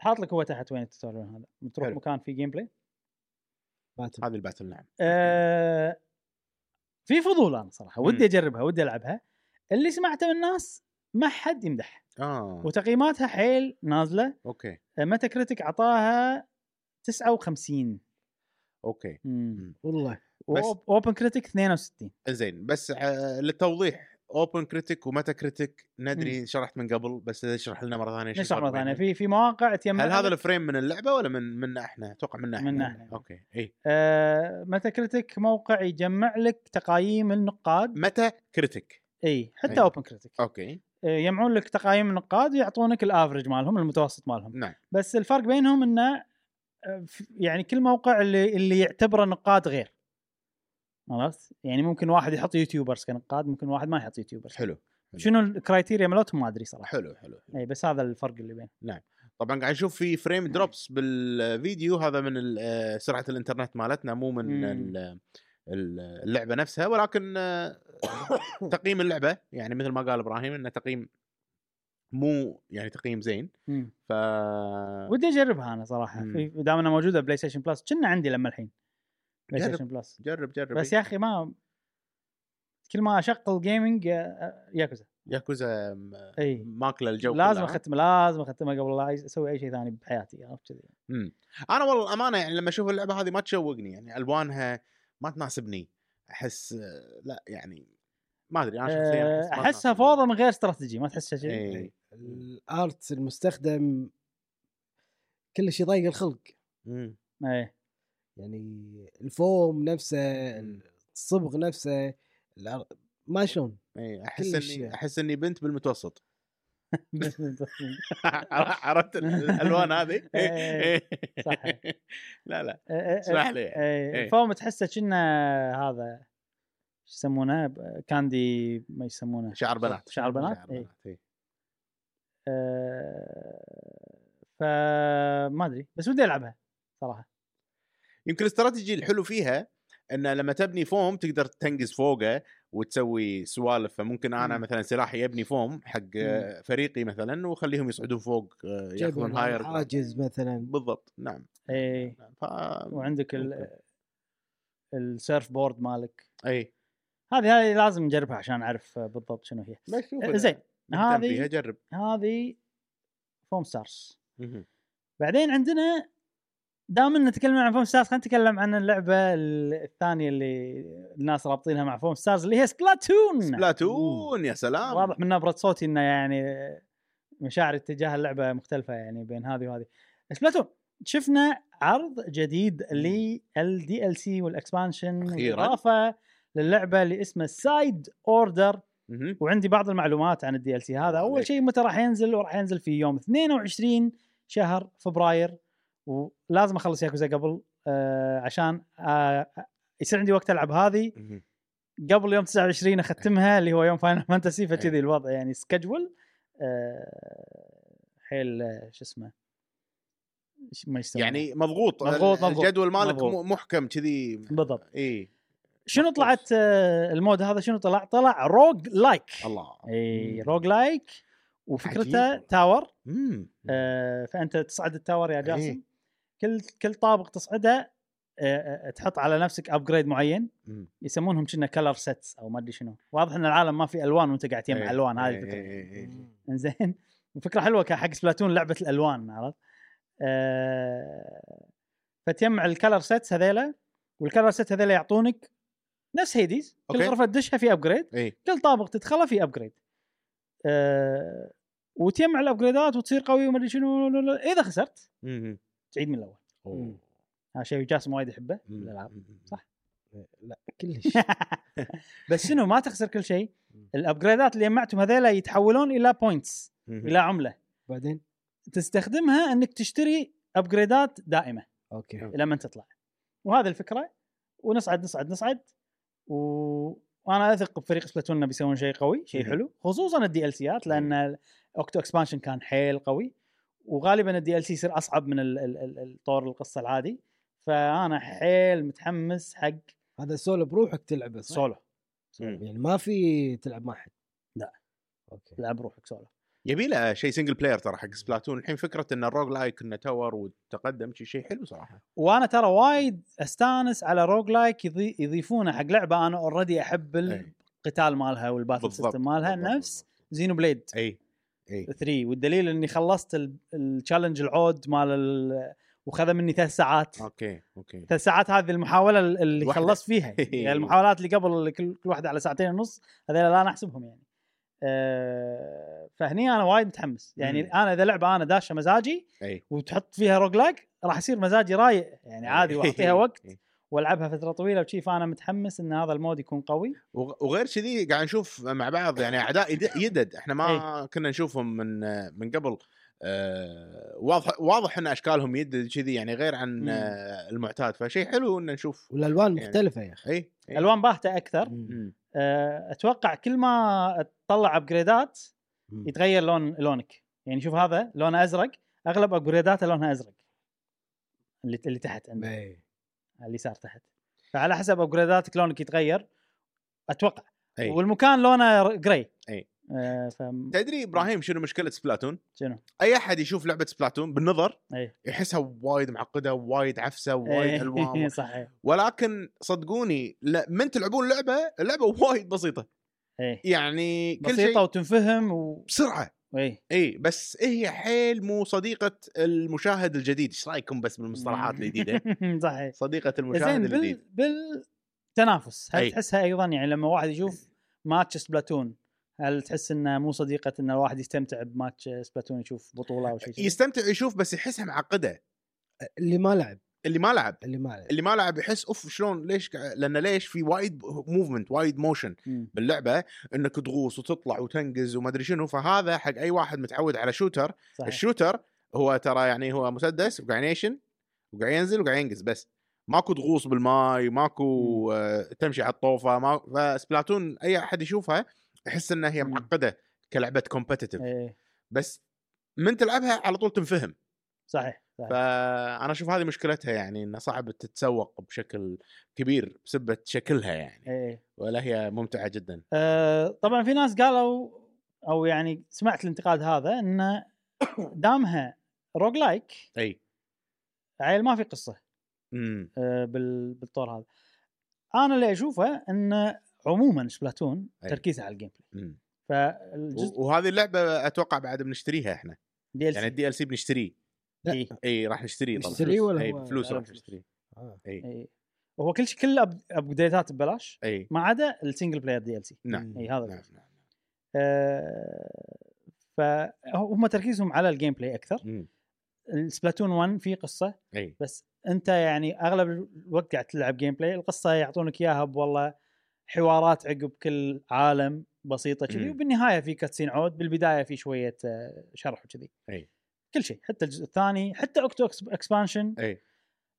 A: حاط لك هو تحت وين التوتوريال هذا بتروح
C: حلو.
A: مكان فيه جيم بلاي
B: باتل.
C: هذه الباتل نعم
A: آه، في فضول انا صراحه
C: مم.
A: ودي اجربها ودي العبها اللي سمعته من الناس ما حد يمدح
C: اه
A: وتقييماتها حيل آه، نازله
C: اوكي
A: متى كريتك عطاها 59
C: اوكي
A: امم
B: والله
C: بس-
A: اوبن كريتيك 62
C: زين بس آه، للتوضيح اوبن كريتيك ومتا كريتيك ندري شرحت من قبل بس اشرح لنا مره ثانيه شو
A: نشرح
C: الفرق
A: مره ثانيه
C: بينهم.
A: يعني في في مواقع تيمم
C: هل هذا الفريم من اللعبه ولا من إيه. منا احنا؟ اتوقع منا احنا
A: منا إحنا.
C: اوكي اي
A: آه متى كريتيك موقع يجمع لك تقايم النقاد
C: متى كريتيك
A: اي حتى
C: أي.
A: اوبن كريتيك
C: اوكي
A: يجمعون لك تقايم النقاد ويعطونك الافرج مالهم المتوسط مالهم
C: نعم
A: بس الفرق بينهم انه آه، ف- يعني كل موقع اللي اللي يعتبره نقاد غير عرفت؟ يعني ممكن واحد يحط يوتيوبرز كنقاد ممكن واحد ما يحط يوتيوبرز
C: حلو حلو.
A: شنو الكرايتيريا مالتهم ما ادري صراحه
C: حلو حلو
A: اي بس هذا الفرق اللي بين
C: طبعا قاعد نشوف في فريم
A: نعم.
C: دروبس بالفيديو هذا من ال- آه، سرعه الانترنت مالتنا مو من
A: مم.
C: ال- ال- اللعبه نفسها ولكن آه، تقييم اللعبه يعني مثل ما قال ابراهيم انه تقييم مو يعني تقييم زين
A: مم.
C: ف
A: ودي اجربها انا صراحه
C: مم.
A: في دام انها موجوده بلاي ستيشن بلس كنا عندي لما الحين بلاي
C: جرب.
A: ستيشن بلس
C: جرب جرب
A: بس يا اخي ما كل ما اشغل جيمنج آه، ياكوزا
C: ياكوزا
A: اي
C: ماكله آه، الجو
A: لازم
C: كلها.
A: اختم لازم اختمها قبل لا أي- اسوي اي شيء ثاني بحياتي عرفت كذي
C: مم. انا والله الامانه يعني لما اشوف اللعبه هذه ما تشوقني يعني الوانها ما تناسبني احس آه، لا يعني ما ادري انا شخصيا
A: أه،
C: ما
A: احسها
C: تناسبني. إيه،
A: فوضى إيه. من غير استراتيجي ما تحسها كذي
C: إي.
B: الارت المستخدم كل شيء ضيق الخلق
C: مم.
A: اي
B: يعني الفوم نفسه الصبغ نفسه الأر- ما شلون
C: اي احس
B: كلش
C: اني
B: يعني.
C: احس اني بنت بالمتوسط عرفت ال- الالوان هذه
A: إيه، صح.
C: لا لا
A: أه، أه،
C: اسمح لي يعني.
A: اي
C: إي.
A: الفوم تحسه كنا هذا شو يسمونه ب- كاندي ما يسمونه
C: شعر بنات
A: شعر بنات إيه.
C: شعر
A: اي
C: بنات إيه. إي.
A: آه، فما ادري بس ودي العبها صراحه
C: يمكن الاستراتيجي الحلو فيها ان لما تبني فوم تقدر تنقز فوقه وتسوي سوالف فممكن انا
A: مم.
C: مثلا سلاحي يبني فوم حق آه،
A: إمم.
C: فريقي مثلا واخليهم يصعدون فوق آه، ياخذون
B: جبل
C: هاير جراوند.
B: عاجز مثلا
C: بالضبط نعم
A: اي
C: ف...
A: وعندك
C: أوكي.
A: ال السيرف بورد مالك
C: اي
A: هذه هذه لازم نجربها عشان اعرف بالضبط شنو هي
C: بس شوف
A: آه،
C: إذا
A: زين
C: مهتم فيها
A: هذه
C: جرب
A: هذه فوم ستارز
C: مهم.
A: بعدين عندنا دام ان تكلمنا عن فوم ستارز خلينا نتكلم عن اللعبه الثانيه اللي الناس رابطينها مع فوم ستارز اللي هي سبلاتون
C: سبلاتون يا سلام
A: إمم. واضح من نبره صوتي انه يعني مشاعري تجاه اللعبه مختلفه يعني بين هذه وهذه سبلاتون شفنا عرض جديد للدي ال سي والاكسبانشن
C: أخيراً.
A: والاضافه للعبه اللي اسمها سايد اوردر
C: مهم.
A: وعندي بعض المعلومات عن الدي ال سي هذا اول
C: عليك.
A: شيء متى راح ينزل وراح ينزل في يوم 22 شهر فبراير ولازم اخلص ياكوزا قبل آه عشان آه يصير عندي وقت العب هذه
C: مهم.
A: قبل يوم 29 اختمها اللي هو يوم فاينل فانتسي
C: أي.
A: فكذي الوضع يعني سكجول حيل آه، شو اسمه ش- ما يسمونه.
C: يعني مضغوط
A: مضغوط، مضغوط.
C: الجدول مالك
A: مضغوط.
C: مو- محكم كذي إيه.
A: بالضبط
C: اي
A: شنو طلعت آه، المود هذا شنو طلع؟ طلع روج لايك
C: الله
A: إيه. اي
C: مم.
A: روج لايك وفكرته
C: إيه. عجيب. إيه.
A: تاور
C: مم.
A: إيه. آه، فانت تصعد التاور يا جاسم
C: أي.
A: كل كل طابق تصعده آه، آه، تحط على نفسك ابجريد معين
C: مم.
A: يسمونهم كنا كلر سيتس او ما ادري شنو واضح ان العالم ما في الوان وانت قاعد تجمع
C: إيه.
A: الوان هذه
C: إيه،
A: الفكره
C: إيه، إيه.
A: انزين فكره حلوه كان حق سبلاتون لعبه الالوان عرفت؟ آه فتجمع الكلر سيتس هذيلا والكلر سيت هذيلا يعطونك نفس هيديز كل
C: أوكي.
A: غرفه تدشها في ابجريد
C: إيه.
A: كل طابق تدخله في ابجريد آه وتجمع الابجريدات وتصير قوي وما ادري شنو لو- لو- اذا خسرت
C: مم.
A: تعيد من الاول
C: أوه.
A: إمم. هذا شيء جاسم وايد يحبه
C: مم.
A: بالالعاب صح.
B: كلش
A: بس شنو ما تخسر كل شيء الابجريدات اللي جمعتهم هذيلا يتحولون الى بوينتس
C: مم.
A: الى عمله
B: بعدين
A: تستخدمها انك تشتري ابجريدات دائمه
B: اوكي
A: لما تطلع وهذه الفكره ونصعد نصعد نصعد و... وانا اثق بفريق سبلاتون انه بيسوون شيء قوي شيء
C: مهم.
A: حلو خصوصا الدي ال سيات لان اوكتو اكسبانشن كان حيل قوي وغالبا الدي ال سي يصير اصعب من ال- ال- ال- الطور القصه العادي فانا حيل متحمس حق
C: طيب.
B: هذا سولو بروحك تلعبه صح؟
A: سولو
C: مم.
B: يعني ما في تلعب مع احد
A: لا.
B: اوكي
A: العب روحك سولو
C: يبي له شيء سنجل بلاير ترى حق سبلاتون الحين فكره ان الروج لايك انه تور وتقدم شيء شيء حلو صراحه
A: وانا ترى وايد استانس على روج لايك يضي... يضيفونه حق لعبه انا اوريدي احب
C: أي.
A: القتال مالها والباتل سيستم مالها
C: إيه. بالضبط، إيه.
A: نفس
C: بالضبط.
A: زينو بليد
C: اي اي
A: 3 والدليل اني خلصت ال- التشالنج العود مال ال- وخذ مني ثلاث ساعات
C: اوكي اوكي
A: ثلاث ساعات هذه المحاوله ال- اللي
C: الوحدة.
A: خلصت فيها يعني المحاولات اللي قبل اللي كل كل واحده على ساعتين ونص هذول لا نحسبهم يعني أه فهني انا وايد متحمس يعني
C: مم.
A: انا اذا لعبه انا داشه مزاجي
C: اي
A: وتحط فيها روج لايك راح يصير مزاجي رايق يعني عادي
C: إيه.
A: واعطيها وقت والعبها فتره طويله وشي فانا متحمس ان هذا المود يكون قوي
C: وغ- وغير كذي قاعد نشوف مع بعض يعني اعداء يد- يدد احنا
A: إيه.
C: ما كنا نشوفهم من من قبل آه، واضح واضح ان اشكالهم يدد كذي يعني غير عن
A: مم.
C: آه، المعتاد فشيء حلو ان نشوف
B: والالوان
C: يعني-
B: مختلفه يا اخي
C: اي اي
A: الوان باهته اكثر
B: مم.
C: مم.
A: أه اتوقع كل ما تطلع ابجريدات
B: مم.
A: يتغير لون لونك يعني شوف هذا لونه ازرق اغلب ابجريداته لونها ازرق اللي اللي تحت عندك
B: إيه.
A: على اليسار تحت فعلى حسب ابجريداتك لونك يتغير اتوقع
C: أي.
A: والمكان لونه ر- جراي
C: أي.
A: آه ف
C: تدري ابراهيم شنو مشكله سبلاتون؟
A: شنو؟
C: اي احد يشوف لعبه سبلاتون بالنظر
A: أي.
C: يحسها وايد معقده وايد عفسه
A: إيه.
C: وايد الوان
A: صحيح
C: ولكن صدقوني لا- من تلعبون لعبه اللعبه وايد بسيطه
A: اي
C: يعني كل
A: بسيطه
C: شيء
A: وتنفهم و...
C: بسرعه
A: اي
C: اي بس هي حيل مو صديقه المشاهد الجديد ايش رايكم بس بالمصطلحات الجديده
A: صحيح
C: صديقه المشاهد
A: زين بال...
C: الجديد
A: بالتنافس هل
C: أي. إيه.
A: تحسها ايضا يعني لما واحد يشوف ماتش سبلاتون هل تحس انه مو صديقه ان الواحد يستمتع بماتش سبلاتون يشوف بطوله او شيء
C: يستمتع يشوف بس يحسها معقده
B: اللي ما لعب
C: اللي ما لعب
B: اللي ما لعب
C: اللي ما لعب يحس اوف شلون ليش قاعد- لان ليش في وايد موفمنت وايد موشن
A: مم.
C: باللعبه انك تغوص وتطلع وتنقز وما ادري شنو فهذا حق اي واحد متعود على شوتر
A: صحيح
C: الشوتر هو ترى يعني هو مسدس وقاعد ينيشن وقاعد ينزل وقاعد ينقز بس ماكو تغوص بالماي ماكو آه تمشي على الطوفه ما فسبلاتون اي احد يشوفها يحس انها هي
A: مم.
C: معقده كلعبه كومبتتف
A: ايه
C: بس من تلعبها على طول تنفهم
A: صحيح, صحيح.
C: فانا اشوف هذه مشكلتها يعني انها صعب تتسوق بشكل كبير بسبه شكلها يعني
A: ايه
C: ولا هي ممتعه جدا
A: آه طبعا في ناس قالوا او يعني سمعت الانتقاد هذا انه دامها روج لايك
C: اي
A: عيل ما في قصه
C: امم
A: آه، بال- بالطور هذا انا اللي اشوفه ان عموما سبلاتون
C: أي.
A: تركيزها على الجيم بلاي
C: أمم.
A: فالجزء
C: وهذه اللعبه اتوقع بعد بنشتريها احنا
A: دي
C: يعني الدي ال سي بنشتريه
A: إيه.
C: اي راح نشتريه طبعا
B: نشتريه ولا
C: اي
B: هو-
C: بفلوس
B: لا،
C: راح
B: بفلوس.
C: نشتريه
B: آه.
A: إيه. هو كل شيء كل أب- ابديتات ببلاش
C: اي
A: ما عدا السنجل بلاير دي ال سي
C: نعم
A: اي إيه، هذا
C: نعم نعم
A: آه فهم تركيزهم على الجيم بلاي اكثر
C: مم.
A: السبلاتون 1 في قصه
C: اي
A: بس انت يعني اغلب الوقت قاعد تلعب جيم بلاي القصه يعطونك اياها والله حوارات عقب كل عالم بسيطه كذي
C: مم.
A: وبالنهايه في كاتسين عود بالبدايه في شويه آه، شرح وكذي
C: أي.
A: كل شيء حتى الجزء الثاني حتى اوكتو أكس- اكسبانشن
C: اي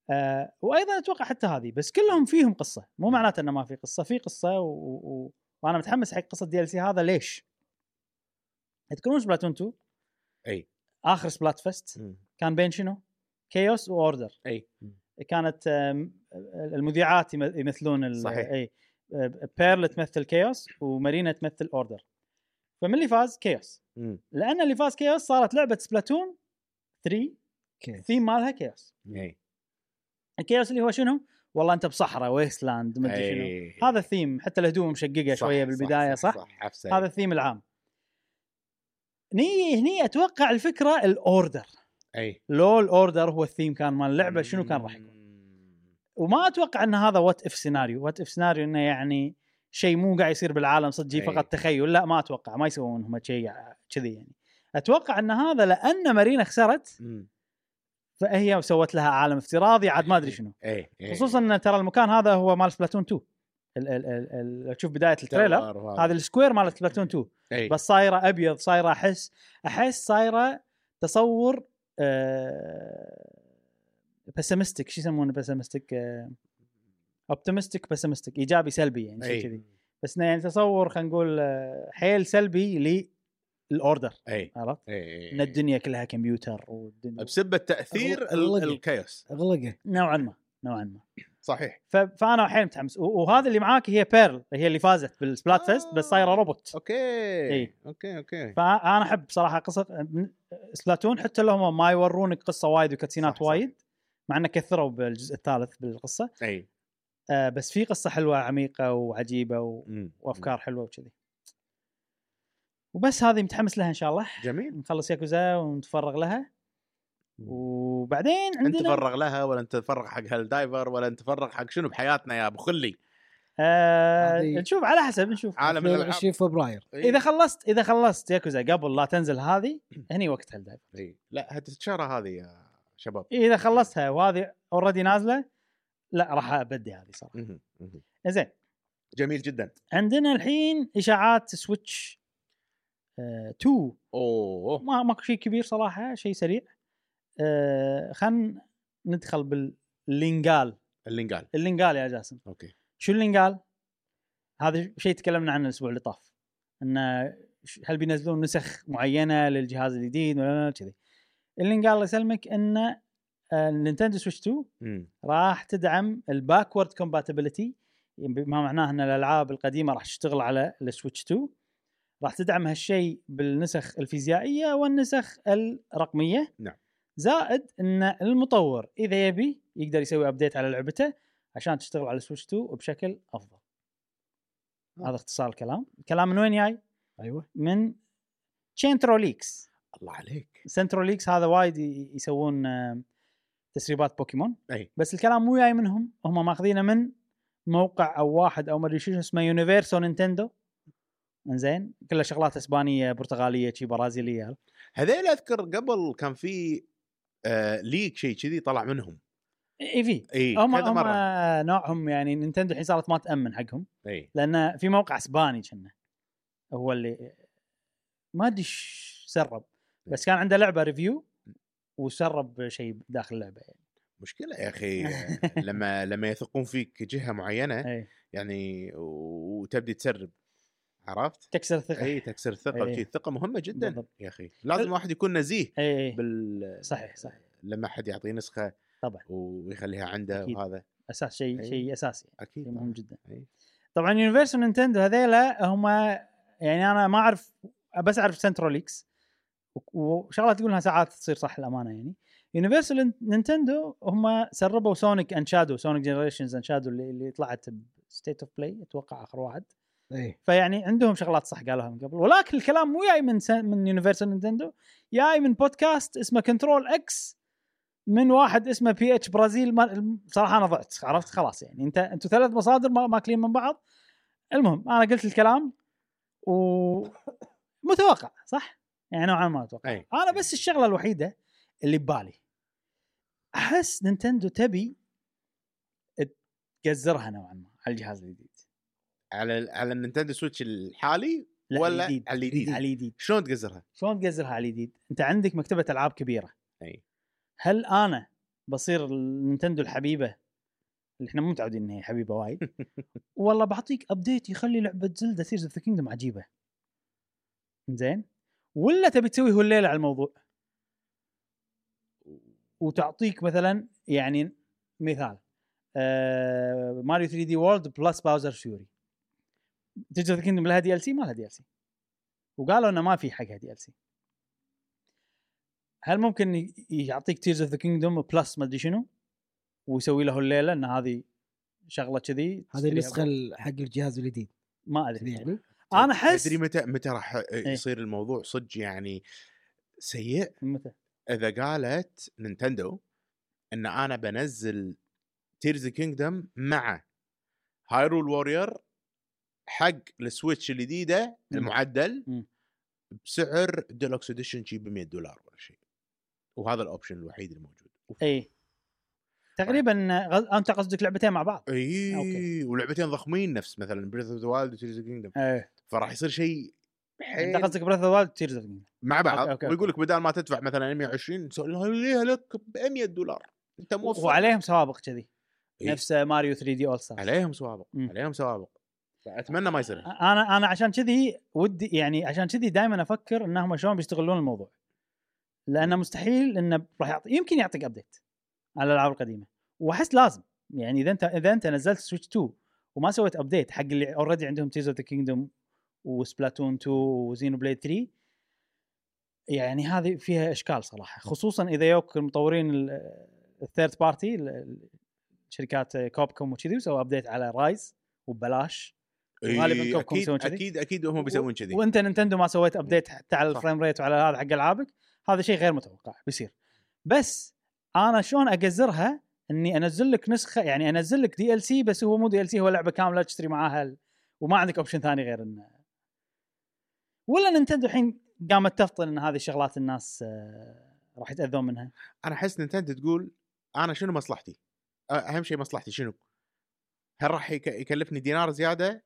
A: آه وايضا اتوقع حتى هذه بس كلهم فيهم قصه مو معناته انه ما في قصه في قصه و... و... وانا متحمس حق قصه دي ال سي هذا ليش؟ تذكرون سبلاتون 2
C: أي.
A: اخر سبلات فيست
C: مم.
A: كان بين شنو؟ كيوس واوردر
C: اي
A: كانت آم، المذيعات يم- يمثلون ال-
C: صحيح.
A: اي آه، بيرل تمثل كيوس ومارينا تمثل اوردر فمن اللي فاز كيوس
C: مم.
A: لان اللي فاز كيوس صارت لعبه سبلاتون 3
B: اوكي
A: الثيم مالها كيوس
C: اي
A: الكيوس اللي هو شنو؟ والله انت بصحراء ويست لاند ما ادري شنو
C: إيه.
A: هذا الثيم حتى الهدوم مشققه
C: صح،
A: شويه بالبدايه صح,
C: صح, صح, صح.
A: هذا الثيم العام هني هني اتوقع الفكره الاوردر
C: اي
A: لو الاوردر هو الثيم كان مال اللعبه شنو كان راح يكون وما اتوقع ان هذا وات اف سيناريو وات اف سيناريو انه يعني شيء مو قاعد يصير بالعالم صدق
C: أي.
A: فقط تخيل لا ما اتوقع ما يسوون هم شيء كذي يعني اتوقع ان هذا لان مارينا خسرت
C: مم.
A: فهي سوت لها عالم افتراضي عاد ما ادري شنو
C: اي إي.
A: خصوصا ان ترى المكان هذا هو مال سبلاتون 2 ال- ال- ال- ال- تشوف بدايه التريلر
C: التوار
A: هذا السكوير مال سبلاتون 2
C: إي.
A: بس صايره ابيض صايره احس احس صايره تصور بسمستك شو يسمونه آه، بسمستك اوبتمستك بسمستك ايجابي سلبي يعني شيء
C: إي.
A: كذي بس إنه يعني تصور خلينا نقول آه، حيل سلبي للاوردر
C: اي
A: عرفت؟
C: إي. إي.
A: ان الدنيا كلها كمبيوتر والدنيا
C: بسبب تاثير ال-
B: أغلقها.
C: الكيوس
B: اغلقه
A: نوعا ما نوعا ما
C: صحيح
A: ف- فانا حيل متحمس و- وهذا اللي معاك هي بيرل هي اللي فازت بالسبلات فيست بس صايره روبوت
C: اوكي
A: إي.
C: اوكي اوكي
A: فانا احب بصراحه قصه سبلاتون حتى لو هم ما يورونك قصه وايد
C: صح،
A: وكاتسينات
C: صح.
A: وايد مع انه كثروا بالجزء الثالث بالقصه
C: اي
A: آه بس في قصه حلوه عميقه وعجيبه و...
C: مم.
A: وافكار حلوه وكذي وبس هذه متحمس لها ان شاء الله
C: جميل
A: نخلص ياكوزا ونتفرغ لها وبعدين
C: انت
A: عندنا
C: تفرغ لها ولا انت تفرغ حق هالدايفر ولا انت تفرغ حق شنو بحياتنا يا ابو خلي
A: آه
B: هذه-
A: نشوف على حسب نشوف
C: عالم الالعاب
B: 22 فبراير
C: إيه،
A: اذا خلصت اذا خلصت ياكوزا قبل لا تنزل هذه هني وقتها الدايف
C: إي. إيه. لا هتتشهرها هذه يا شباب
A: اذا إيه، خلصتها وهذه اوريدي نازله لا راح ابدي هذه صراحه
C: مهم. مهم.
A: زين
C: جميل جدا
A: عندنا الحين اشاعات سويتش 2
C: اوه
A: ما ماكو شيء كبير صراحه شيء سريع آه خلينا ندخل باللينجال
C: اللي قال
A: اللينجال يا جاسم
C: اوكي
A: شو اللينجال؟ هذا شيء تكلمنا عنه الاسبوع اللي طاف انه ش- هل بينزلون نسخ معينه للجهاز الجديد ولا لا كذي اللينجال الله يسلمك انه النينتندو سويتش 2
C: مم.
A: راح تدعم الباكورد كومباتيبلتي يعني بما معناه ان الالعاب القديمه راح تشتغل على السويتش 2 راح تدعم هالشيء بالنسخ الفيزيائيه والنسخ الرقميه
C: نعم.
A: زائد ان المطور اذا يبي يقدر يسوي ابديت على لعبته عشان تشتغل على السويتش 2 بشكل افضل هذا اختصار الكلام الكلام من وين جاي
B: ايوه
A: من تشينترو ليكس
C: الله عليك
A: سنترو ليكس هذا وايد ي- يسوون آم، تسريبات بوكيمون
C: اي
A: بس الكلام مو جاي منهم هم ماخذينه من موقع او واحد او مدري شو اسمه يونيفرسو نينتندو انزين كلها شغلات اسبانيه برتغاليه شي برازيليه
C: هذيل اذكر قبل كان في آه ليك شيء كذي طلع منهم
A: اي في
C: اي
A: هم
C: كذا
A: هم
C: مره
A: نوعهم يعني نينتندو الحين صارت ما تامن حقهم
C: اي
A: لان في موقع اسباني كنا هو اللي ما ادري إيش سرب بس كان عنده لعبه ريفيو وسرب شيء داخل اللعبه يعني
C: مشكله يا اخي آه، لما لما يثقون فيك جهه معينه
A: اي
C: يعني و- وتبدي تسرب عرفت؟
A: تكسر الثقه اي
C: اي تكسر الثقه
A: إي.
C: وشي الثقه مهمه جدا
A: بالضبط.
C: يا اخي لازم واحد يكون نزيه
A: اي
C: بال
A: إيه، صحيح صحيح
C: لما حد يعطيه نسخه
A: طبعا
C: ويخليها عنده
A: أكيد.
C: وهذا
A: اساس شيء
C: إي.
A: شيء اساسي
C: اكيد
A: شيء مهم جدا
C: إي.
A: طبعا يونيفرسال نينتندو هذيلا هم يعني انا ما اعرف بس اعرف سنتروليكس وشغله تقولها ساعات تصير صح الامانه يعني يونيفرسال نينتندو هم سربوا سونيك اند شادو سونيك جنريشنز اند شادو اللي, اللي طلعت بستيت اوف بلاي اتوقع اخر واحد
B: اي
A: فيعني عندهم شغلات صح قالوها من قبل ولكن الكلام مو جاي من سن من يونيفرسال نينتندو جاي من بودكاست اسمه كنترول اكس من واحد اسمه بي اتش برازيل ما بصراحه انا ضعت عرفت خلاص يعني انت انتوا ثلاث مصادر ما- ماكلين من بعض المهم انا قلت الكلام و متوقع صح؟ يعني نوعا ما اتوقع
C: أي.
A: انا بس الشغله الوحيده اللي ببالي احس نينتندو تبي تقزرها نوعا ما على الجهاز الجديد
C: على على النينتندو سويتش الحالي
A: لا
C: ولا
A: الجديد.
C: على الجديد
A: على الجديد
C: شلون تقزرها؟
A: شلون تقزرها على الجديد؟ انت عندك مكتبه العاب كبيره.
C: أي.
A: هل انا بصير النينتندو الحبيبه اللي احنا مو متعودين ان هي حبيبه وايد والله بعطيك ابديت يخلي لعبه زلدا سيرز اوف ذا كينجدم عجيبه. زين؟ ولا تبي تسوي هليله على الموضوع؟ وتعطيك مثلا يعني مثال آه ماريو 3 دي وورلد بلس باوزر فيوري تجربه كيندم لها دي ال سي ما لها دي ال سي وقالوا انه ما في حقها دي ال سي هل ممكن ي- يعطيك تيرز اوف ذا كينجدوم بلس ما ادري شنو ويسوي له الليله ان هذه شغله كذي
B: هذه النسخه ال- حق الجهاز الجديد
A: ما
B: كذي
A: ادري
B: يعني
A: انا احس
C: تدري متى متى راح
A: إيه.
C: يصير الموضوع صدق يعني سيء
A: متى
C: اذا قالت نينتندو ان انا بنزل تيرز كينجدم مع هايرول وورير حق السويتش الجديده
A: مم.
C: المعدل
A: مم.
C: بسعر ديلوكس اديشن شي ب 100 دولار ولا شيء وهذا الاوبشن الوحيد الموجود
A: اي تقريبا غز... انت قصدك لعبتين مع بعض
C: اي
A: أوكي.
C: ولعبتين ضخمين نفس مثلا بريث اوف ذا وايلد وتيرز كينجدم
A: ايه
C: فراح يصير شيء
A: انت
C: حيل
A: قصدك بريث اوف تيرز
C: مع
A: أوكي،
C: بعض
A: أوكي،
C: ويقول لك بدال ما تدفع مثلا 120 نسوي لها لك ب 100 دولار انت موفق
A: وعليهم سوابق كذي
C: إيه.
A: نفس ماريو 3 دي اول ستار
C: عليهم سوابق
A: مم.
C: عليهم آه. سوابق اتمنى ما يصير
A: انا انا عشان كذي ودي يعني عشان كذي دائما افكر انهم شلون بيستغلون الموضوع لانه مستحيل انه راح يعطي يمكن يعطيك ابديت على الالعاب القديمه واحس لازم يعني اذا انت اذا انت نزلت سويتش 2 وما سويت ابديت حق اللي اوريدي عندهم تيز اوف ذا كينجدوم وسبلاتون 2 وزينو بليد 3 يعني هذه فيها اشكال صراحه خصوصا اذا يوك المطورين الثيرد بارتي شركات كوب كوم وكذي وسووا ابديت على رايز وببلاش وغالباً
C: إيه،
A: كوبكم
C: اكيد
A: يسوون كذي.
C: اكيد اكيد هم بيسوون كذي
A: وانت نينتندو ما سويت ابديت حتى على
C: صح.
A: الفريم ريت وعلى هذا حق العابك هذا شيء غير متوقع بيصير بس انا شلون اجزرها اني انزل لك نسخه يعني انزل لك دي ال سي بس هو مو دي ال سي هو لعبه كامله تشتري معاها ال- وما عندك اوبشن ثاني غير انه ولا نينتندو الحين قامت تفطن ان هذه الشغلات الناس آه، راح يتاذون منها
C: انا احس نينتندو تقول انا شنو مصلحتي؟ أ- اهم شيء مصلحتي شنو؟ هل راح يك- يكلفني دينار زياده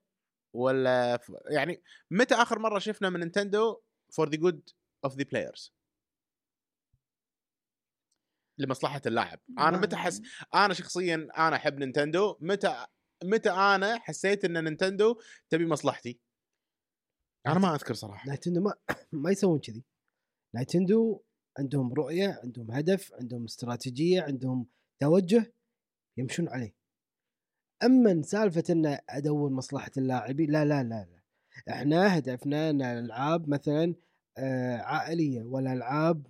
C: ولا ف... يعني متى اخر مره شفنا من نينتندو فور ذا جود اوف ذا بلايرز؟ لمصلحه اللاعب، انا متى حس انا شخصيا انا احب نينتندو، متى متى انا حسيت ان نينتندو تبي مصلحتي؟ انا ما اذكر صراحه.
B: نايتندو ما ما يسوون كذي نايتندو عندهم رؤيه عندهم هدف عندهم استراتيجيه عندهم توجه يمشون عليه اما سالفه ان ادور مصلحه اللاعبين لا لا لا لا احنا هدفنا ان الالعاب مثلا آه، عائليه ولا العاب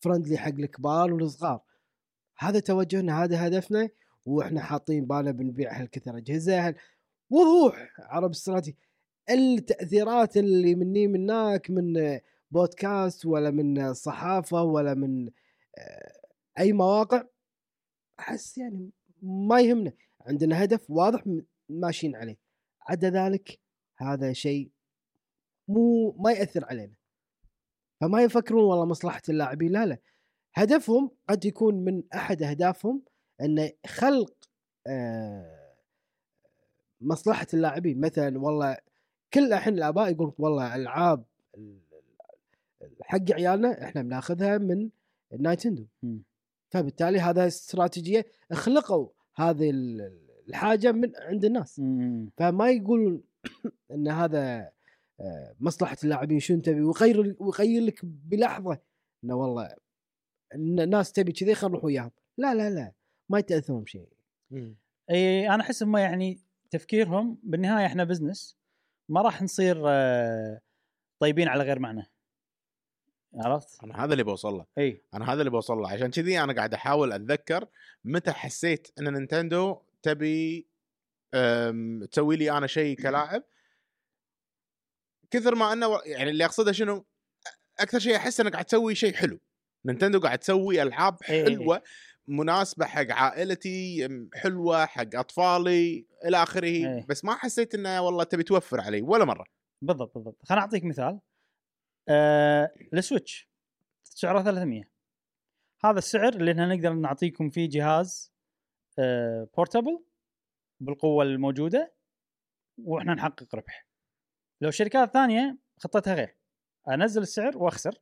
B: فرندلي حق الكبار والصغار هذا توجهنا هذا هدفنا واحنا حاطين بالنا بنبيع هالكثر اجهزه هال... وضوح عرب استراتيجي التاثيرات اللي مني منك من بودكاست ولا من صحافه ولا من آه، اي مواقع احس يعني ما يهمنا عندنا هدف واضح م- ماشيين عليه عدا ذلك هذا شيء مو ما ياثر علينا فما يفكرون والله مصلحه اللاعبين لا لا هدفهم قد يكون من احد اهدافهم ان خلق آه، مصلحه اللاعبين مثلا والله كل الحين الاباء يقول والله العاب ال- ال- حق عيالنا احنا بناخذها من نايتندو
A: مم.
B: فبالتالي هذا استراتيجيه اخلقوا هذه ال- الحاجه من عند الناس
A: مم.
B: فما يقول ان هذا آه، مصلحه اللاعبين شو انت تبي ويغير ويغير لك بلحظه انه والله ان الناس تبي كذي خلينا نروح وياهم لا لا لا ما يتاثرون بشيء
A: اي انا احس هم يعني تفكيرهم بالنهايه احنا بزنس ما راح نصير آه، طيبين على غير معنى عرفت؟
C: انا هذا اللي بوصل له.
A: اي
C: انا هذا اللي بوصل له عشان كذي انا قاعد احاول اتذكر متى حسيت ان نينتندو تبي أم، تسوي لي انا شيء كلاعب كثر ما انه و- يعني اللي اقصده شنو أ- اكثر شيء احس انك قاعد تسوي شيء حلو نينتندو قاعد تسوي العاب
A: إي إي إي.
C: حلوه مناسبه حق عائلتي أم، حلوه حق اطفالي الى اخره
A: إي.
C: بس ما حسيت انه والله تبي توفر علي ولا مره
A: بالضبط بالضبط خليني اعطيك مثال آه، السويتش سعره 300 هذا السعر اللي احنا نقدر نعطيكم فيه جهاز آه، بورتابل بالقوه الموجوده واحنا نحقق ربح لو شركات ثانيه خطتها غير انزل السعر واخسر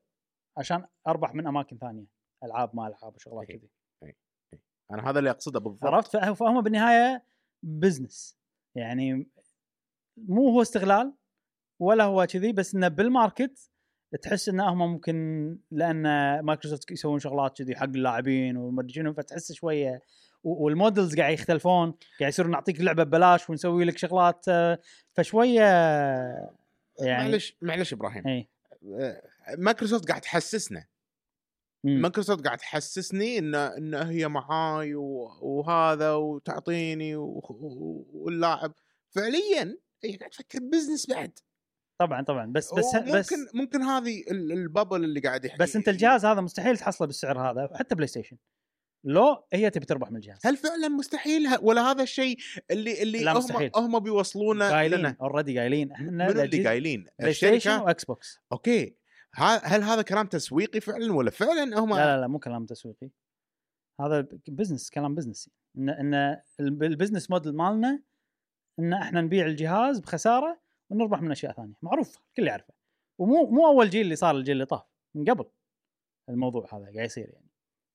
A: عشان اربح من اماكن ثانيه العاب ما العاب وشغلات
C: أكيد.
A: كذي
C: انا هذا اللي اقصده بالضبط
A: عرفت فه- فهم بالنهايه بزنس يعني مو هو استغلال ولا هو كذي بس انه بالماركت تحس ان هم ممكن لان مايكروسوفت يسوون شغلات كذي حق اللاعبين ومدري شنو فتحس شويه و- والمودلز قاعد يختلفون قاعد يصيرون نعطيك لعبه ببلاش ونسوي لك شغلات آه، فشويه يعني إيه.
C: معلش آه، معلش ابراهيم
A: اي
C: مايكروسوفت قاعد تحسسنا
A: مم.
C: مايكروسوفت قاعد تحسسني ان ان هي معاي و- وهذا وتعطيني و- و- واللاعب فعليا هي قاعد تفكر بزنس بعد
A: طبعا طبعا بس بس
C: ممكن إيه.
A: بس
C: ممكن هذه ال- الببل اللي قاعد يحكي
A: بس انت الجهاز هذا مستحيل تحصله بالسعر هذا حتى بلاي ستيشن لو هي تبي تربح من الجهاز
C: هل فعلا مستحيل ه- ولا هذا الشيء اللي اللي
A: لا،
C: هم
A: مستحيل.
C: هم بيوصلونه
A: قايلين
C: لنا
A: اوريدي قايلين احنا
C: من اللي
A: لجيت
C: قايلين
A: بلاي ستيشن
C: الشركه
A: واكس بوكس
C: اوكي ه- هل هذا كلام تسويقي فعلا ولا فعلا هم
A: لا لا لا مو كلام تسويقي هذا بزنس كلام بزنسي ان ان الب- البزنس موديل مالنا ان احنا نبيع الجهاز بخساره ونربح من اشياء ثانيه معروف الكل يعرفه ومو مو اول جيل اللي صار الجيل اللي طاف من قبل الموضوع هذا قاعد يصير يعني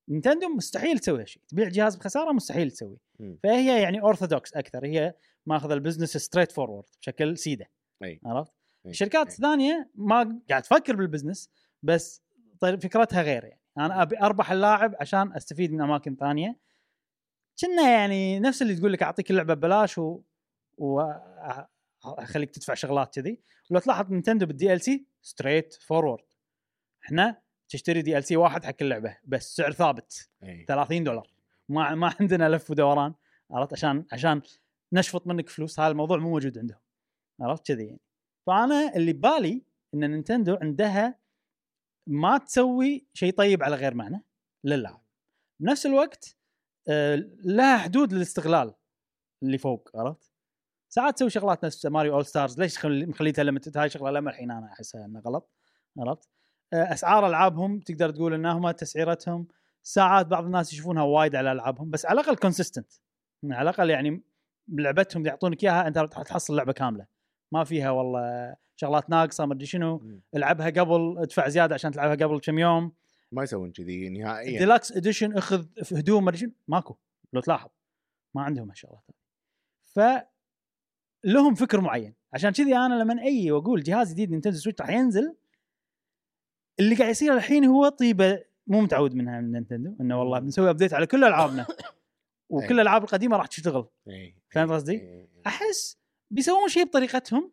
A: نينتندو مستحيل تسوي هالشيء تبيع جهاز بخساره مستحيل تسوي
C: مم.
A: فهي يعني اورثودوكس اكثر هي ماخذ البزنس ستريت فورورد بشكل سيده
C: أي.
A: عرفت
C: أي.
A: شركات
C: أي.
A: ثانيه ما قاعد تفكر بالبزنس بس طيب فكرتها غير يعني انا ابي اربح اللاعب عشان استفيد من اماكن ثانيه كنا يعني نفس اللي تقول لك اعطيك اللعبه ببلاش و واخليك تدفع شغلات كذي ولو تلاحظ نينتندو بالدي ال سي ستريت فورورد احنا تشتري دي ال سي واحد حق اللعبه بس سعر ثابت
C: إيه.
A: 30 دولار ما ما عندنا لف ودوران عرفت عشان عشان نشفط منك فلوس هذا الموضوع مو موجود عندهم عرفت كذي يعني فانا اللي ببالي ان نينتندو عندها ما تسوي شيء طيب على غير معنى للاعب بنفس الوقت آه، لها حدود للاستغلال اللي فوق عرفت ساعات تسوي شغلات نفس ماريو اول ستارز ليش خل- مخليتها ليمتد هاي شغله لما الحين انا احسها انها غلط عرفت آه، اسعار العابهم تقدر تقول انهم تسعيرتهم ساعات بعض الناس يشوفونها وايد على العابهم بس على الاقل كونسيستنت على الاقل يعني لعبتهم اللي يعطونك اياها انت راح تحصل لعبه كامله ما فيها والله شغلات ناقصه ما ادري شنو
C: مم.
A: العبها قبل ادفع زياده عشان تلعبها قبل كم يوم
C: ما يسوون كذي نهائيا
A: ديلاكس اديشن اخذ في هدوم ما ادري شنو ماكو لو تلاحظ ما عندهم هالشغلات ف لهم فكر معين عشان كذي انا لما اي واقول جهاز جديد نينتندو سويتش راح ينزل اللي قاعد يصير الحين هو طيبه مو متعود منها من نينتندو انه والله بنسوي ابديت على كل العابنا وكل
C: أي.
A: الالعاب القديمه راح تشتغل
C: إيه.
A: فهمت قصدي؟
C: إيه.
A: احس بيسوون شيء بطريقتهم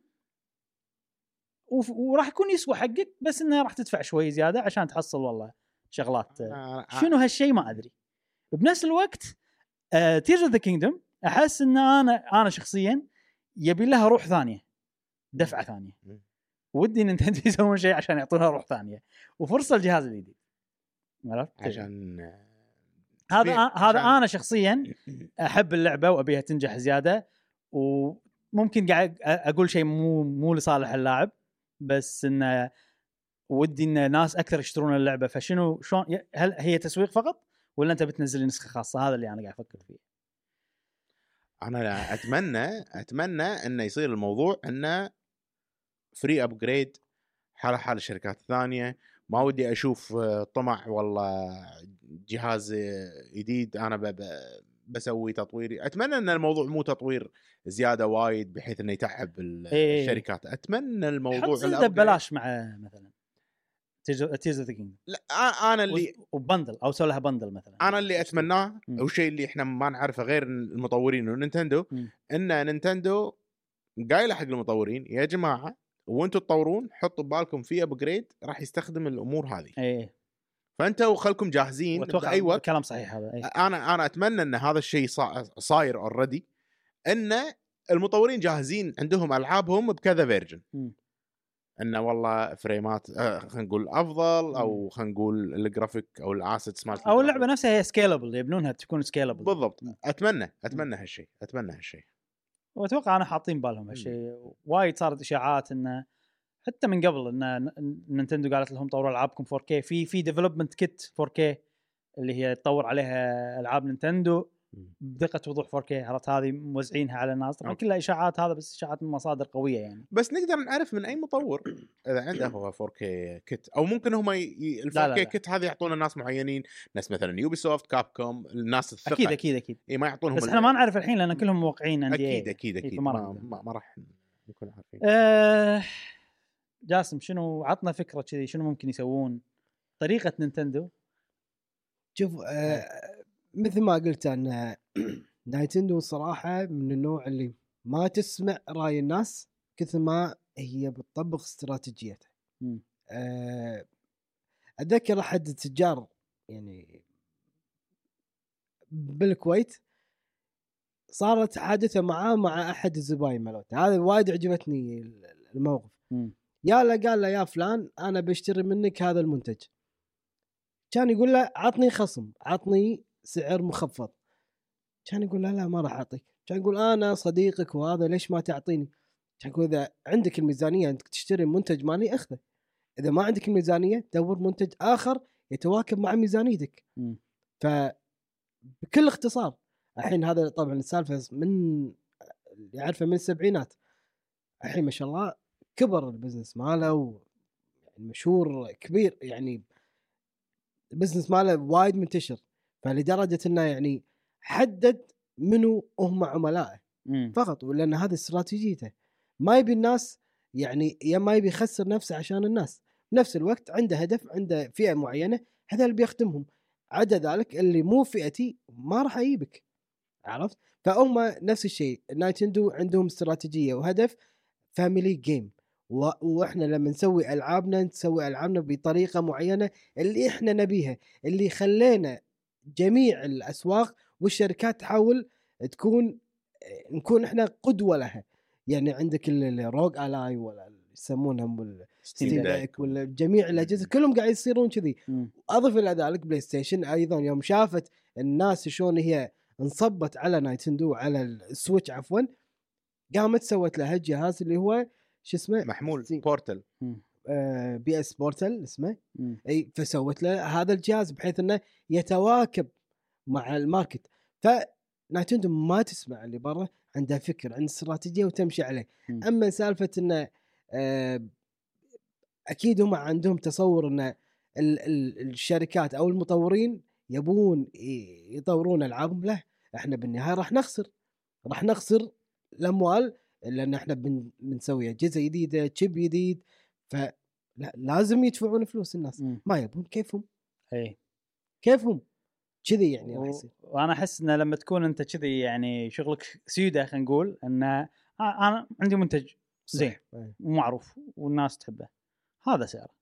A: وف- وراح يكون يسوى حقك بس انه راح تدفع شوي زياده عشان تحصل والله شغلات آه
C: أنا- أنا-
A: شنو هالشيء ما ادري بنفس الوقت آه، تيرز اوف ذا كينجدوم احس ان انا انا شخصيا يبي لها روح ثانيه دفعه ثانيه
C: مم.
A: ودي نينتندو يسوون شيء عشان يعطونها روح ثانيه وفرصه الجهاز الجديد عرفت؟
C: عشان
A: هذا
C: طبيعي،
A: هذا
C: عشان-
A: انا شخصيا احب اللعبه وابيها تنجح زياده وممكن قاعد اقول شيء مو مو لصالح اللاعب بس انه ودي ان ناس اكثر يشترون اللعبه فشنو شلون هل هي تسويق فقط ولا انت بتنزل لي نسخه خاصه هذا اللي انا قاعد افكر فيه
C: انا لا اتمنى اتمنى انه يصير الموضوع انه فري ابجريد حال حال الشركات الثانيه ما ودي اشوف آه، طمع والله جهاز آه، جديد انا ب- ب- بسوي تطويري اتمنى ان الموضوع مو تطوير زياده وايد بحيث انه يتعب ال-
A: إيه.
C: الشركات اتمنى
A: حط
C: الموضوع
A: زلده
C: الأبجريد-
A: ببلاش مع مثلا تيرز اوف ذا كينجدوم
C: لا أ- انا اللي
A: وبندل او سوي لها بندل مثلا
C: انا اللي اتمناه
A: مم.
C: والشيء اللي احنا ما نعرفه غير المطورين ونينتندو
A: مم.
C: ان نينتندو قايله حق المطورين يا جماعه وانتم تطورون حطوا ببالكم في ابجريد راح يستخدم الامور هذه
A: اي
C: فانتوا خلكم جاهزين
A: واتوقع
C: باي وقت
A: إيه، أيوة. كلام صحيح هذا إيه.
C: أه.
A: اي
C: انا انا اتمنى ان هذا الشيء صا- صاير اوريدي ان المطورين جاهزين عندهم العابهم بكذا فيرجن
A: مم.
C: انه والله فريمات آه، خلينا نقول افضل او خلينا نقول الجرافيك او الاسيتس مالت
A: او
C: الجرافيك.
A: اللعبه نفسها هي سكيلبل يبنونها تكون سكيلبل
C: بالضبط
A: إمم.
C: اتمنى اتمنى هالشيء اتمنى هالشيء
A: واتوقع انا حاطين بالهم هالشيء وايد صارت اشاعات انه حتى من قبل ان ن- نينتندو قالت لهم طوروا العابكم 4K في في ديفلوبمنت كيت 4K اللي هي تطور عليها العاب نينتندو
C: مم.
A: بدقه وضوح 4K عرفت هذه موزعينها على الناس طبعا
C: أوكي.
A: كلها اشاعات هذا بس اشاعات من مصادر قويه يعني
C: بس نقدر نعرف من اي مطور اذا عنده هو 4K كت او ممكن هم ي... ي- ال
A: لا، لا،
C: 4K
A: لا.
C: كت هذه يعطونه ناس معينين ناس مثلا يوبي سوفت كاب كوم الناس الثقه
A: اكيد اكيد اكيد
C: إي ما يعطونهم
A: بس
C: ال-
A: احنا ما نعرف الحين لان كلهم موقعين NDA.
C: اكيد اكيد اكيد
A: إيه، فما
C: ما,
A: راح نقدر.
C: ما, ما راح نكون عارفين
A: آه، جاسم شنو عطنا فكره كذي شنو ممكن يسوون طريقه نينتندو
B: شوف آه مثل ما قلت ان نايتندو صراحه من النوع اللي ما تسمع راي الناس كثر ما هي بتطبق استراتيجيتها.
A: مم.
B: آه اتذكر احد التجار يعني بالكويت صارت حادثه معاه مع احد الزباين مالته هذا وايد عجبتني الموقف
A: مم.
B: يا له قال له يا فلان انا بشتري منك هذا المنتج كان يقول له عطني خصم عطني سعر مخفض كان يقول له لا ما راح اعطيك كان يقول انا صديقك وهذا ليش ما تعطيني كان يقول اذا عندك الميزانيه انك تشتري منتج مالي اخذه اذا ما عندك الميزانيه دور منتج اخر يتواكب مع ميزانيتك
A: مم.
B: ف بكل اختصار الحين هذا طبعا السالفه من اللي عارفه من السبعينات الحين ما شاء الله كبر البزنس ماله و يعني مشهور كبير يعني البزنس ماله وايد منتشر فلدرجه انه يعني حدد منو هم عملائه
C: طيب.
A: مم.
B: فقط ولان هذه استراتيجيته ما يبي الناس يعني يا ما يبي يخسر نفسه عشان الناس بنفس الوقت عنده هدف عنده فئه معينه هذا اللي بيخدمهم عدا ذلك اللي مو فئتي ما راح اجيبك عرفت فهم نفس الشيء نايتندو عندهم استراتيجيه وهدف فاميلي جيم و... واحنا لما نسوي العابنا نسوي العابنا بطريقه معينه اللي احنا نبيها اللي خلينا جميع الاسواق والشركات تحاول تكون نكون احنا قدوه لها يعني عندك ال- الروج الاي ولا يسمونهم وال- ستيم
C: ديك.
B: ديك ولا جميع الاجهزه كلهم قاعد يصيرون كذي
A: مم.
B: اضف الى ذلك بلاي ستيشن ايضا يوم شافت الناس شلون هي انصبت على نايتندو على السويتش عفوا قامت سوت لها جهاز اللي هو شو اسمه
C: محمول
B: زين.
C: بورتل
B: آه بي اس بورتل اسمه
A: مم.
B: اي فسوت له هذا الجهاز بحيث انه يتواكب مع الماركت فنايتندو ما تسمع اللي برا عندها فكر عندها استراتيجيه وتمشي عليه
A: مم.
B: اما سالفه انه آه، اكيد هم عندهم تصور ان ال- ال- الشركات او المطورين يبون ي- يطورون العابهم له احنا بالنهايه راح نخسر راح نخسر الاموال لان احنا بن- بنسوي اجهزه جديده تشيب جديد فلازم يدفعون فلوس الناس
A: مم.
B: ما يبون كيفهم
A: اي
B: كيفهم كذي يعني راح
A: و-
B: يصير
A: وانا احس انه لما تكون انت كذي يعني شغلك سيوده خلينا نقول انه آه، انا عندي منتج زين
B: إيه.
A: ومعروف والناس تحبه هذا سعره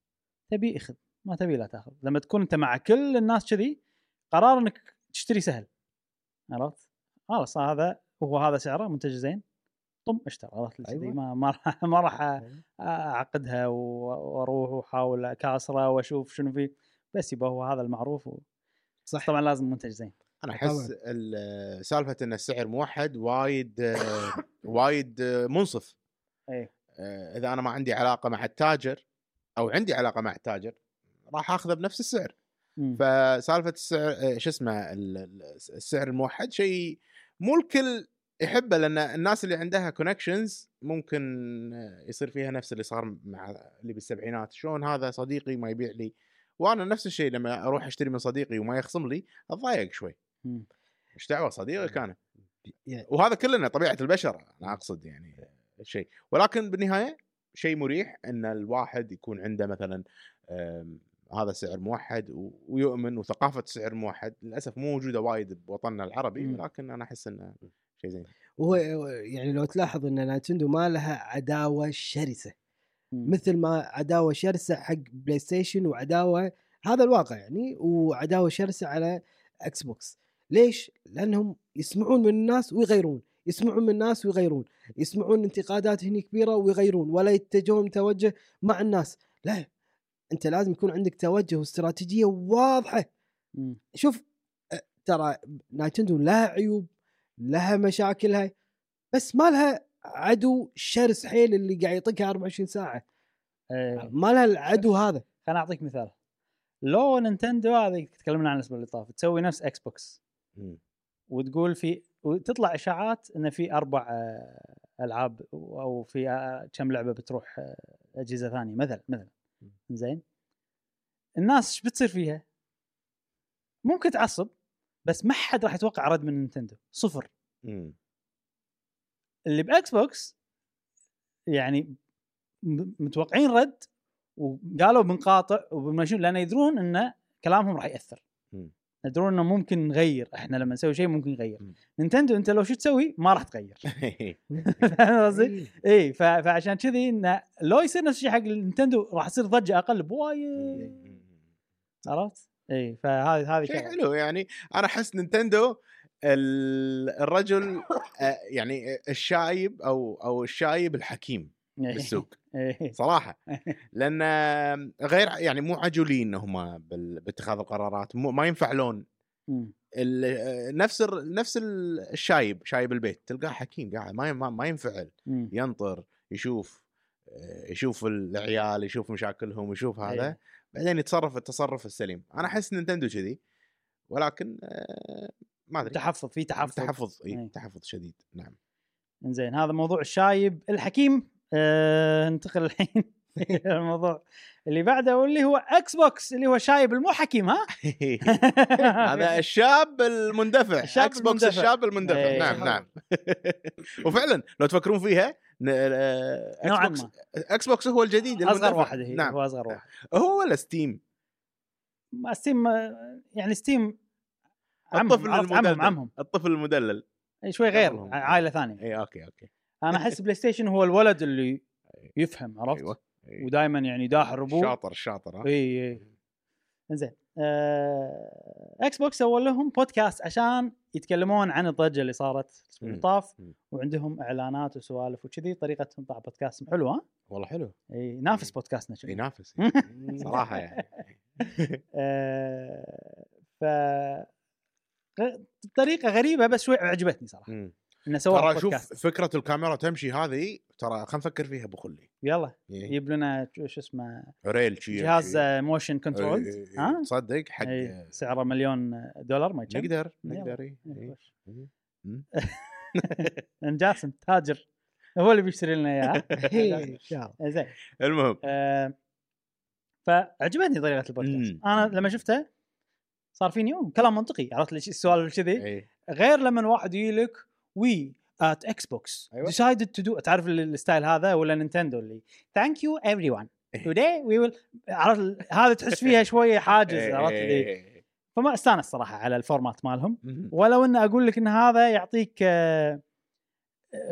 A: تبي اخذ ما تبي لا تاخذ لما تكون انت مع كل الناس كذي قرار انك تشتري سهل عرفت خلاص هذا هو هذا سعره منتج زين طم اشترى عرفت كذي
B: أيوة.
A: ما ما راح ما راح
B: أيوة.
A: اعقدها و- واروح واحاول اكاسره واشوف شنو فيه بس يبقى هو هذا المعروف و...
B: صح.
A: طبعا لازم منتج زين
C: انا
B: طبعاً.
C: احس ال- سالفه ان السعر موحد وايد آه، وايد آه، منصف
A: إيه.
C: آه، اذا انا ما عندي علاقه مع التاجر او عندي علاقه مع التاجر راح اخذه بنفس السعر
A: مم.
C: فسالفه السعر آه، شو اسمه ال- ال- السعر الموحد شيء مو الكل يحبه لان الناس اللي عندها كونكشنز ممكن آه، يصير فيها نفس اللي صار مع اللي بالسبعينات شلون هذا صديقي ما يبيع لي وانا نفس الشيء لما اروح اشتري من صديقي وما يخصم لي اتضايق شوي
A: مم.
C: ايش دعوه صديقي كان
B: يعني-
C: وهذا كلنا طبيعه البشر انا اقصد يعني شيء ولكن بالنهايه شيء مريح ان الواحد يكون عنده مثلا أم، هذا سعر موحد و- ويؤمن وثقافه السعر موحد للاسف مو موجوده وايد بوطننا العربي
A: مم.
C: ولكن انا احس انه شيء زين
B: وهو يعني لو تلاحظ ان نايتندو ما لها عداوه شرسه
A: مم.
B: مثل ما عداوه شرسه حق بلاي ستيشن وعداوه هذا الواقع يعني وعداوه شرسه على اكس بوكس ليش؟ لانهم يسمعون من الناس ويغيرون يسمعون من الناس ويغيرون يسمعون انتقادات هني كبيره ويغيرون ولا يتجهون توجه مع الناس لا انت لازم يكون عندك توجه واستراتيجيه واضحه
A: مم.
B: شوف أه، ترى نايتندو لها عيوب لها مشاكلها بس ما لها عدو شرس حيل اللي قاعد يطقها 24 ساعه
A: إيه.
B: ما لها العدو هذا
A: خليني اعطيك مثال لو نينتندو هذه تكلمنا عنها الاسبوع اللي طاف تسوي نفس اكس بوكس وتقول في وتطلع اشاعات ان في اربع آه، العاب او في آه، كم لعبه بتروح آه، اجهزه ثانيه مثلا مثلا زين الناس ايش بتصير فيها؟ ممكن تعصب بس ما حد راح يتوقع رد من نينتندو صفر
C: مم.
A: اللي باكس بوكس يعني م- متوقعين رد وقالوا بنقاطع وبنمشون لان يدرون ان كلامهم راح ياثر
C: مم.
A: يدرون انه ممكن نغير احنا لما نسوي شيء ممكن نغير
C: مم.
A: نينتندو انت لو شو تسوي ما راح تغير فاهم
C: إيه.
A: قصدي؟
B: إيه.
A: اي ف- فعشان كذي انه لو يصير نفس الشيء حق نينتندو راح تصير ضجه اقل بوايد عرفت؟ اي فهذه هذه
C: إيه. شيء
A: كانت-
C: حلو يعني انا احس نينتندو ال- الرجل آه، يعني الشايب او او الشايب الحكيم
A: إي.
C: بالسوق
A: إي.
C: صراحه لان غير يعني مو عجولين هم بال- باتخاذ القرارات مو ما ينفعلون
A: مم.
C: ال- آه، نفس ال- نفس ال- الشايب شايب البيت تلقاه حكيم قاعد ما ما- ما ينفعل
A: مم.
C: ينطر يشوف آه، يشوف العيال يشوف مشاكلهم يشوف هذا
A: إي.
C: بعدين يتصرف التصرف السليم انا احس نينتندو كذي ولكن آه، ما ادري
A: تحفظ في تحفظ
C: تحفظ اي
A: إي.
C: تحفظ شديد نعم
A: زين هذا موضوع الشايب الحكيم آه ننتقل الحين إلى الموضوع اللي بعده واللي هو اكس بوكس اللي هو شايب المو حكيم ها
C: هذا الشاب المندفع
A: الشاب
C: اكس بوكس
A: المندفع. إيه.
C: الشاب المندفع
A: إي.
C: نعم نعم وفعلا لو تفكرون فيها ن- آه،
A: نوعا
C: اكس
A: ما
C: بوكس اكس بوكس هو الجديد
A: اصغر
C: المندفع.
A: واحد هي
C: نعم
A: هو اصغر واحد
C: هو ولا ستيم
A: ما ستيم آه، يعني ستيم عمهم
C: الطفل
A: عرفت عمهم
C: المدلل.
A: عمهم
C: الطفل المدلل إيه،
A: إي، شوي غير
C: قبلهم.
A: عائله ثانيه
C: اي اوكي اوكي
A: انا احس بلاي ستيشن هو الولد اللي يفهم عرفت إيه.
C: ايوه أي.
A: ودائما يعني داحر ابوه
C: شاطر شاطر آه. ها؟
A: اي اي انزين آه، اكس بوكس سووا لهم بودكاست عشان يتكلمون عن الضجه اللي صارت الاسبوع
C: مم.
A: اللي طاف
C: مم.
A: وعندهم اعلانات وسوالف وكذي طريقتهم طبعا بودكاستهم حلوه ها؟
C: والله حلو
A: اي نافس بودكاستنا شنو.
C: ينافس صراحه يعني
A: آه، ف غ- طريقه غريبه بس شوي عجبتني صراحه
C: مم.
A: انه سووا
C: ترى شوف
A: بودكاست
C: فكره الكاميرا تمشي هذه ترى خلينا نفكر فيها ابو خلي
A: يلا
C: إيه.
A: يجيب لنا شو شو اسمه
C: ريل شي
A: جهاز
C: شي.
A: موشن كنترول
C: إيه، إيه، إيه.
A: ها
C: تصدق حق
A: إيه، سعره مليون دولار ما يجي
C: نقدر
A: يلا.
C: نقدر إيه، إيه.
A: لان جاسم تاجر هو اللي بيشتري لنا اياها
B: ان شاء الله
A: زين
C: المهم
A: آه، فعجبتني طريقه البودكاست
C: مم.
A: انا لما شفته صار فيني أوه، كلام منطقي عرفت ليش السؤال كذي
C: إيه.
A: غير لما واحد يجي لك وي ات اكس بوكس
C: أيوة.
A: ديسايدد تو دو تعرف ال- الستايل هذا ولا نينتندو اللي ثانك يو ايفري ون
C: إيه.
A: توداي وي ويل عرفت ال- هذا تحس فيها شويه حاجز
C: إيه،
A: عرفت
C: إيه،
A: اللي-
C: إيه.
A: فما استانس صراحه على الفورمات مالهم
C: مم.
A: ولو ان اقول لك ان هذا يعطيك آه،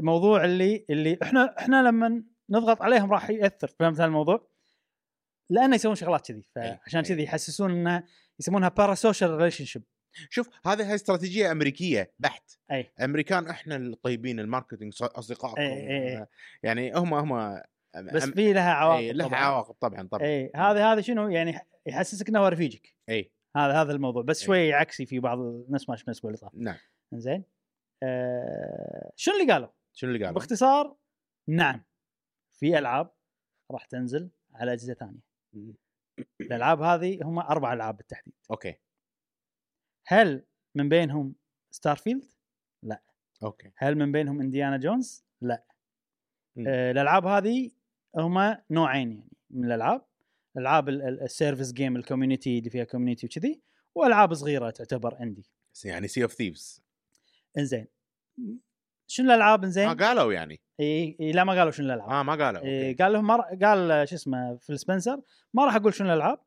A: موضوع اللي اللي احنا احنا لما نضغط عليهم راح ياثر فهمت هالموضوع؟ لانه يسوون شغلات كذي
C: أي،
A: فعشان
C: أي.
A: كذي يحسسون انه يسمونها باراسوشيال ريليشن شيب
C: شوف هذه هي استراتيجيه امريكيه بحت
A: أي.
C: امريكان احنا الطيبين الماركتينج ص- اصدقائكم
A: أي، أي، أي.
C: يعني هم هم
A: بس في لها عواقب
C: إيه لها
A: طبعاً.
C: عواقب طبعا طبعا
A: اي هذا هذا شنو يعني يحسسك انه هو رفيجك
C: اي
A: هذا هذا الموضوع بس
C: أي.
A: شوي عكسي في بعض ال- نفس ما شفنا الاسبوع اللي طاف
C: نعم
A: زين آه شنو اللي قالوا؟
C: شنو اللي قالوا؟
A: باختصار نعم في العاب راح تنزل على اجهزه ثانيه الالعاب هذه هم اربع العاب بالتحديد
C: اوكي
A: هل من بينهم ستارفيلد
C: اوكي
A: هل من بينهم انديانا جونز لا
C: مم.
A: آه، الالعاب هذه هم نوعين يعني من الالعاب العاب ال- ال- السيرفس جيم الكوميونتي اللي فيها كوميونتي وكذي والعاب صغيره تعتبر اندي
C: س- يعني سي اوف ثيفز
A: انزين شنو الالعاب انزين؟
C: ما قالوا يعني
A: إي إي لا ما قالوا شنو الالعاب
C: اه ما قالوا
A: إيه،
C: أوكي.
A: قال لهم ما راح- قال آه، شو اسمه في السبنسر ما راح اقول شنو الالعاب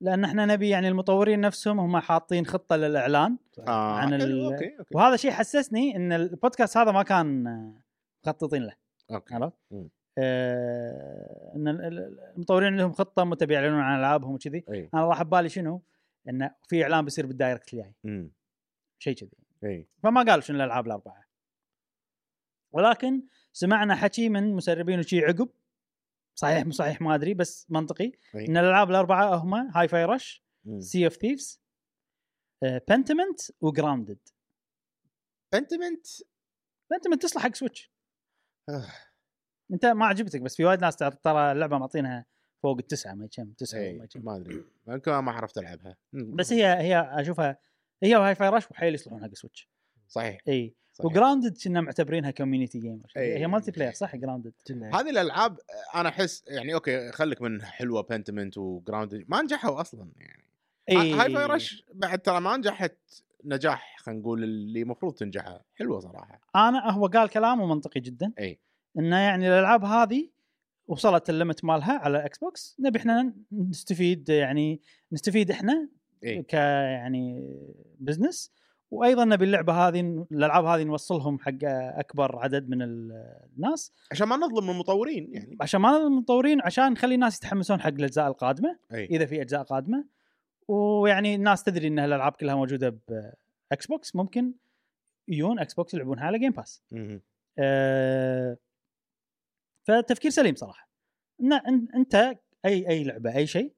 A: لان احنا نبي يعني المطورين نفسهم هم حاطين خطه للاعلان
C: آه
A: عن
C: حلو،
A: ال-
C: اوكي اوكي
A: وهذا شيء حسسني ان البودكاست هذا ما كان آه، مخططين له
C: اوكي
A: عرفت؟
C: مم.
A: آه ان ال- ال- المطورين عندهم خطه متى بيعلنون عن العابهم وكذي
C: اي
A: انا راح ببالي شنو؟ انه في اعلان بيصير بالدايركت الجاي
C: أمم،
A: شيء كذي
C: اي
A: فما قالوا شنو الالعاب الاربعه ولكن سمعنا حكي من مسربين وشي عقب صحيح مو صحيح ما ادري بس منطقي
C: أي.
A: ان الالعاب الاربعه هم هاي فاي رش
C: أمم.
A: سي اوف ثيفز آه، بنتمنت وجراوندد
C: بنتمنت
A: بنتمنت تصلح حق سويتش
C: آه.
A: انت ما عجبتك بس في وايد ناس ترى- ترى اللعبه معطينها فوق التسعه ما كم تسعه
C: إي،
A: ما كم
C: ما ادري يمكن أنا ما عرفت العبها أمم،
A: بس هي هي اشوفها هي وهاي فاي رش وحيل يصلحون حق سويتش
C: صحيح
A: اي
C: صحيح.
A: وجراوندد كنا معتبرينها كوميونتي جيم
C: أي.
A: هي مالتي بلاير صح جراوندد
C: هذه الالعاب آه، انا احس يعني اوكي خليك من حلوه بنتمنت وجراوند ما نجحوا اصلا يعني
A: إيه.
C: ه- هاي فاي رش بعد ترى ما نجحت نجاح خلينا نقول اللي المفروض تنجحها حلوه صراحه
A: انا هو قال كلامه منطقي جدا
C: اي
A: انه يعني الالعاب هذه وصلت الليمت مالها على الاكس بوكس نبي احنا نستفيد يعني نستفيد احنا
C: إي.
A: ك يعني بزنس وايضا نبي اللعبه هذه الالعاب هذه نوصلهم حق اكبر عدد من ال- الناس
C: عشان ما نظلم المطورين يعني
A: عشان ما المطورين عشان نخلي الناس يتحمسون حق الاجزاء القادمه
C: اي
A: اذا في اجزاء قادمه ويعني الناس تدري ان هالالعاب كلها موجوده باكس بوكس ممكن يجون اكس بوكس يلعبونها على جيم باس
C: مهم.
A: آه، فتفكير سليم صراحه إن إن- انت اي اي لعبه اي شيء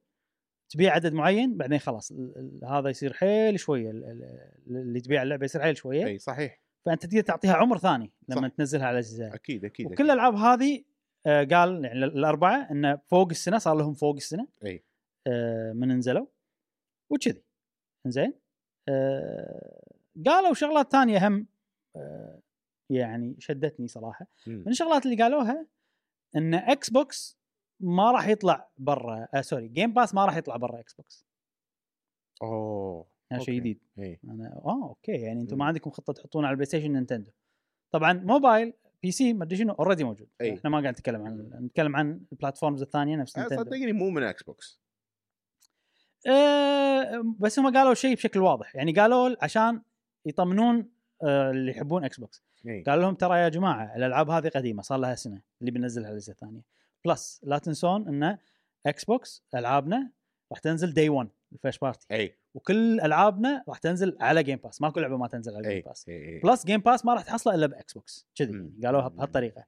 A: تبيع عدد معين بعدين خلاص ال- ال- هذا يصير حيل شويه ال- ال- اللي تبيع اللعبه يصير حيل شويه
C: اي إيه، صحيح
A: فانت تقدر تعطيها عمر ثاني لما
C: صح.
A: تنزلها على الاجهزه
C: اكيد اكيد
A: إيه. وكل
C: أكيد.
A: الالعاب هذه آه، قال يعني ال- الاربعه انه فوق السنه صار لهم فوق السنه
C: أي.
A: آه، من نزلوا وكذي زين آه، قالوا شغلات ثانيه هم آه، يعني شدتني صراحه
C: مم.
A: من الشغلات اللي قالوها ان اكس بوكس ما راح يطلع برا آه سوري جيم باس ما راح يطلع برا اكس بوكس
C: اوه
A: هذا شيء
C: أوكي. إيه.
A: جديد
C: اي
A: انا اه اوكي يعني انتم ما
C: مم.
A: عندكم خطه تحطون على البلاي ستيشن نينتندو طبعا موبايل بي سي ما ادري شنو اوريدي موجود
C: أي. آه،
A: احنا ما قاعد نتكلم عن نتكلم عن البلاتفورمز الثانيه نفس
C: أنا
A: نينتندو
C: صدقني مو من اكس بوكس
A: أه بس هم قالوا شيء بشكل واضح يعني قالوا عشان يطمنون آه، اللي يحبون اكس بوكس
C: اي
A: قال لهم ترى يا جماعه الالعاب هذه قديمه صار لها سنه اللي بننزلها على الاجهزه الثانيه بلس لا تنسون ان اكس بوكس العابنا راح تنزل دي 1 الفيرست بارتي
C: اي
A: وكل العابنا راح تنزل على جيم باس ماكو لعبه ما تنزل على جيم
C: اي
A: باس
C: إي.
A: بلس جيم باس ما راح تحصله الا باكس بوكس كذي
C: إيه. مم.
A: قالوها
C: مم.
A: بهالطريقه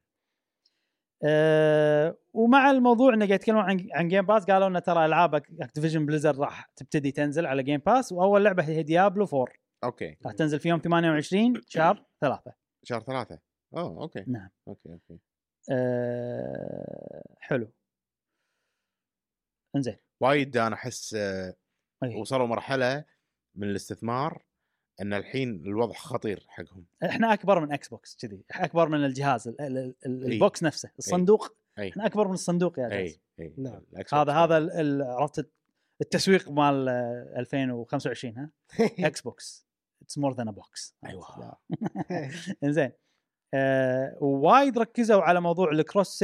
A: أه ومع الموضوع انه قاعد يتكلمون عن عن جيم باس قالوا انه ترى العاب اكتيفيجن بليزر راح تبتدي تنزل على جيم باس واول لعبه هي ديابلو 4
C: اوكي
A: راح تنزل في يوم 28 شهر 3
C: شهر ثلاثة اوه اوكي
A: نعم.
C: اوكي اوكي
A: آه، حلو انزين طيب.
C: وايد انا احس آه،
A: أي.
C: وصلوا مرحلة من الاستثمار ان الحين الوضع خطير حقهم
A: احنا اكبر من اكس بوكس كذي إحنا اكبر من الجهاز ال- ال- ال- ال-
C: أي.
A: البوكس نفسه الصندوق
C: أي.
A: احنا اكبر من الصندوق يا جاز
C: اي اي
B: نعم.
C: الأكس
A: هذا
C: بوكس.
A: هذا ال- ال- عرفت التسويق مال آه، 2025 ها اكس بوكس اتس مور ذان بوكس نعم.
C: أيوة.
A: انزين آه، ووايد ركزوا على موضوع الكروس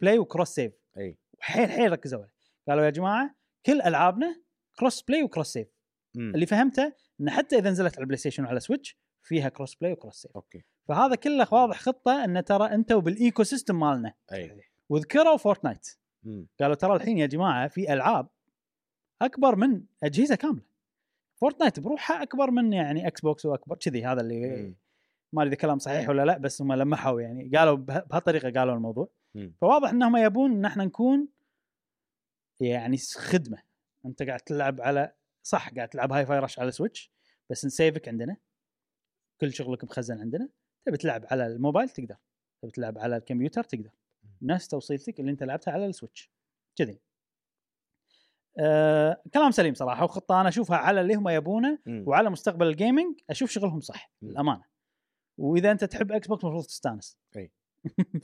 A: بلاي وكروس سيف
C: اي
A: حيل حيل ركزوا عليه قالوا يا جماعه كل العابنا كروس بلاي وكروس سيف
C: مم.
A: اللي فهمته ان حتى اذا نزلت على البلاي ستيشن وعلى سويتش فيها كروس بلاي وكروس سيف
C: اوكي
A: فهذا كله واضح خطه ان ترى انتوا بالايكو سيستم مالنا
C: اي
A: وذكروا فورتنايت
C: مم.
A: قالوا ترى الحين يا جماعه في العاب اكبر من اجهزه كامله فورتنايت بروحها اكبر من يعني اكس بوكس واكبر كذي هذا اللي
C: مم.
A: ما ادري إذا كلام صحيح ولا لا بس هم لمحوا يعني قالوا به- بهالطريقه قالوا الموضوع
C: مم.
A: فواضح انهم يبون ان احنا نكون يعني س- خدمه انت قاعد تلعب على صح قاعد تلعب هاي فاي رش على سويتش بس نسيفك عندنا كل شغلك مخزن عندنا تبي تلعب على الموبايل تقدر تبي تلعب على الكمبيوتر تقدر نفس توصيلتك اللي انت لعبتها على السويتش كذي آه، كلام سليم صراحه وخطه انا اشوفها على اللي هم يبونه
C: مم.
A: وعلى مستقبل الجيمنج اشوف شغلهم صح
C: مم.
A: للامانه واذا انت تحب اكس بوكس المفروض تستانس
C: أي.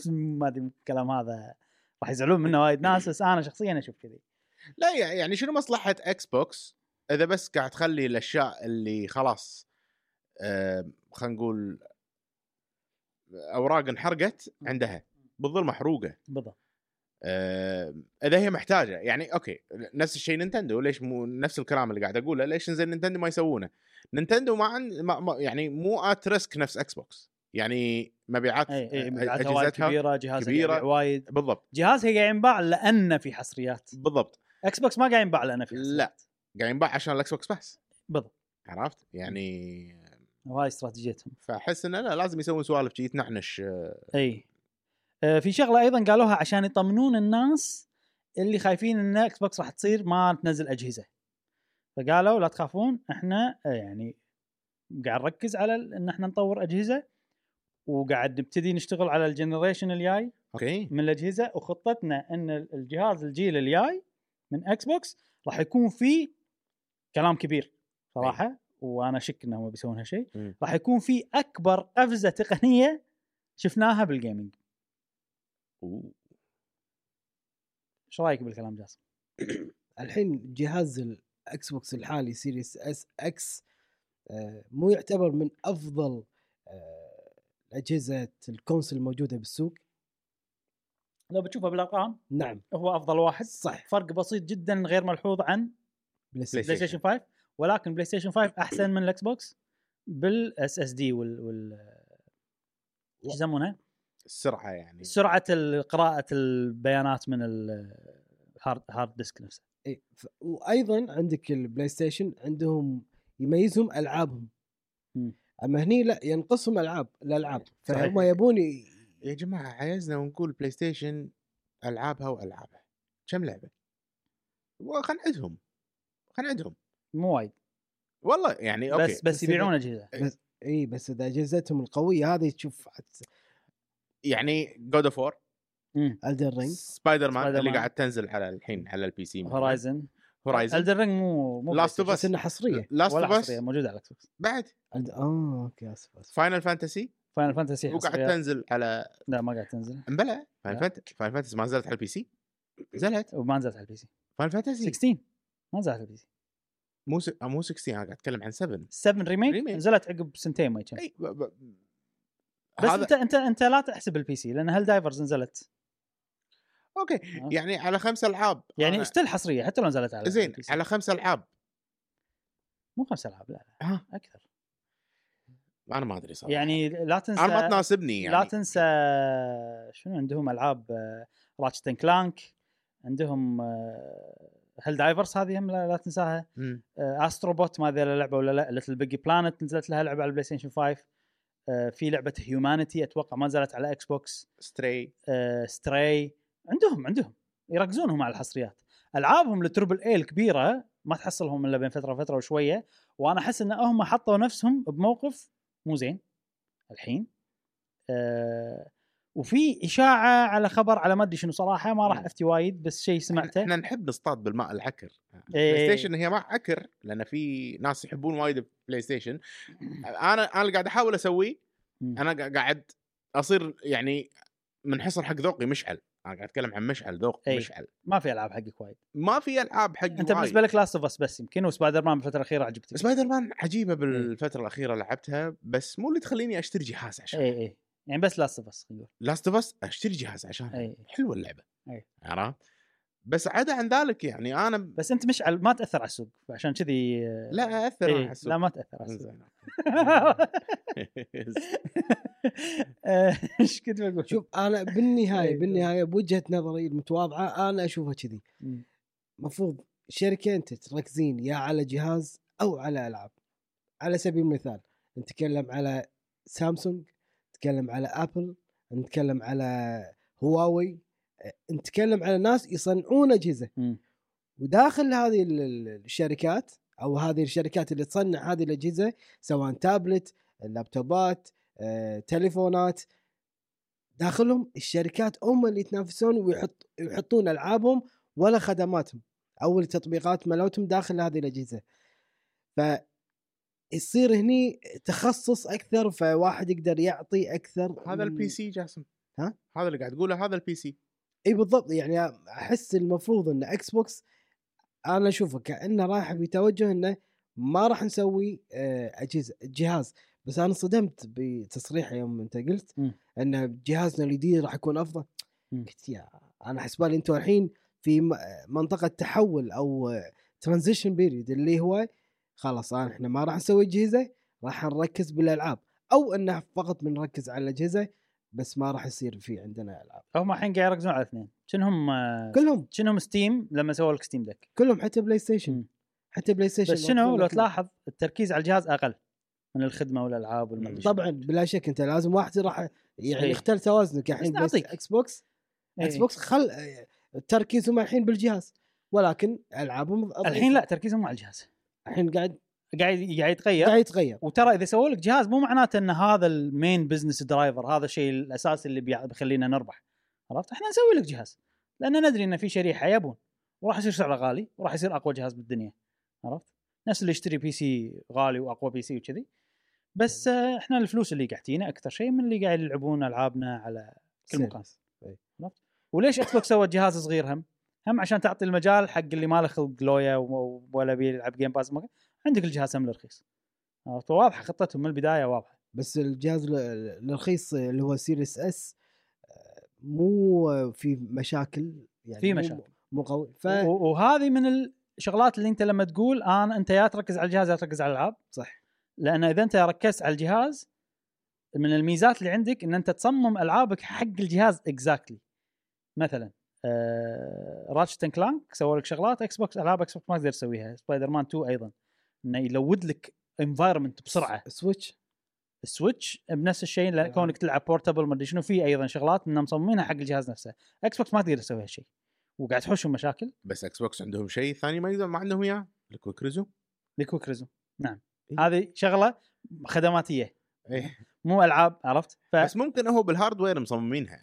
A: ما ادري الكلام هذا راح يزعلون منه وايد ناس بس انا شخصيا اشوف كذي
C: لا يع- يعني شنو مصلحة اكس بوكس اذا بس قاعد تخلي الاشياء اللي خلاص آه خلينا نقول اوراق انحرقت عندها بالظل محروقة
A: بالضبط
C: آه، اذا هي محتاجه يعني اوكي نفس الشيء نينتندو ليش مو نفس الكلام اللي قاعد اقوله ليش زين نينتندو ما يسوونه؟ نينتندو ما, عن... ما... ما يعني مو ات ريسك نفس اكس بوكس يعني مبيعات
A: اي اي
C: أ-
A: مبيعاتها وايد كبيره جهازها
C: كبيرة.
A: كبيرة. وايد
C: بالضبط
A: جهازها قاعد ينباع لانه في حصريات
C: بالضبط
A: اكس بوكس ما قاعد ينباع لانه في حصريات
C: لا قاعد ينباع عشان الاكس بوكس بس
A: بالضبط
C: عرفت؟ يعني
A: وهاي استراتيجيتهم
C: فاحس انه لا لازم يسوون سوالف شي تنعنش آه،
A: اي آه، في شغله ايضا قالوها عشان يطمنون الناس اللي خايفين ان اكس بوكس راح تصير ما تنزل اجهزه فقالوا لا تخافون احنا آه، يعني قاعد نركز على ال- ان احنا نطور اجهزه وقاعد نبتدي نشتغل على الجنريشن الجاي
C: اوكي
A: من الاجهزه وخطتنا ان ال- الجهاز الجيل الجاي من اكس بوكس راح يكون فيه كلام كبير صراحه وانا شك انهم بيسوون هالشيء
C: مم.
A: راح يكون في اكبر قفزه تقنيه شفناها بالجيمنج
C: أوه.
A: ايش رايك بالكلام جاسم؟
B: الحين جهاز الاكس بوكس الحالي سيريس اس اكس مو يعتبر من افضل آه، اجهزه الكونسل الموجوده بالسوق
A: لو بتشوفها بالارقام
B: نعم
A: هو افضل واحد
B: صح
A: فرق بسيط جدا غير ملحوظ عن
B: بلاي
C: بلاي
B: ستيشن
A: بلاي ستيشن 5 ولكن بلاي ستيشن 5 احسن من الاكس بوكس بالاس اس دي وال وال ايش يسمونها؟
C: السرعه يعني
A: سرعه ال- قراءه البيانات من الهارد هارد ديسك نفسه
B: إي، إيه، ف- وايضا عندك البلاي ستيشن عندهم يميزهم العابهم
A: مم.
B: اما هني لا ينقصهم العاب الالعاب
A: صحيح.
B: فهم يبون ي-
C: يا جماعه عايزنا ونقول بلاي ستيشن العابها والعابها كم لعبه؟ وخلنا عندهم خلنا عندهم
A: مو وايد
C: والله يعني اوكي
A: بس بس يبيعون اجهزه
B: اي إيه، بس اذا اجهزتهم القويه هذه تشوف
C: يعني جود اوف وور
A: مم.
B: الدن رينج
C: سبايدر مان
A: سبايدر
C: اللي
A: مان.
C: قاعد تنزل على الحين على البي سي
A: هورايزن
C: هورايزن
A: الدن رينج مو مو
C: إيه، Last of Us.
B: بس انها حصريه
C: لاست
A: ولا
C: اوف
A: حصريه
C: اس
A: موجوده على الاكس بوكس
C: بعد
B: ألد- اه اوكي اسف اسف
C: فاينل فانتسي
A: فاينل فانتسي
C: وقعد
A: حصريه
C: تنزل على
A: لا ما قاعد تنزل
C: امبلا
A: لا.
C: فاينل فانتسي ما نزلت على البي سي نزلت
A: وما نزلت على البي سي
C: فاينل فانتسي
A: 16 ما نزلت على البي سي
C: مو س... آه، مو 16 انا قاعد اتكلم عن 7
A: 7 ريميك
C: Remake.
A: نزلت عقب سنتين ما يجي
C: اي ب... ب...
A: بس
C: هذا
A: انت انت انت لا تحسب البي سي لان هل دايفرز نزلت
C: اوكي
A: آه.
C: يعني على خمس العاب
A: يعني
C: أنا-
A: ستيل حصريه حتى لو نزلت على إيه.
C: زين
A: البي سي.
C: على خمس العاب
A: مو خمس العاب لا لا
C: ها
A: اكثر
C: انا ما ادري صراحه
A: يعني لا تنسى
C: انا ما تناسبني يعني
A: لا تنسى شنو عندهم آه، العاب راتشت كلانك عندهم هل دايفرز هذه هم لا, لا تنساها
C: مم.
A: استروبوت ما ادري لعبه ولا لا ليتل بيج بلانت نزلت لها لعبه على البلاي ستيشن 5 آه، في لعبه هيومانيتي اتوقع ما نزلت على اكس بوكس
C: ستري
A: ستراي آه، عندهم عندهم يركزونهم على الحصريات العابهم التربل اي الكبيره ما تحصلهم الا بين فتره وفتره وشويه وانا احس ان هم حطوا نفسهم بموقف مو زين الحين أه وفي اشاعه على خبر على ما ادري شنو صراحه ما راح افتي وايد بس شيء سمعته
C: احنا نحب نصطاد بالماء العكر
A: إيه.
C: بلاي ستيشن هي ما عكر لان في ناس يحبون وايد بلاي ستيشن انا انا اللي قاعد احاول اسويه
A: مم.
C: انا قا- قاعد اصير يعني منحصر حق ذوقي مشعل انا قاعد اتكلم عن مشعل ذوق
A: إيه.
C: مشعل
A: ما في العاب حقك وايد
C: ما في العاب حق
A: انت بالنسبه لك لاست اوف اس بس يمكن وسبايدر مان بالفتره الاخيره عجبتك
C: سبايدر مان
A: إيه.
C: عجيبه بالفتره الاخيره لعبتها بس مو اللي تخليني اشتري جهاز عشان
A: اي اي يعني بس لاست اوف اس نقول إيه.
C: لاست اوف اس اشتري جهاز عشان
A: اي
C: حلوه اللعبه
A: إيه.
C: عرفت بس عدا عن ذلك يعني انا
A: بس انت مشعل ما تاثر على السوق عشان كذي آه،
C: لا اثر
A: إيه،
C: على السوق.
A: لا ما تاثر على السوق
C: زين.
A: آه، ايش كنت بقول؟
B: شوف انا بالنهايه
A: إيه.
B: بالنهايه بوجهه نظري المتواضعه انا اشوفها كذي
A: مم.
B: مفروض شركه انت تركزين يا على جهاز او على العاب على سبيل المثال نتكلم على سامسونج نتكلم على ابل نتكلم على هواوي أه، نتكلم على ناس يصنعون اجهزه
A: مم.
B: وداخل هذه ال- ال- الشركات او هذه الشركات اللي تصنع هذه الاجهزه سواء تابلت لابتوبات آه، تليفونات داخلهم الشركات هم اللي يتنافسون ويحط يحطون العابهم ولا خدماتهم او التطبيقات مالتهم داخل هذه الاجهزه ف يصير هني تخصص اكثر فواحد يقدر يعطي اكثر
C: هذا
B: من-
C: البي سي جاسم
B: ها؟
C: هذا اللي قاعد تقوله هذا البي سي
B: اي بالضبط يعني احس المفروض ان اكس بوكس انا اشوفه كانه رايح بتوجه انه ما راح نسوي آه، اجهزه جهاز بس انا انصدمت بتصريح يوم انت قلت
A: مم.
B: ان جهازنا الجديد راح يكون افضل
A: مم.
B: قلت يا انا حسبالي انتم الحين في م- منطقه تحول او ترانزيشن بيريد اللي هو خلاص الآن احنا ما راح نسوي اجهزه راح نركز بالالعاب او انه فقط بنركز على الاجهزه بس ما راح يصير في عندنا العاب
A: هم الحين قاعد يركزون على اثنين شنهم آه،
B: كلهم
A: شنهم ستيم لما سووا لك ستيم دك
B: كلهم حتى بلاي ستيشن
A: مم.
B: حتى بلاي ستيشن
A: بس شنو
B: يعطونك-
A: لو تلاحظ التركيز على الجهاز اقل من الخدمه والالعاب والمدري شنو.
B: طبعا بلا شك انت لازم واحد راح يعني
A: صحيح.
B: يختل توازنك الحين بس
A: نعطيك.
B: اكس بوكس
A: إيه.
B: اكس بوكس خل تركيزهم الحين بالجهاز ولكن العابهم أضعف.
A: الحين لا تركيزهم مع الجهاز
B: الحين قاعد
A: قاعد قاعد يتغير
B: قاعد يتغير
A: وترى اذا سووا لك جهاز مو معناته ان هذا المين بزنس درايفر هذا الشيء الاساسي اللي بيع- بيخلينا نربح عرفت احنا نسوي لك جهاز لان ندري ان في شريحه يبون وراح يصير سعره غالي وراح يصير اقوى جهاز بالدنيا عرفت الناس اللي يشتري بي سي غالي واقوى بي سي وكذي بس آه، احنا الفلوس اللي قاعدتينا اكثر شيء من اللي قاعد يلعبون العابنا على كل
B: سير.
A: مكان
B: إيه.
A: عرفت وليش اكس بوكس سوت جهاز صغير هم هم عشان تعطي المجال حق اللي ما له خلق لويا و- ولا بيلعب جيم باس ما- عندك الجهاز هم الرخيص عرفت واضحه خطتهم من البدايه واضحه
B: بس الجهاز ال- ال- الرخيص اللي هو سيريس اس مو في مشاكل يعني
A: في
B: مو-
A: مشاكل.
B: مو قوي ف
A: و- وهذه من الشغلات اللي انت لما تقول انا انت يا تركز على الجهاز يا تركز على الالعاب
B: صح
A: لان اذا انت ركزت على الجهاز من الميزات اللي عندك ان انت تصمم العابك حق الجهاز اكزاكتلي مثلا آه راتشت اند كلانك سووا لك شغلات اكس بوكس العاب اكس بوكس ما تقدر تسويها سبايدر مان 2 ايضا انه يلود لك انفايرمنت بسرعه
B: سويتش
A: السويتش بنفس الشيء لا-
B: أيوة.
A: كونك تلعب بورتبل ما ادري شنو في ايضا شغلات انهم مصممينها حق الجهاز نفسه اكس بوكس ما تقدر تسوي هالشيء وقاعد تحوشهم مشاكل
C: بس اكس بوكس عندهم شيء ثاني ما يقدر ما عندهم اياه الكويك ريزو
A: لكويك ريزم نعم
C: إي.
A: هذه شغله خدماتيه
C: إيه.
A: مو العاب عرفت ف
C: بس ممكن هو بالهاردوير مصممينها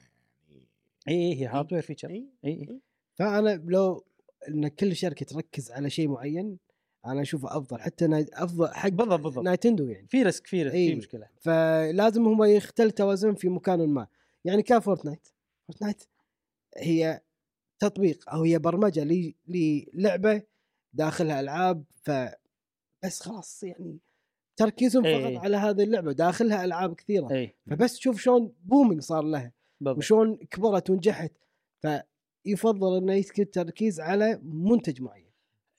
A: اي اي هي هاردوير فيتشر
C: يعني
A: اي اي
B: فانا لو ان كل شركه تركز على شيء معين انا اشوفه افضل حتى نا- افضل حق
A: بالضبط بالضبط
B: نايتندو يعني
A: في ريسك في ريسك في
B: إي.
A: مشكله
B: فلازم هم يختل توازن في مكان ما يعني كفورتنايت فورتنايت هي تطبيق او هي برمجه ل- للعبه داخلها العاب ف بس خلاص يعني تركيزهم
A: إي.
B: فقط على هذه اللعبه داخلها العاب كثيره
A: اي
B: فبس تشوف شلون بومينج صار لها
A: إيه، بالضبط
B: وشلون كبرت ونجحت فيفضل انه يسكت التركيز على منتج معين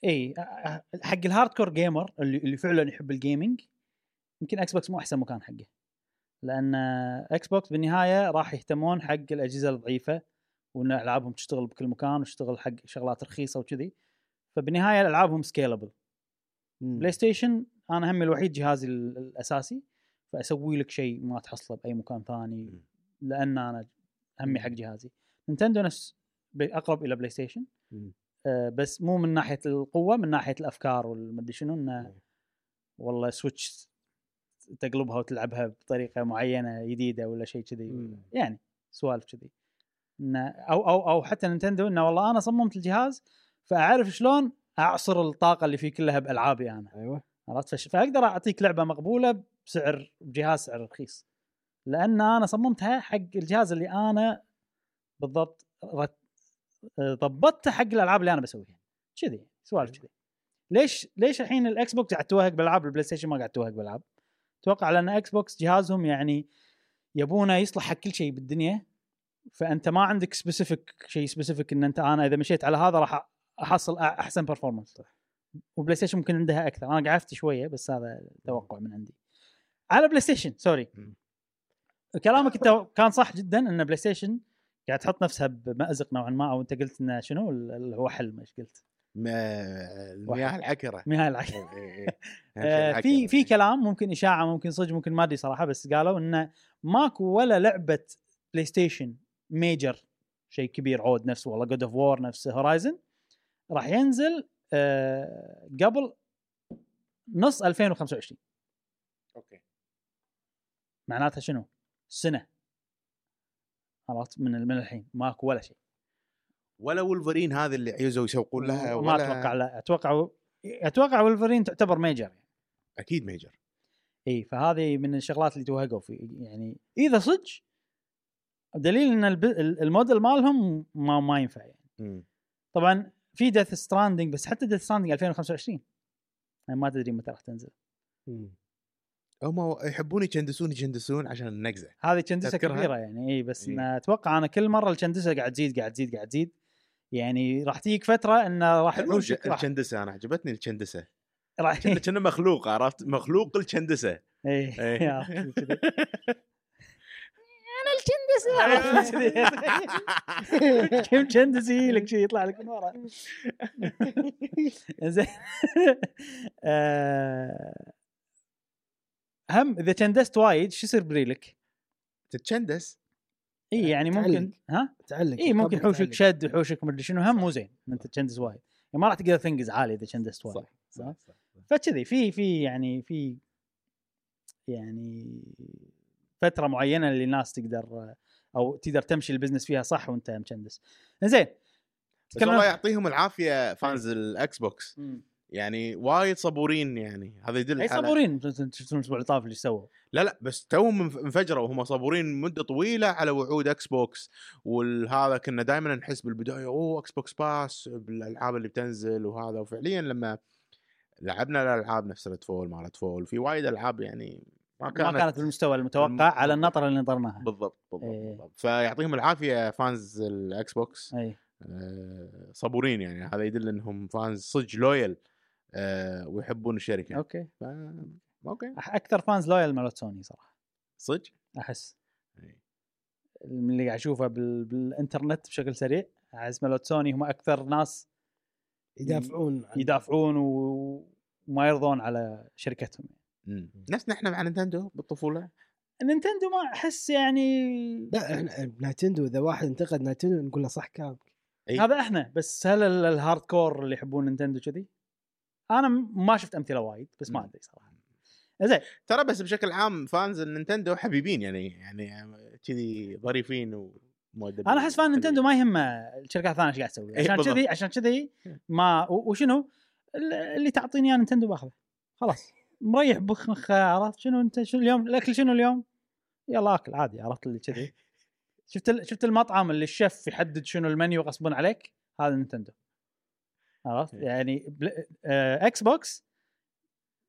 A: اي أ- أ- إيه، أه، حق الهارد كور جيمر اللي, اللي فعلا يحب الجيمنج يمكن اكس بوكس مو احسن مكان حقه لان اكس بوكس بالنهايه راح يهتمون حق الاجهزه الضعيفه وان العابهم تشتغل بكل مكان وتشتغل حق شغلات رخيصه وكذي فبالنهايه العابهم سكيلبل بلاي ستيشن انا همي الوحيد جهازي ال- الاساسي فاسوي لك شيء ما تحصله باي مكان ثاني
C: مم.
A: لان انا همي
B: مم.
A: حق جهازي نينتندو نفس بي- اقرب الى بلاي ستيشن
B: مم.
A: آه بس مو من ناحيه القوه من ناحيه الافكار والمدري شنو انه
B: مم.
A: والله سويتش تقلبها وتلعبها بطريقه معينه جديده ولا شيء كذي
B: مم.
A: يعني سوالف كذي انه او او او حتى نينتندو انه والله انا صممت الجهاز فاعرف شلون اعصر الطاقه اللي فيه كلها بالعابي انا
B: ايوه
A: عرفت فش... فاقدر اعطيك لعبه مقبوله بسعر بجهاز سعر رخيص لان انا صممتها حق الجهاز اللي انا بالضبط رت... ضبطته حق الالعاب اللي انا بسويها كذي سوالف كذي ليش ليش الحين الاكس بوكس قاعد توهق بالالعاب البلاي ستيشن ما قاعد توهق بالالعاب اتوقع لان اكس بوكس جهازهم يعني يبونه يصلح حق كل شيء بالدنيا فانت ما عندك سبيسيفيك شيء سبيسيفيك ان انت انا اذا مشيت على هذا راح احصل أ- احسن برفورمانس وبلاي ستيشن ممكن عندها اكثر انا قعدت شويه بس هذا توقع من عندي على بلاي ستيشن سوري
C: مم.
A: كلامك انت كان صح جدا ان بلاي ستيشن قاعد تحط نفسها بمازق نوعا ما او انت قلت انه شنو ال- ال- هو حل ما ايش قلت
C: ما- المياه العكره
A: مهاي العكس
C: إيه، إيه، إيه.
A: آه، في في كلام ممكن اشاعه ممكن صدق ممكن ما ادري صراحه بس قالوا انه ماكو ولا لعبه بلاي ستيشن ميجر شيء كبير عود نفسه والله جود اوف وور نفس هورايزن راح ينزل آه، قبل نص 2025
C: اوكي
A: معناتها شنو؟ سنه عرفت من من الحين ماكو ولا شيء
C: ولا ولفرين هذا اللي عيزوا يسوقون لها
A: ما
C: ولا
A: اتوقع لا اتوقع اتوقع ولفرين تعتبر ميجر يعني.
C: اكيد ميجر
A: اي فهذه من الشغلات اللي توهقوا في يعني اذا صدق دليل ان الب- ال- الموديل مالهم ما, ما ينفع يعني
C: مم.
A: طبعا في ديث ستراندنج بس حتى ديث ستراندنج 2025 يعني ما تدري متى راح تنزل
C: هم يحبون يجندسون يجندسون عشان النقزه
A: هذه كندسه
C: تذكرها؟
A: كبيره يعني اي بس
C: إي.
A: إن اتوقع انا كل مره الكندسه قاعد تزيد قاعد تزيد قاعد تزيد يعني راح تجيك فتره انه راح
C: حلوه الج-
A: يحوشك راح-
C: الجندسه انا عجبتني الجندسه
A: راح
C: كنا كنا مخلوق عرفت مخلوق الجندسه
A: ايه
C: إيه.
A: عرفت كذي. انا الجندسه كم جندس يجي لك شيء يطلع لك من ورا زين آه، هم اذا جندست وايد شو يصير بريلك؟
C: تتشندس
A: اي يعني ممكن
B: تعلق.
A: ها؟
B: تعلق
A: اي إيه، ممكن
B: طبعاً
A: حوشك
B: تعلق.
A: شد وحوشك مدري شنو هم مو زين إن انت تجندس وايد يعني ما راح تقدر تنقز عالي اذا جندست وايد
C: صح صح صح.
A: فكذي في في يعني في يعني فتره معينه اللي الناس تقدر او تقدر تمشي البزنس فيها صح وانت مجندس. زين
C: بس يعني الله يعطيهم العافيه فانز الاكس بوكس يعني وايد صبورين يعني هذا يدل
A: اي
C: على-
A: صبورين شفتون الاسبوع اللي طاف اللي سووا
C: لا لا بس توهم انف- انفجروا وهم صبورين مده طويله على وعود اكس بوكس وهذا كنا دائما نحس بالبدايه اوه اكس بوكس باس بالالعاب اللي بتنزل وهذا وفعليا لما لعبنا الالعاب نفس ريد فول مالت فول في وايد العاب يعني ما كانت,
A: ما كانت بالمستوى المتوقع
C: الم-
A: على النطره اللي نظرناها
C: بالضبط بالضبط,
A: إيه.
C: بالضبط. فيعطيهم العافيه فانز الاكس بوكس
A: اي
C: آه، صبورين يعني هذا يدل انهم فانز صدق لويل آه، ويحبون الشركه
A: اوكي
C: ف... اوكي
A: أح- اكثر فانز لويال مالت سوني صراحه
C: صدق
A: احس
C: إي.
A: من اللي قاعد اشوفه بال... بالانترنت بشكل سريع اعز ملوت سوني هم اكثر ناس
B: يدافعون عن-
A: يدافعون و- وما يرضون على شركتهم
C: مم. نفس نحن مع نينتندو بالطفوله
A: نينتندو ما احس يعني
B: لا احنا ناتندو اذا واحد انتقد ناتندو نقول له صح كلامك
C: إي.
A: هذا احنا بس هل ال- الهارد كور اللي يحبون نينتندو كذي؟ انا م- ما شفت امثله وايد بس ما
C: مم.
A: ادري صراحه زين
C: ترى بس بشكل عام فانز النينتندو حبيبين يعني يعني كذي ظريفين ومؤدبين
A: انا احس فان نينتندو ما يهمه الشركات الثانيه ايش قاعد تسوي
C: إي،
A: عشان
C: بالضبط.
A: كذي عشان كذي ما و- وشنو ال- اللي تعطيني اياه نينتندو باخذه خلاص مريح بخ عرفت شنو انت شنو اليوم الاكل شنو اليوم؟ يلا اكل عادي عرفت اللي كذي شفت ال- شفت المطعم اللي الشيف يحدد شنو المنيو غصبا عليك هذا نينتندو عرفت
C: إي.
A: يعني بل... آه اكس بوكس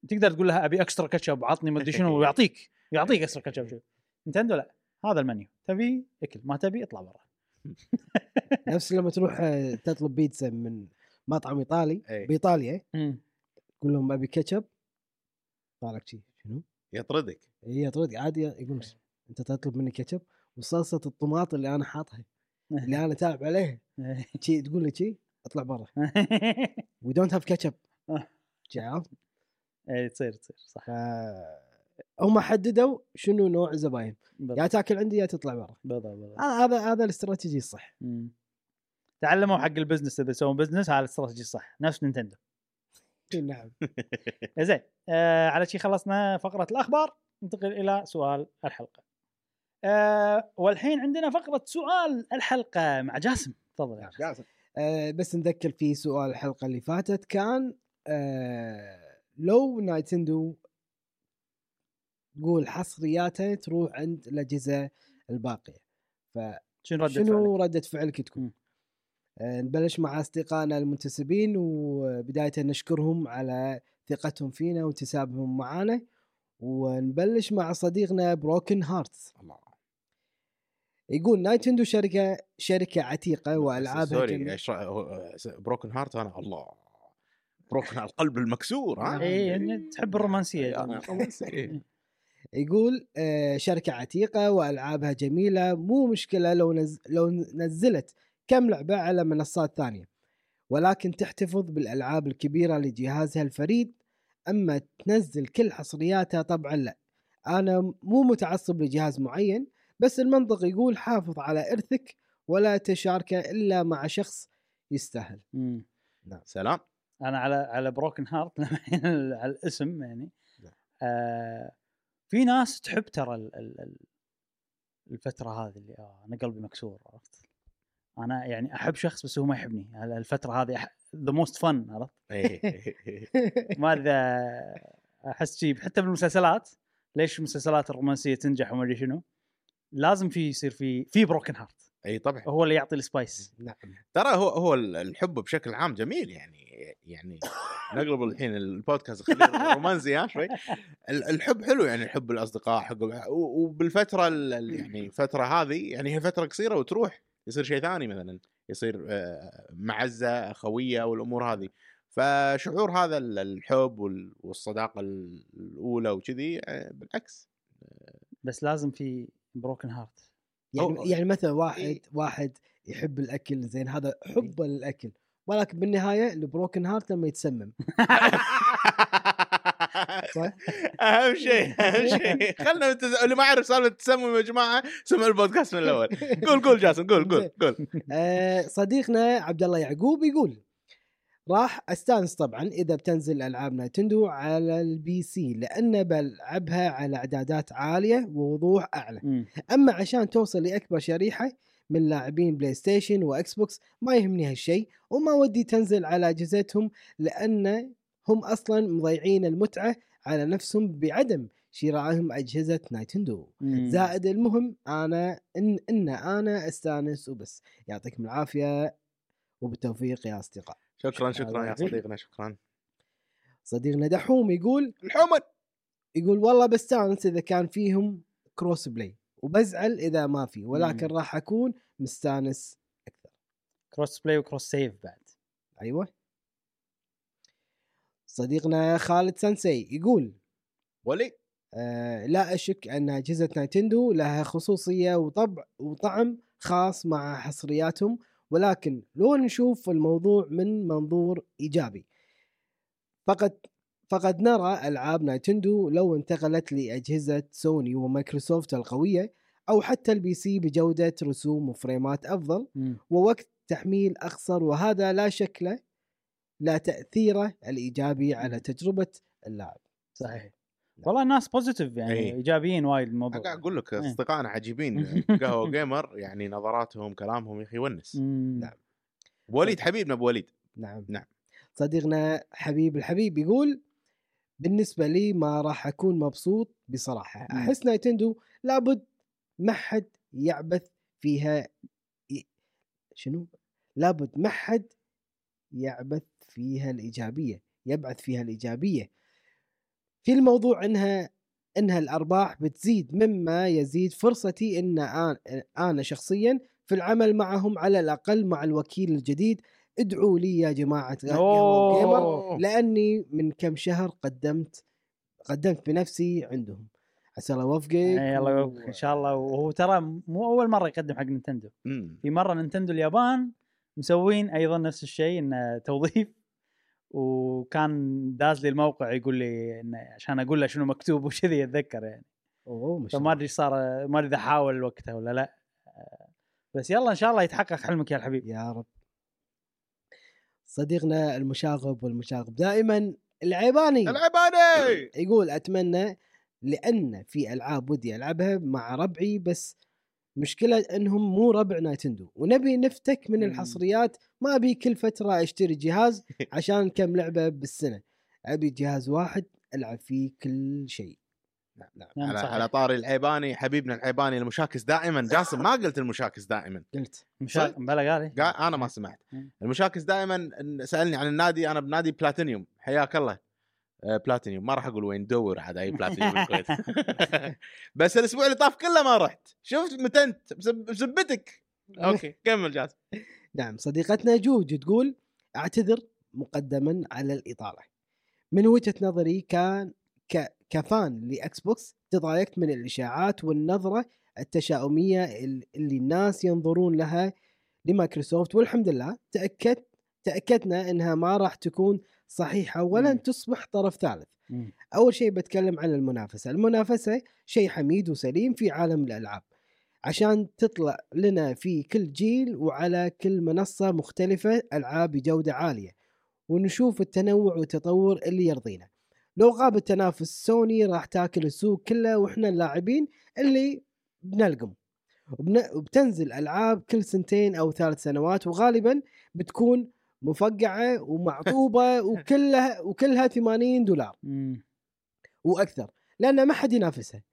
A: تقدر تقول لها ابي اكسترا كاتشب عطني مدري شنو ويعطيك يعطيك اكسترا كاتشب شنو. نينتندو لا هذا المنيو تبي اكل ما تبي اطلع برا
B: نفس لما تروح آه، تطلب بيتزا من مطعم ايطالي
C: إي.
B: بايطاليا تقول لهم ابي كاتشب طالع لك شي شنو؟
C: يطردك
B: هي طرد عادي يقول لك انت تطلب مني كاتشب وصلصه الطماط اللي انا حاطها اللي انا تابع عليها شي تقول لي شي اطلع برا وي دونت هاف كاتشب
A: آه.
B: عرفت؟
A: اي إيه، تصير تصير صح
B: ف- هم حددوا شنو نوع الزباين يا آه.
A: بالضبط
B: تاكل عندي يا تطلع برا
A: بالضبط بالضبط.
B: هذا هذا هذا الاستراتيجي الصح
A: مم. تعلموا حق البزنس اذا يسوون بزنس على الاستراتيجي الصح نفس نينتندو
B: نعم
A: زين آه على شي خلصنا فقره الاخبار ننتقل الى سؤال الحلقه آه والحين عندنا فقره سؤال الحلقه مع جاسم تفضل يا جاسم.
B: آه، بس نذكر في سؤال الحلقه اللي فاتت كان آه، لو نايتندو تقول حصرياتها تروح عند الاجهزه الباقيه
A: شنو ردة
B: شنو
A: شنو
B: ردة فعلك
A: مم.
B: تكون؟ آه، نبلش مع اصدقائنا المنتسبين وبدايه نشكرهم على ثقتهم فينا وانتسابهم معانا ونبلش مع صديقنا بروكن هارتس
C: الله
B: يقول نايتندو شركه شركه عتيقه والعابها
C: سوري
B: كم-
C: إيش رأي- هو- آه، بروكن هارت انا الله بروكن القلب المكسور ها
A: إي، إن إيه، يعني تحب الرومانسية.
C: إي، أنا رومانسي. إي.
B: يقول آه، شركة عتيقة وألعابها جميلة مو مشكلة لو نز... لو نزلت كم لعبة على منصات ثانية ولكن تحتفظ بالألعاب الكبيرة لجهازها الفريد أما تنزل كل حصرياتها طبعا لا أنا مو متعصب لجهاز معين بس المنطق يقول حافظ على إرثك ولا تشاركه إلا مع شخص يستاهل
A: مم.
C: نعم، سلام
A: انا على على بروكن هارت على الاسم يعني
C: نعم.
A: آه في ناس تحب ترى ال- ال- ال- الفتره هذه اللي آه انا قلبي مكسور عرفت انا يعني احب شخص بس هو ما يحبني على الفتره هذه ذا موست فن عرفت
C: إي. إيه.
A: ما ادري إذا احس شيء حتى بالمسلسلات ليش المسلسلات الرومانسيه تنجح وما ادري شنو لازم في يصير في في بروكن هارت
C: اي طبعا
A: هو اللي يعطي السبايس
B: نعم
C: ترى هو هو الحب بشكل عام جميل يعني يعني نقلب الحين البودكاست خليه رومانسي ها شوي ال- الحب حلو يعني الحب الاصدقاء حب و- وبالفتره ال- ال- يعني الفتره هذه يعني هي فتره قصيره وتروح يصير شيء ثاني مثلا يصير آه، معزه اخويه والامور هذه فشعور هذا ال- الحب وال- والصداقه ال- الاولى وكذي آه، بالعكس
A: بس لازم في بروكن هارت
C: أو-
B: يعني يعني مثلا واحد
C: إيه.
B: واحد يحب الاكل زين هذا حبه للاكل ولكن بالنهايه البروكن هارت لما يتسمم صح؟
C: اهم شيء اهم شيء خلنا نتز... اللي ما يعرف سالفه التسمم يا جماعه سمع البودكاست من الاول قول قول جاسم قول قول قول
B: آه، صديقنا عبد الله يعقوب يقول راح استانس طبعا اذا بتنزل العاب نايتندو على البي سي لان بلعبها على اعدادات عاليه ووضوح اعلى
A: مم.
B: اما عشان توصل لاكبر شريحه من لاعبين بلاي ستيشن واكس بوكس ما يهمني هالشيء وما ودي تنزل على اجهزتهم لان هم اصلا مضيعين المتعه على نفسهم بعدم شرائهم اجهزه نايتندو
A: مم.
B: زائد المهم انا ان ان انا استانس وبس يعطيكم العافيه وبالتوفيق يا اصدقاء
C: شكرا شكرا يا صديقنا شكرا
B: صديقنا دحوم يقول
C: الحمد
B: يقول والله بستانس اذا كان فيهم كروس بلاي وبزعل اذا ما في ولكن
A: مم.
B: راح اكون مستانس
A: كروس بلاي وكروس سيف بعد
B: ايوه صديقنا خالد سنسي يقول
C: ولي
B: آه لا اشك ان اجهزه نايتندو لها خصوصيه وطبع وطعم خاص مع حصرياتهم ولكن لو نشوف الموضوع من منظور ايجابي فقد فقد نرى العاب نايتندو لو انتقلت لاجهزه سوني ومايكروسوفت القويه او حتى البي سي بجوده رسوم وفريمات افضل
A: مم.
B: ووقت تحميل اقصر وهذا لا شكل لا تاثيره الايجابي على تجربه اللاعب
A: صحيح
B: نعم.
A: والله الناس بوزيتيف يعني
C: إيه.
A: ايجابيين وايد الموضوع
C: قاعد اقول لك
A: إيه.
C: اصدقائنا عجيبين قهوه جيمر يعني نظراتهم كلامهم يا اخي يونس
A: مم.
B: نعم.
C: وليد حبيبنا ابو وليد
B: نعم
C: نعم.
B: صديقنا حبيب الحبيب يقول بالنسبة لي ما راح أكون مبسوط بصراحة
A: مم.
B: أحس نايتندو لابد ما حد يعبث فيها ي- شنو لابد ما حد يعبث فيها الإيجابية يبعث فيها الإيجابية في الموضوع إنها إنها الأرباح بتزيد مما يزيد فرصتي إن أنا- أنا شخصيا في العمل معهم على الأقل مع الوكيل الجديد ادعوا لي يا جماعة قهوة
A: أوه.
B: جيمر لاني من كم شهر قدمت قدمت بنفسي عندهم عسى الله يوفقك
A: إيه، الله يوفقك ان شاء الله وهو ترى مو اول مره يقدم حق نينتندو
C: مم.
A: في مره نينتندو اليابان مسوين ايضا نفس الشيء انه توظيف وكان داز لي الموقع يقول لي انه عشان اقول له شنو مكتوب وكذي اتذكر يعني
B: اوه ما
A: فما
B: شاء الله
A: ادري إيش صار ما ادري اذا حاول وقتها ولا لا بس يلا ان شاء الله يتحقق حلمك يا الحبيب
B: يا رب صديقنا المشاغب والمشاغب دائما
A: إيه.
B: العيباني
C: العب انا
B: يقول اتمنى لان في العاب ودي العبها مع ربعي بس مشكلة انهم مو ربع نايتندو ونبي نفتك من
A: مم.
B: الحصريات ما ابي كل فترة اشتري جهاز عشان كم لعبة بالسنة ابي جهاز واحد العب فيه كل شيء نعم نعم
A: نعم،
C: على,
A: صحيح.
C: على طاري العيباني حبيبنا العيباني المشاكس دائما جاسم ما قلت المشاكس دائما
B: قلت
A: مشا...
C: صح.
A: بلا قال
C: قا- انا ما سمعت المشاكس دائما إن- سالني عن النادي انا بنادي بلاتينيوم حياك الله آه، بلاتينيوم ما راح اقول وين دور عاد اي بلاتينيوم بالكويت بس الاسبوع اللي طاف كله ما رحت شفت متنت بسب- بسبتك اوكي كمل جاسم
B: نعم صديقتنا جوج تقول اعتذر مقدما على الاطاله من وجهه نظري كان ك... كفان لاكس بوكس تضايقت من الاشاعات والنظره التشاؤميه ال- اللي الناس ينظرون لها لمايكروسوفت والحمد لله تاكدت تاكدنا انها ما راح تكون صحيحه
A: مم.
B: ولن تصبح طرف ثالث
A: مم.
B: اول شيء بتكلم عن المنافسه المنافسه شيء حميد وسليم في عالم الالعاب عشان تطلع لنا في كل جيل وعلى كل منصه مختلفه العاب بجوده عاليه ونشوف التنوع والتطور اللي يرضينا لو غاب التنافس سوني راح تاكل السوق كله واحنا اللاعبين اللي بنلقم وبن- وبتنزل العاب كل سنتين او ثلاث سنوات وغالبا بتكون مفقعه ومعطوبه وكلها وكلها 80 دولار
A: مم.
B: واكثر لان ما حد ينافسها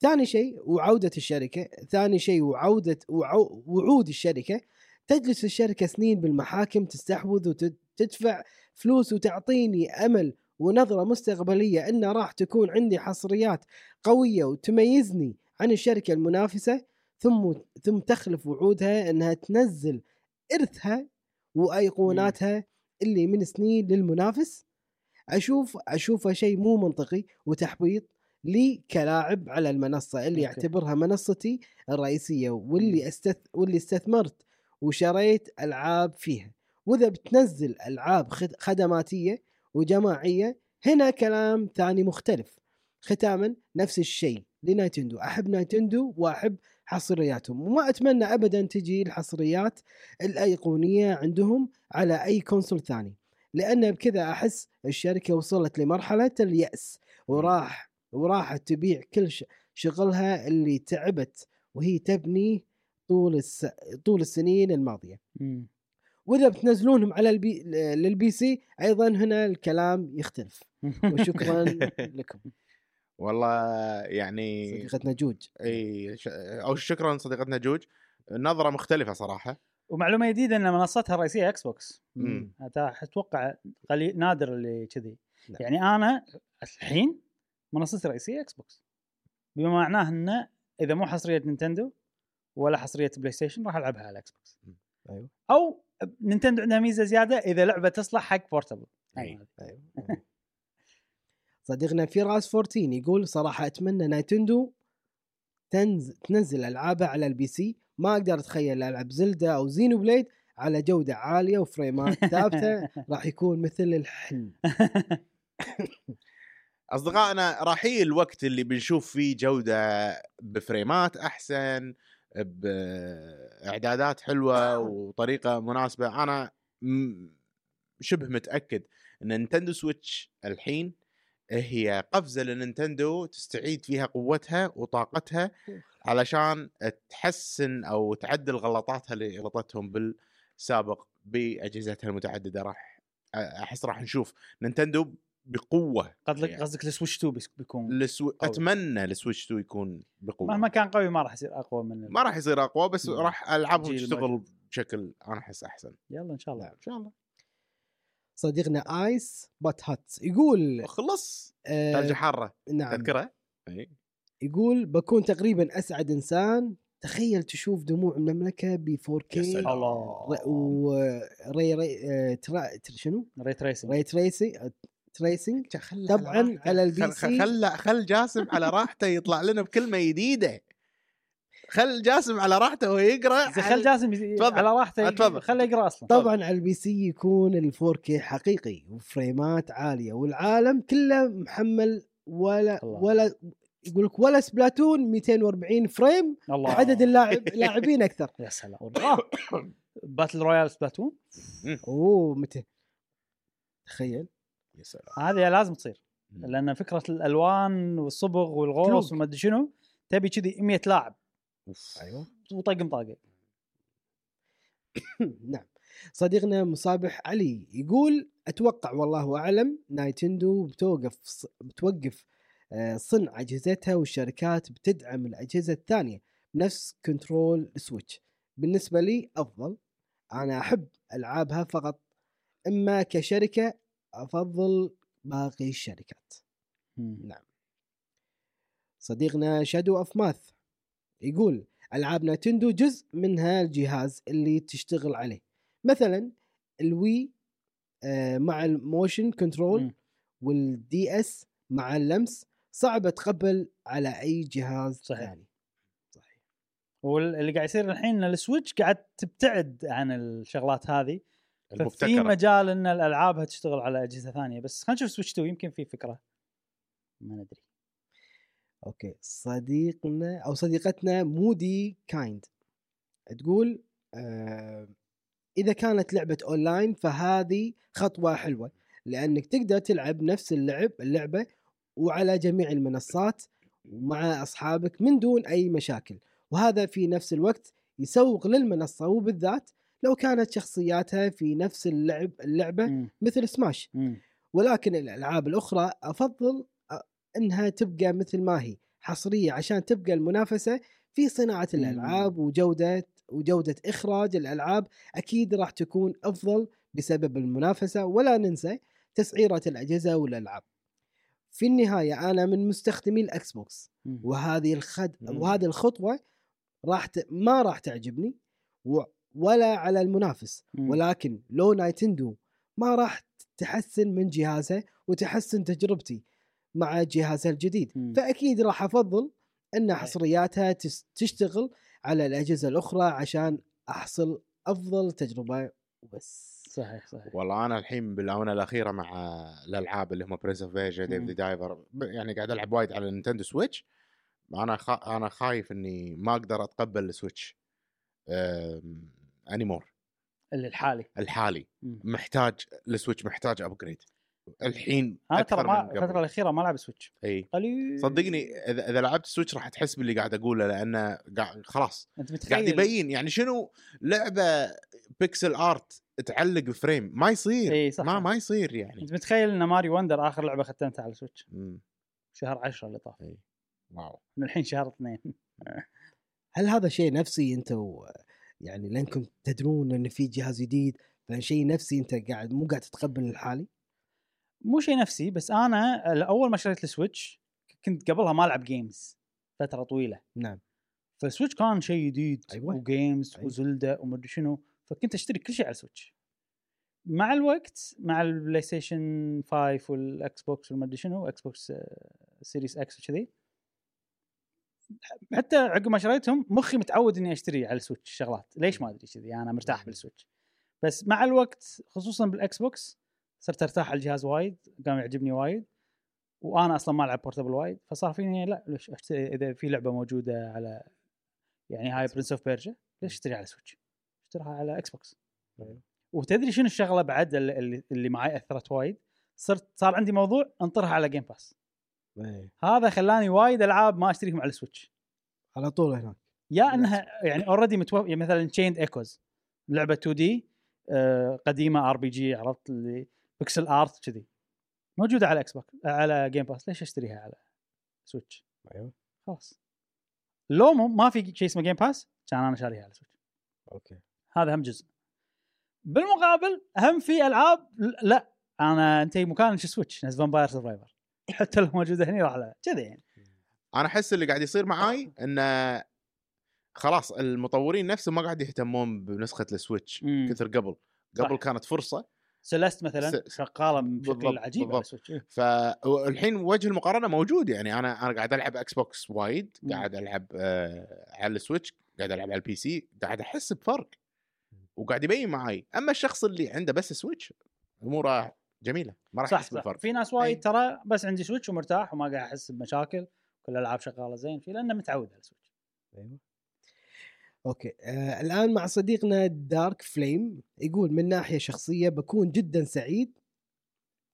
B: ثاني شيء وعوده الشركه ثاني شيء وعوده وعو وعود الشركه تجلس الشركه سنين بالمحاكم تستحوذ وتدفع فلوس وتعطيني امل ونظره مستقبليه ان راح تكون عندي حصريات قويه وتميزني عن الشركه المنافسه ثم ثم تخلف وعودها انها تنزل ارثها وايقوناتها اللي من سنين للمنافس اشوف اشوفه شيء مو منطقي وتحبيط لي كلاعب على المنصه
A: أوكي.
B: اللي اعتبرها منصتي الرئيسيه واللي استث... واللي استثمرت وشريت العاب فيها واذا بتنزل العاب خد- خدماتيه وجماعيه هنا كلام ثاني مختلف ختاما نفس الشيء لنايتندو احب نايتندو واحب حصرياتهم وما اتمنى ابدا تجي الحصريات الايقونيه عندهم على اي كونسول ثاني لان بكذا احس الشركه وصلت لمرحله الياس وراح وراحت تبيع كل ش- شغلها اللي تعبت وهي تبني طول الس... طول السنين الماضيه
A: مم.
B: واذا بتنزلونهم على البي... للبي سي ايضا هنا الكلام يختلف وشكرا لكم
C: والله يعني
B: صديقتنا جوج
C: اي ش- او شكرا صديقتنا جوج نظره مختلفه صراحه
A: ومعلومه جديده ان منصتها الرئيسيه اكس بوكس
C: مم.
A: أتا- اتوقع قليل نادر اللي كذي
B: نعم.
A: يعني انا الحين منصتي الرئيسيه اكس بوكس بما معناه انه اذا مو حصريه نينتندو ولا حصريه بلاي ستيشن راح العبها على اكس بوكس
C: مم. أيوه.
B: أيوة.
A: او نينتندو عندها ميزه زياده اذا لعبه تصلح حق يعني بورتبل
C: أي.
B: أيوة. صديقنا فراس 14 يقول صراحة أتمنى نايتندو تنز... تنزل ألعابها على البي سي ما أقدر أتخيل ألعب زلدا أو زينو بليد على جوده عاليه وفريمات ثابته راح يكون مثل الحلم
C: اصدقائنا راح يجي الوقت اللي بنشوف فيه جوده بفريمات احسن باعدادات حلوه وطريقه مناسبه انا م- شبه متاكد ان نينتندو سويتش الحين هي قفزه لنينتندو تستعيد فيها قوتها وطاقتها علشان تحسن او تعدل غلطاتها اللي غلطتهم بالسابق باجهزتها المتعدده راح احس راح نشوف نينتندو بقوه
A: قصدك قصدك السويتش 2 بيس- بيكون
C: السو... اتمنى السويتش 2 يكون بقوه
A: مهما كان قوي ما راح يصير اقوى من ال-
C: ما راح يصير اقوى بس
A: مم.
C: راح العابهم
A: جيل
C: تشتغل بشكل انا احس احسن
A: يلا ان شاء الله
C: ان شاء الله
B: صديقنا ايس بات هات يقول
C: خلص ثلج
B: آه
C: حاره
B: نعم
A: آه.
C: تذكره اي
B: يقول بكون تقريبا اسعد انسان تخيل تشوف دموع المملكه ب 4K
C: يا سلام.
A: الله
B: وري ري آه، ترا تر- شنو؟
A: ري تريسنج
B: ري تريسي تريسنج
C: خل
B: طبعاً على البي سي.
C: خل خل جاسم على راحته يطلع لنا بكلمه جديده خل جاسم على راحته وهو يقرا
A: زين خل جاسم يز-
C: تفضل.
A: على راحته
C: تفضل.
A: خله يقرا اصلا
B: طبعا على البي سي يكون ال 4K حقيقي وفريمات عاليه والعالم كله محمل ولا
A: الله.
B: ولا يقول لك ولا سبلاتون 240 فريم
A: الله
B: عدد اللاعب لاعبين اكثر
A: يا سلام باتل رويال سبلاتون
B: اوه متى تخيل
C: يا سلام.
A: هذه لازم تصير
C: مم.
A: لان فكره الالوان والصبغ والغوص
B: جروب.
A: وما ادري شنو تبي كذي 100 لاعب
C: أوف.
B: ايوه
A: وطقم طاقه
B: نعم صديقنا مصابح علي يقول اتوقع والله اعلم نايتندو بتوقف بتوقف آه، صنع اجهزتها والشركات بتدعم الاجهزه الثانيه بنفس كنترول سويتش بالنسبه لي افضل انا احب العابها فقط اما كشركه افضل باقي الشركات
A: مم.
B: صديقنا شادو اوف ماث يقول العاب نتندو جزء منها الجهاز اللي تشتغل عليه مثلا الوي آه، مع الموشن كنترول
A: مم.
B: والدي اس مع اللمس صعب تقبل على اي جهاز
A: صحيح.
B: ثاني صحيح
A: واللي قاعد يصير الحين ان السويتش قاعد تبتعد عن الشغلات هذه في
C: المبتكره
A: مجال ان الالعاب تشتغل على اجهزه ثانيه بس خلينا نشوف سويتش 2 يمكن في فكره ما ندري
B: اوكي صديقنا او صديقتنا مودي كايند تقول آه اذا كانت لعبه اونلاين فهذه خطوه حلوه لانك تقدر تلعب نفس اللعب اللعبه وعلى جميع المنصات ومع اصحابك من دون اي مشاكل وهذا في نفس الوقت يسوق للمنصه وبالذات لو كانت شخصياتها في نفس اللعب اللعبه
A: مم.
B: مثل سماش
A: مم.
B: ولكن الالعاب الاخرى افضل أ- انها تبقى مثل ما هي حصريه عشان تبقى المنافسه في صناعه
A: مم.
B: الالعاب وجوده وجوده اخراج الالعاب اكيد راح تكون افضل بسبب المنافسه ولا ننسى تسعيره الاجهزه والالعاب. في النهايه انا من مستخدمي الاكس بوكس
A: مم.
B: وهذه الخد
C: مم.
B: وهذه الخطوه راح ت... ما راح تعجبني و... ولا على المنافس
A: مم.
B: ولكن لو نايتندو ما راح تحسن من جهازها وتحسن تجربتي مع جهازها الجديد
A: مم.
B: فاكيد راح افضل ان حصرياتها تس- تشتغل على الاجهزه الاخرى عشان احصل افضل تجربه وبس
A: صحيح صحيح
C: والله انا الحين بالاونه الاخيره مع الالعاب اللي هم برنس اوف بيجا ديف
A: مم.
C: ذا دايفر يعني قاعد العب وايد على نينتندو سويتش انا خا... انا خايف اني ما اقدر اتقبل السويتش أم... انيمور
A: اللي الحالي
C: الحالي
A: مم.
C: محتاج السويتش محتاج ابجريد الحين
A: انا
C: أكثر
A: ترى ما
C: من قبل.
A: الفتره الاخيره ما العب سويتش
C: اي
A: قليل
C: صدقني اذا اذا لعبت سويتش راح تحس باللي قاعد اقوله لانه قاعد خلاص
A: انت
C: قاعد
A: متخيل
C: يبين يعني شنو لعبه بيكسل ارت تعلق فريم ما يصير
A: اي صح
C: ما ما يصير يعني
A: انت متخيل ان ماري وندر اخر لعبه ختمتها على سويتش
C: مم.
A: شهر 10 اللي طاف
C: واو
A: من الحين شهر 2
B: هل هذا شيء نفسي انت و... يعني لانكم تدرون ان في جهاز جديد فشيء نفسي انت قاعد مو قاعد تتقبل الحالي
A: مو شيء نفسي بس انا اول ما شريت السويتش كنت قبلها ما العب جيمز فتره طويله
B: نعم
A: فالسويتش كان شيء جديد
B: أيوة.
A: وجيمز
B: أيوة.
A: وزلدة ومدري شنو فكنت اشتري كل شيء على السويتش مع الوقت مع البلاي ستيشن 5 والاكس بوكس والمدري شنو اكس بوكس سيريس اكس وكذي
B: نعم.
A: حتى عقب ما شريتهم مخي متعود اني اشتري على السويتش شغلات ليش ما ادري كذي انا مرتاح بالسويتش بس مع الوقت خصوصا بالاكس بوكس صرت ارتاح على الجهاز وايد قام يعجبني وايد وانا اصلا ما العب بورتبل وايد فصار فيني لا ليش اشتري اذا في لعبه موجوده على يعني هاي برنس اوف بيرجا ليش اشتريها على سويتش؟ اشتريها على اكس بوكس وتدري شنو الشغله بعد اللي- اللي, اللي معي اثرت وايد صرت صار عندي موضوع انطرها على جيم باس
B: إيه.
A: هذا خلاني وايد العاب ما اشتريهم على السويتش
B: على طول هناك
A: يا انها يعني اوريدي متوفر يعني مثلا تشيند ايكوز لعبه 2 دي آه، قديمه ار بي جي عرفت اللي بيكسل ارت كذي موجوده على اكس بوكس على جيم باس ليش اشتريها على سويتش؟
B: ايوه
A: خلاص لو مو- ما في شيء اسمه جيم باس كان انا شاريها على سويتش
B: اوكي
A: هذا هم جزء بالمقابل هم في العاب ل- لا انا انت مكان شو سويتش ناس فامباير سرفايفر حتى لو موجوده هني راح لها كذي يعني
C: انا احس اللي قاعد يصير معاي انه خلاص المطورين نفسهم ما قاعد يهتمون بنسخه السويتش
A: مم.
C: كثر قبل
A: صح.
C: قبل كانت فرصه
A: سيليست مثلا
C: س-
A: شغاله بشكل
C: بالضبط،
A: عجيب على
C: بالضبط.
A: سويتش
C: فالحين وجه المقارنه موجود يعني انا انا قاعد العب اكس بوكس وايد
A: مم.
C: قاعد العب آه على السويتش قاعد العب على البي سي قاعد احس بفرق وقاعد يبين معاي اما الشخص اللي عنده بس سويتش اموره جميله ما راح
A: صح
C: يحس
A: صح
C: بالفرق إيه.
A: في ناس وايد ترى بس عندي سويتش ومرتاح وما قاعد احس بمشاكل كل الالعاب شغاله زين في لانه متعود على السويتش
B: ايوه اوكي آه، الان مع صديقنا دارك فليم يقول من ناحيه شخصيه بكون جدا سعيد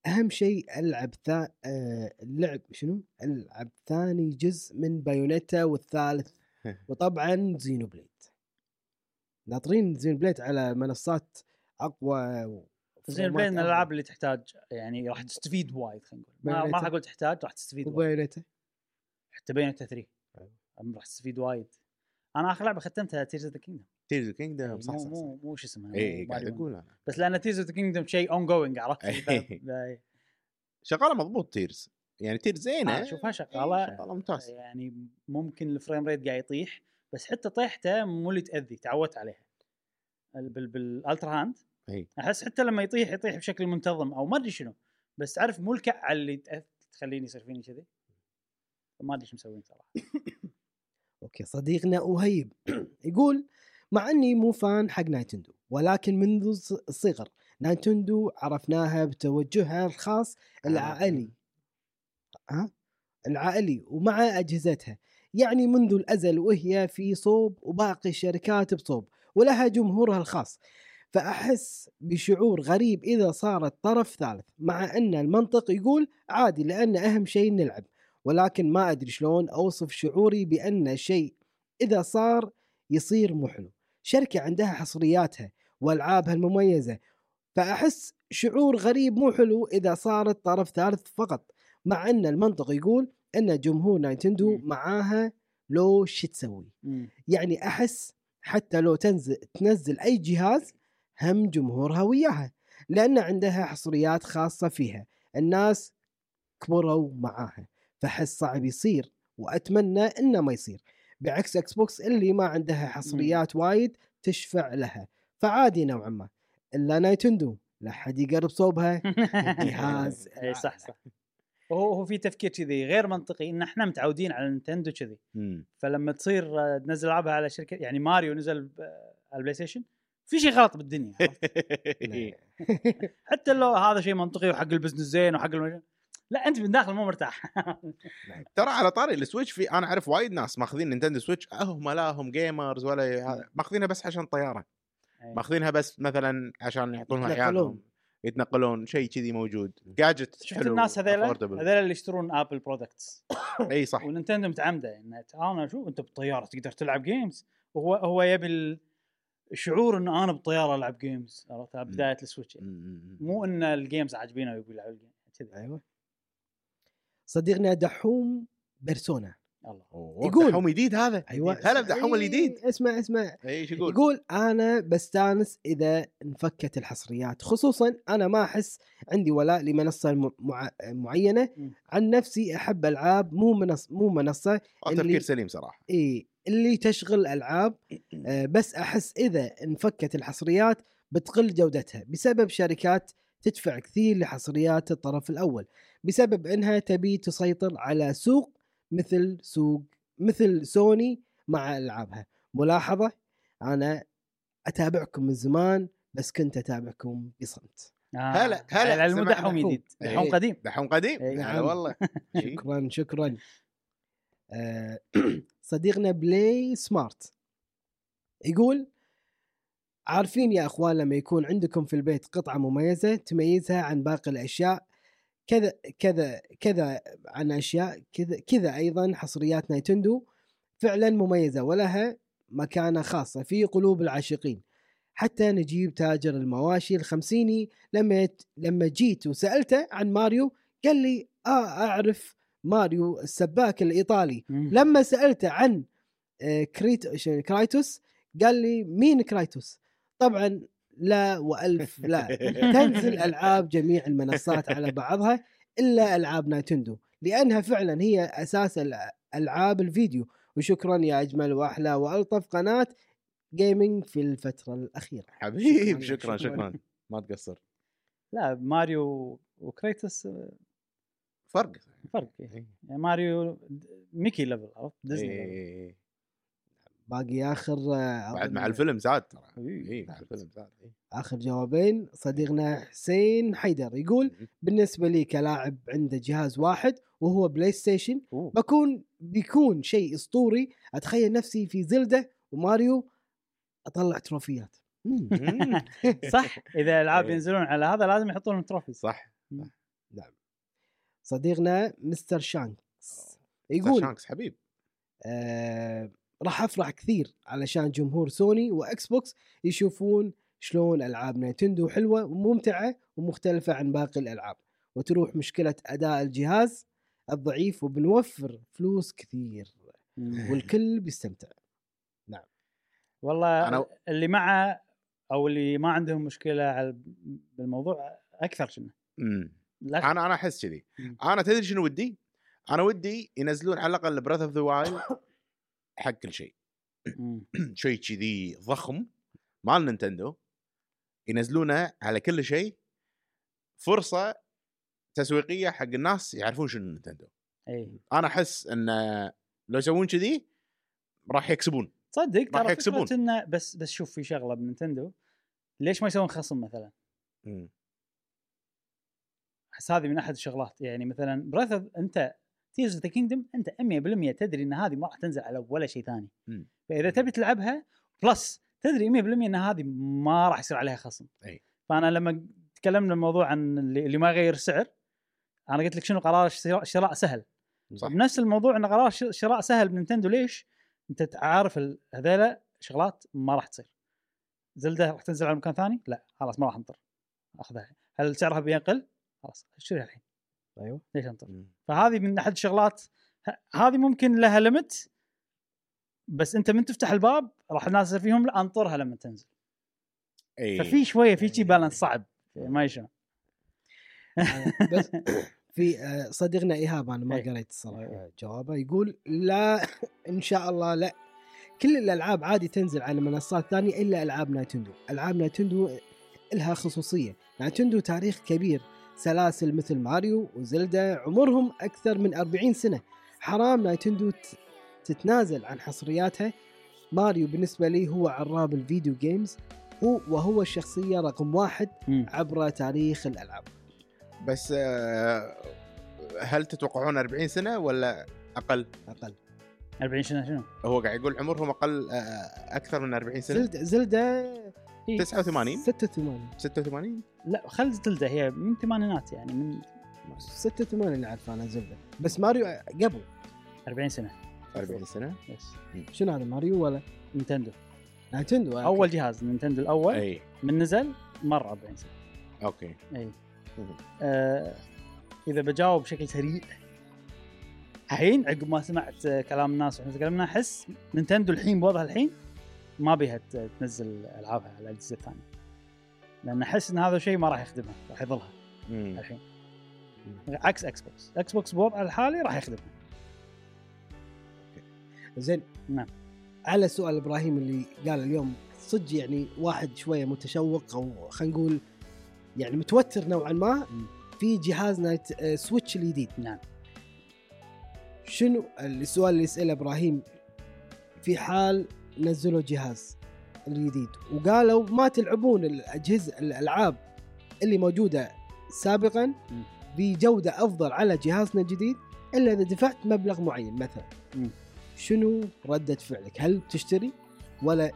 B: اهم شيء العب ثا... آه، اللعب شنو العب ثاني جزء من بايونيتا والثالث وطبعا زينو بليد ناطرين زينو بليد على منصات اقوى و-
A: زين
B: وفورمات
A: بين
B: أقوى.
A: الالعاب اللي تحتاج يعني راح تستفيد وايد خلينا نقول ما- ما
B: بايونيتا.
A: راح اقول تحتاج راح تستفيد وايد
B: وبايونيتا
A: حتى بين 3
B: أيوة.
A: أم راح تستفيد وايد انا اخر لعبه ختمتها تيرز اوف ذا كينجدم
C: تيرز اوف كينجدم نعم، صح
A: مو
C: صح
A: مو مو شو اسمه
C: اي
A: مو
C: قاعد
A: ماريو.
C: اقول انا
A: بس لان تيرز اوف ذا كينجدم شيء اون جوينج عرفت
C: إيه.
A: ف- إيه.
C: شغاله مضبوط تيرز يعني تيرز زينه
A: أنا أشوفها
C: إيه،
A: شغالة.
C: شغاله ممتاز
A: يعني ممكن الفريم ريت قاعد يطيح بس حتى طيحته مو اللي تاذي تعودت عليها ال- بال بالالترا هاند
C: إي.
B: إيه،
A: احس حتى لما يطيح يطيح بشكل منتظم او ما ادري شنو بس تعرف مو الكعه اللي تأ- تخليني يصير فيني كذي ما ادري شو مسوين صراحه
B: اوكي صديقنا اهيب يقول مع اني مو فان حق نايتندو ولكن منذ الص- الصغر نايتندو عرفناها بتوجهها الخاص
C: آه،
B: العائلي ها العائلي ومع اجهزتها يعني منذ الازل وهي في صوب وباقي الشركات بصوب ولها جمهورها الخاص فاحس بشعور غريب اذا صارت طرف ثالث مع ان المنطق يقول عادي لان اهم شيء نلعب ولكن ما ادري شلون اوصف شعوري بان شيء اذا صار يصير مو حلو شركه عندها حصرياتها والعابها المميزه فاحس شعور غريب مو حلو اذا صارت طرف ثالث فقط مع ان المنطق يقول ان جمهور نايتندو
A: مم.
B: معاها لو شو تسوي يعني احس حتى لو تنزل تنزل اي جهاز هم جمهورها وياها لان عندها حصريات خاصه فيها الناس كبروا معاها فحس صعب يصير واتمنى انه ما يصير بعكس اكس بوكس اللي ما عندها حصريات وايد تشفع لها فعادي نوعا ما الا نايتندو لا حد يقرب صوبها جهاز
A: اي صح صح هو هو في تفكير كذي غير منطقي ان احنا متعودين على نينتندو كذي
C: مم.
A: فلما تصير آه، تنزل العابها على شركه يعني ماريو نزل ب- آه، على البلاي ستيشن في شيء غلط بالدنيا عرفت؟ حتى لو هذا شيء منطقي وحق البزنس زين وحق المج... لا انت من داخل مو مرتاح
C: ترى على طاري السويتش في انا اعرف وايد ناس ماخذين نينتندو سويتش هم لا هم جيمرز ولا
B: إيه.
C: ماخذينها بس عشان طياره ماخذينها بس مثلا عشان يعطونها
B: يتنقلون. إيه.
C: عيالهم يتنقلون شيء كذي موجود جاجت
A: شفت الناس هذيلا هذيلا اللي يشترون ابل برودكتس
C: اي صح
A: وننتندو متعمده ان انا يعني شو انت بالطياره تقدر تلعب جيمز وهو هو يبي ال- الشعور ان انا بالطياره العب جيمز عرفت على
C: مم.
A: بدايه السويتش
C: مم.
A: مو ان الجيمز عاجبينه ويبي يلعب الجيم كذي
C: أيوة.
B: ايوه صديقنا دحوم بيرسونا
A: الله
C: أوه،
B: يقول.
C: دحوم جديد هذا
B: ايوه
C: هلا بدحوم الجديد
B: إيه، اسمع اسمع
C: اي شو يقول؟
B: يقول انا بستانس اذا انفكت الحصريات خصوصا انا ما احس عندي ولاء لمنصه م- مع... معينه
A: م.
B: عن نفسي احب العاب مو منص... مو منصه
C: آه،
B: اللي-
C: تفكير سليم صراحه
B: إيه اللي تشغل العاب آه، بس احس اذا انفكت الحصريات بتقل جودتها بسبب شركات تدفع كثير لحصريات الطرف الاول بسبب انها تبي تسيطر على سوق مثل سوق مثل سوني مع العابها ملاحظه انا اتابعكم من زمان بس كنت اتابعكم بصمت
A: آه.
C: هلا- هلا
A: العلم
C: سمعنا.
A: دحوم جديد
B: إيه.
A: دحوم قديم
C: دحوم قديم
A: إيه.
B: نعم.
C: هلا والله شي.
B: شكرا شكرا آه، صديقنا بلاي سمارت يقول عارفين يا اخوان لما يكون عندكم في البيت قطعه مميزه تميزها عن باقي الاشياء كذا كذا كذا عن اشياء كذا كذا ايضا حصريات نايتندو فعلا مميزه ولها مكانه خاصه في قلوب العاشقين حتى نجيب تاجر المواشي الخمسيني لما لما جيت وسالته عن ماريو قال لي اه اعرف ماريو السباك الايطالي
A: مم.
B: لما سالته عن آه، كريت شو- كرايتوس قال لي مين كرايتوس طبعا لا والف لا تنزل العاب جميع المنصات على بعضها الا العاب نايتندو لانها فعلا هي اساس الع- العاب الفيديو وشكرا يا اجمل واحلى والطف قناه جيمنج في الفتره الاخيره
C: حبيب
B: شكراً،
C: شكرا
B: شكراً.
C: شكرا ما تقصر
A: لا ماريو وكريتوس آه،
C: فرق
A: فرق يعني ماريو د- ميكي ليفل عرفت ديزني ليفل.
C: إيه، إيه.
B: باقي اخر آه،
C: بعد مع
B: أظن-
C: الفيلم زاد ترى
A: إيه.
C: اي مع الفيلم زاد إيه.
B: اخر جوابين صديقنا حسين حيدر يقول بالنسبه لي كلاعب عنده جهاز واحد وهو بلاي ستيشن
A: أوه.
B: بكون بيكون شيء اسطوري اتخيل نفسي في زلده وماريو اطلع تروفيات مم.
C: مم.
A: صح اذا العاب
C: إيه.
A: ينزلون على هذا لازم يحطون لهم تروفيز
C: صح
B: صديقنا مستر شانكس يقول
C: شانكس حبيب
B: آه راح افرح كثير علشان جمهور سوني واكس بوكس يشوفون شلون العاب نينتندو حلوه وممتعه ومختلفه عن باقي الالعاب وتروح مشكله اداء الجهاز الضعيف وبنوفر فلوس كثير
A: مم.
B: والكل بيستمتع
A: والله
C: أنا-
A: اللي معه او اللي ما عندهم مشكله على بالموضوع اكثر شنو
C: مم.
A: لا
C: انا انا احس كذي
A: مم.
C: انا تدري شنو ودي؟ انا ودي ينزلون على الاقل براذ اوف ذا وايلد حق كل شيء
A: مم.
C: شيء كذي ضخم مال نينتندو ينزلونه على كل شيء فرصه تسويقيه حق الناس يعرفون شنو نينتندو
A: اي
C: انا احس ان لو يسوون كذي راح يكسبون
A: تصدق
C: راح
A: ترى
C: يكسبون.
A: فكرة انه بس بس شوف في شغله بننتندو ليش ما يسوون خصم مثلا؟ احس هذه من احد الشغلات يعني مثلا براث انت تيرز اوف ذا كينجدم انت 100% تدري ان هذه ما راح تنزل على ولا شيء ثاني
C: مم.
A: فاذا تبي تلعبها بلس تدري 100% ان هذه ما راح يصير عليها خصم
C: أي.
A: فانا لما تكلمنا الموضوع عن اللي اللي ما يغير سعر انا قلت لك شنو قرار الشراء شراء سهل
C: صح.
A: بنفس الموضوع ان قرار ش- شراء سهل بننتندو ليش؟ انت عارف ال- هذيلا شغلات ما راح تصير زلده راح تنزل على مكان ثاني؟ لا خلاص ما راح انطر اخذها هل سعرها بينقل؟ خلاص اشتريها الحين
C: أيوه.
B: ايوه
A: ليش انطر؟ فهذه من احد الشغلات ه- هذه ممكن لها ليمت بس انت من تفتح الباب راح الناس يصير فيهم لا انطرها لما تنزل
C: إيه.
A: ففي شويه في شي بالانس صعب ما يشون
B: آه، بس في آه، صديقنا ايهاب انا ما
A: إيه.
B: قريت الصراحه جوابه يقول لا ان شاء الله لا كل الالعاب عادي تنزل على منصات ثانيه الا العاب نايتندو، العاب نايتندو لها خصوصيه، نايتندو تاريخ كبير، سلاسل مثل ماريو وزلدا عمرهم اكثر من 40 سنه، حرام نايتندو ت- تتنازل عن حصرياتها، ماريو بالنسبه لي هو عراب الفيديو جيمز هو وهو الشخصيه رقم واحد عبر تاريخ الالعاب.
C: بس آه، هل تتوقعون 40 سنه ولا اقل؟
B: اقل
A: 40 سنه شنو؟
C: هو قاعد يقول عمرهم اقل آه، اكثر من 40 سنه
B: زلدا زلدا
A: هي
C: 89
B: 86
C: 86
A: لا خل تلده هي من الثمانينات يعني من
B: 86 اللي عارف انا زلدا بس ماريو قبل
A: 40 سنه
C: 40 سنه
A: بس
B: شنو هذا ماريو ولا
A: نينتندو
B: نينتندو أوكي.
A: اول جهاز نينتندو الاول
C: اي
A: من نزل مر 40 سنه
C: اوكي
A: اي
C: مم.
A: آه اذا بجاوب بشكل سريع الحين عقب ما سمعت آه، كلام الناس واحنا تكلمنا احس نينتندو الحين بوضعها الحين ما بيها ت- تنزل العابها على الاجهزه الثانيه لان احس ان هذا الشيء ما راح يخدمها راح يظلها
C: مم.
A: الحين عكس اكس بوكس اكس بوكس بوضعها الحالي راح يخدمها
B: زين
A: نعم.
B: على سؤال ابراهيم اللي قال اليوم صدق يعني واحد شويه متشوق او خلينا نقول يعني متوتر نوعا ما
A: مم.
B: في جهاز نايت آه، سويتش الجديد
A: نعم.
B: شنو السؤال اللي يساله ابراهيم في حال نزلوا جهاز الجديد وقالوا ما تلعبون الاجهزه الالعاب اللي موجوده سابقا
A: مم.
B: بجوده افضل على جهازنا الجديد الا اذا دفعت مبلغ معين مثلا
A: مم.
B: شنو رده فعلك؟ هل تشتري ولا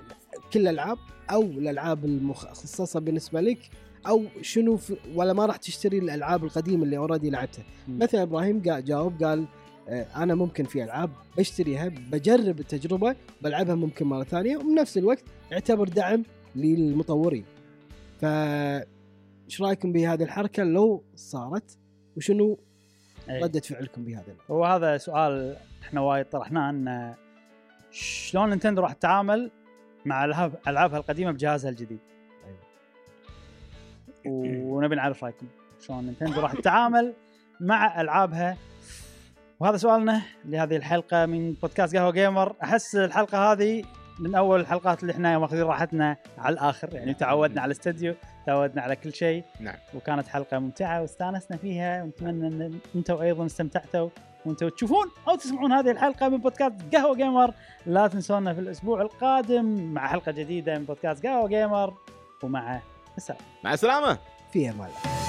B: كل الالعاب او الالعاب المخصصه بالنسبه لك او شنو في ولا ما راح تشتري الالعاب القديمه اللي اوريدي لعبتها
A: مم.
B: مثلا ابراهيم قال جاوب قال آه، انا ممكن في العاب بشتريها بجرب التجربه بلعبها ممكن مره ثانيه وبنفس الوقت يعتبر دعم للمطورين ف ايش رايكم بهذه الحركه لو صارت وشنو
A: إيه.
B: رده فعلكم بهذا
A: وهذا سؤال احنا وايد طرحناه ان شلون نينتندو راح تتعامل مع العاب العابها القديمه بجهازها الجديد
B: أيوة.
A: ونبي نعرف رايكم شلون نينتندو راح تتعامل مع العابها وهذا سؤالنا لهذه الحلقه من بودكاست قهوه جيمر احس الحلقه هذه من اول الحلقات اللي احنا ماخذين راحتنا على الاخر يعني
C: نعم.
A: تعودنا على الاستديو تعودنا على كل شيء
C: نعم.
A: وكانت حلقه ممتعه واستانسنا فيها ونتمنى ان انتم ايضا استمتعتوا وانتم تشوفون او تسمعون هذه الحلقه من بودكاست قهوه جيمر لا تنسونا في الاسبوع القادم مع حلقه جديده من بودكاست قهوه جيمر ومع السلامه
C: مع السلامه
B: فيها مال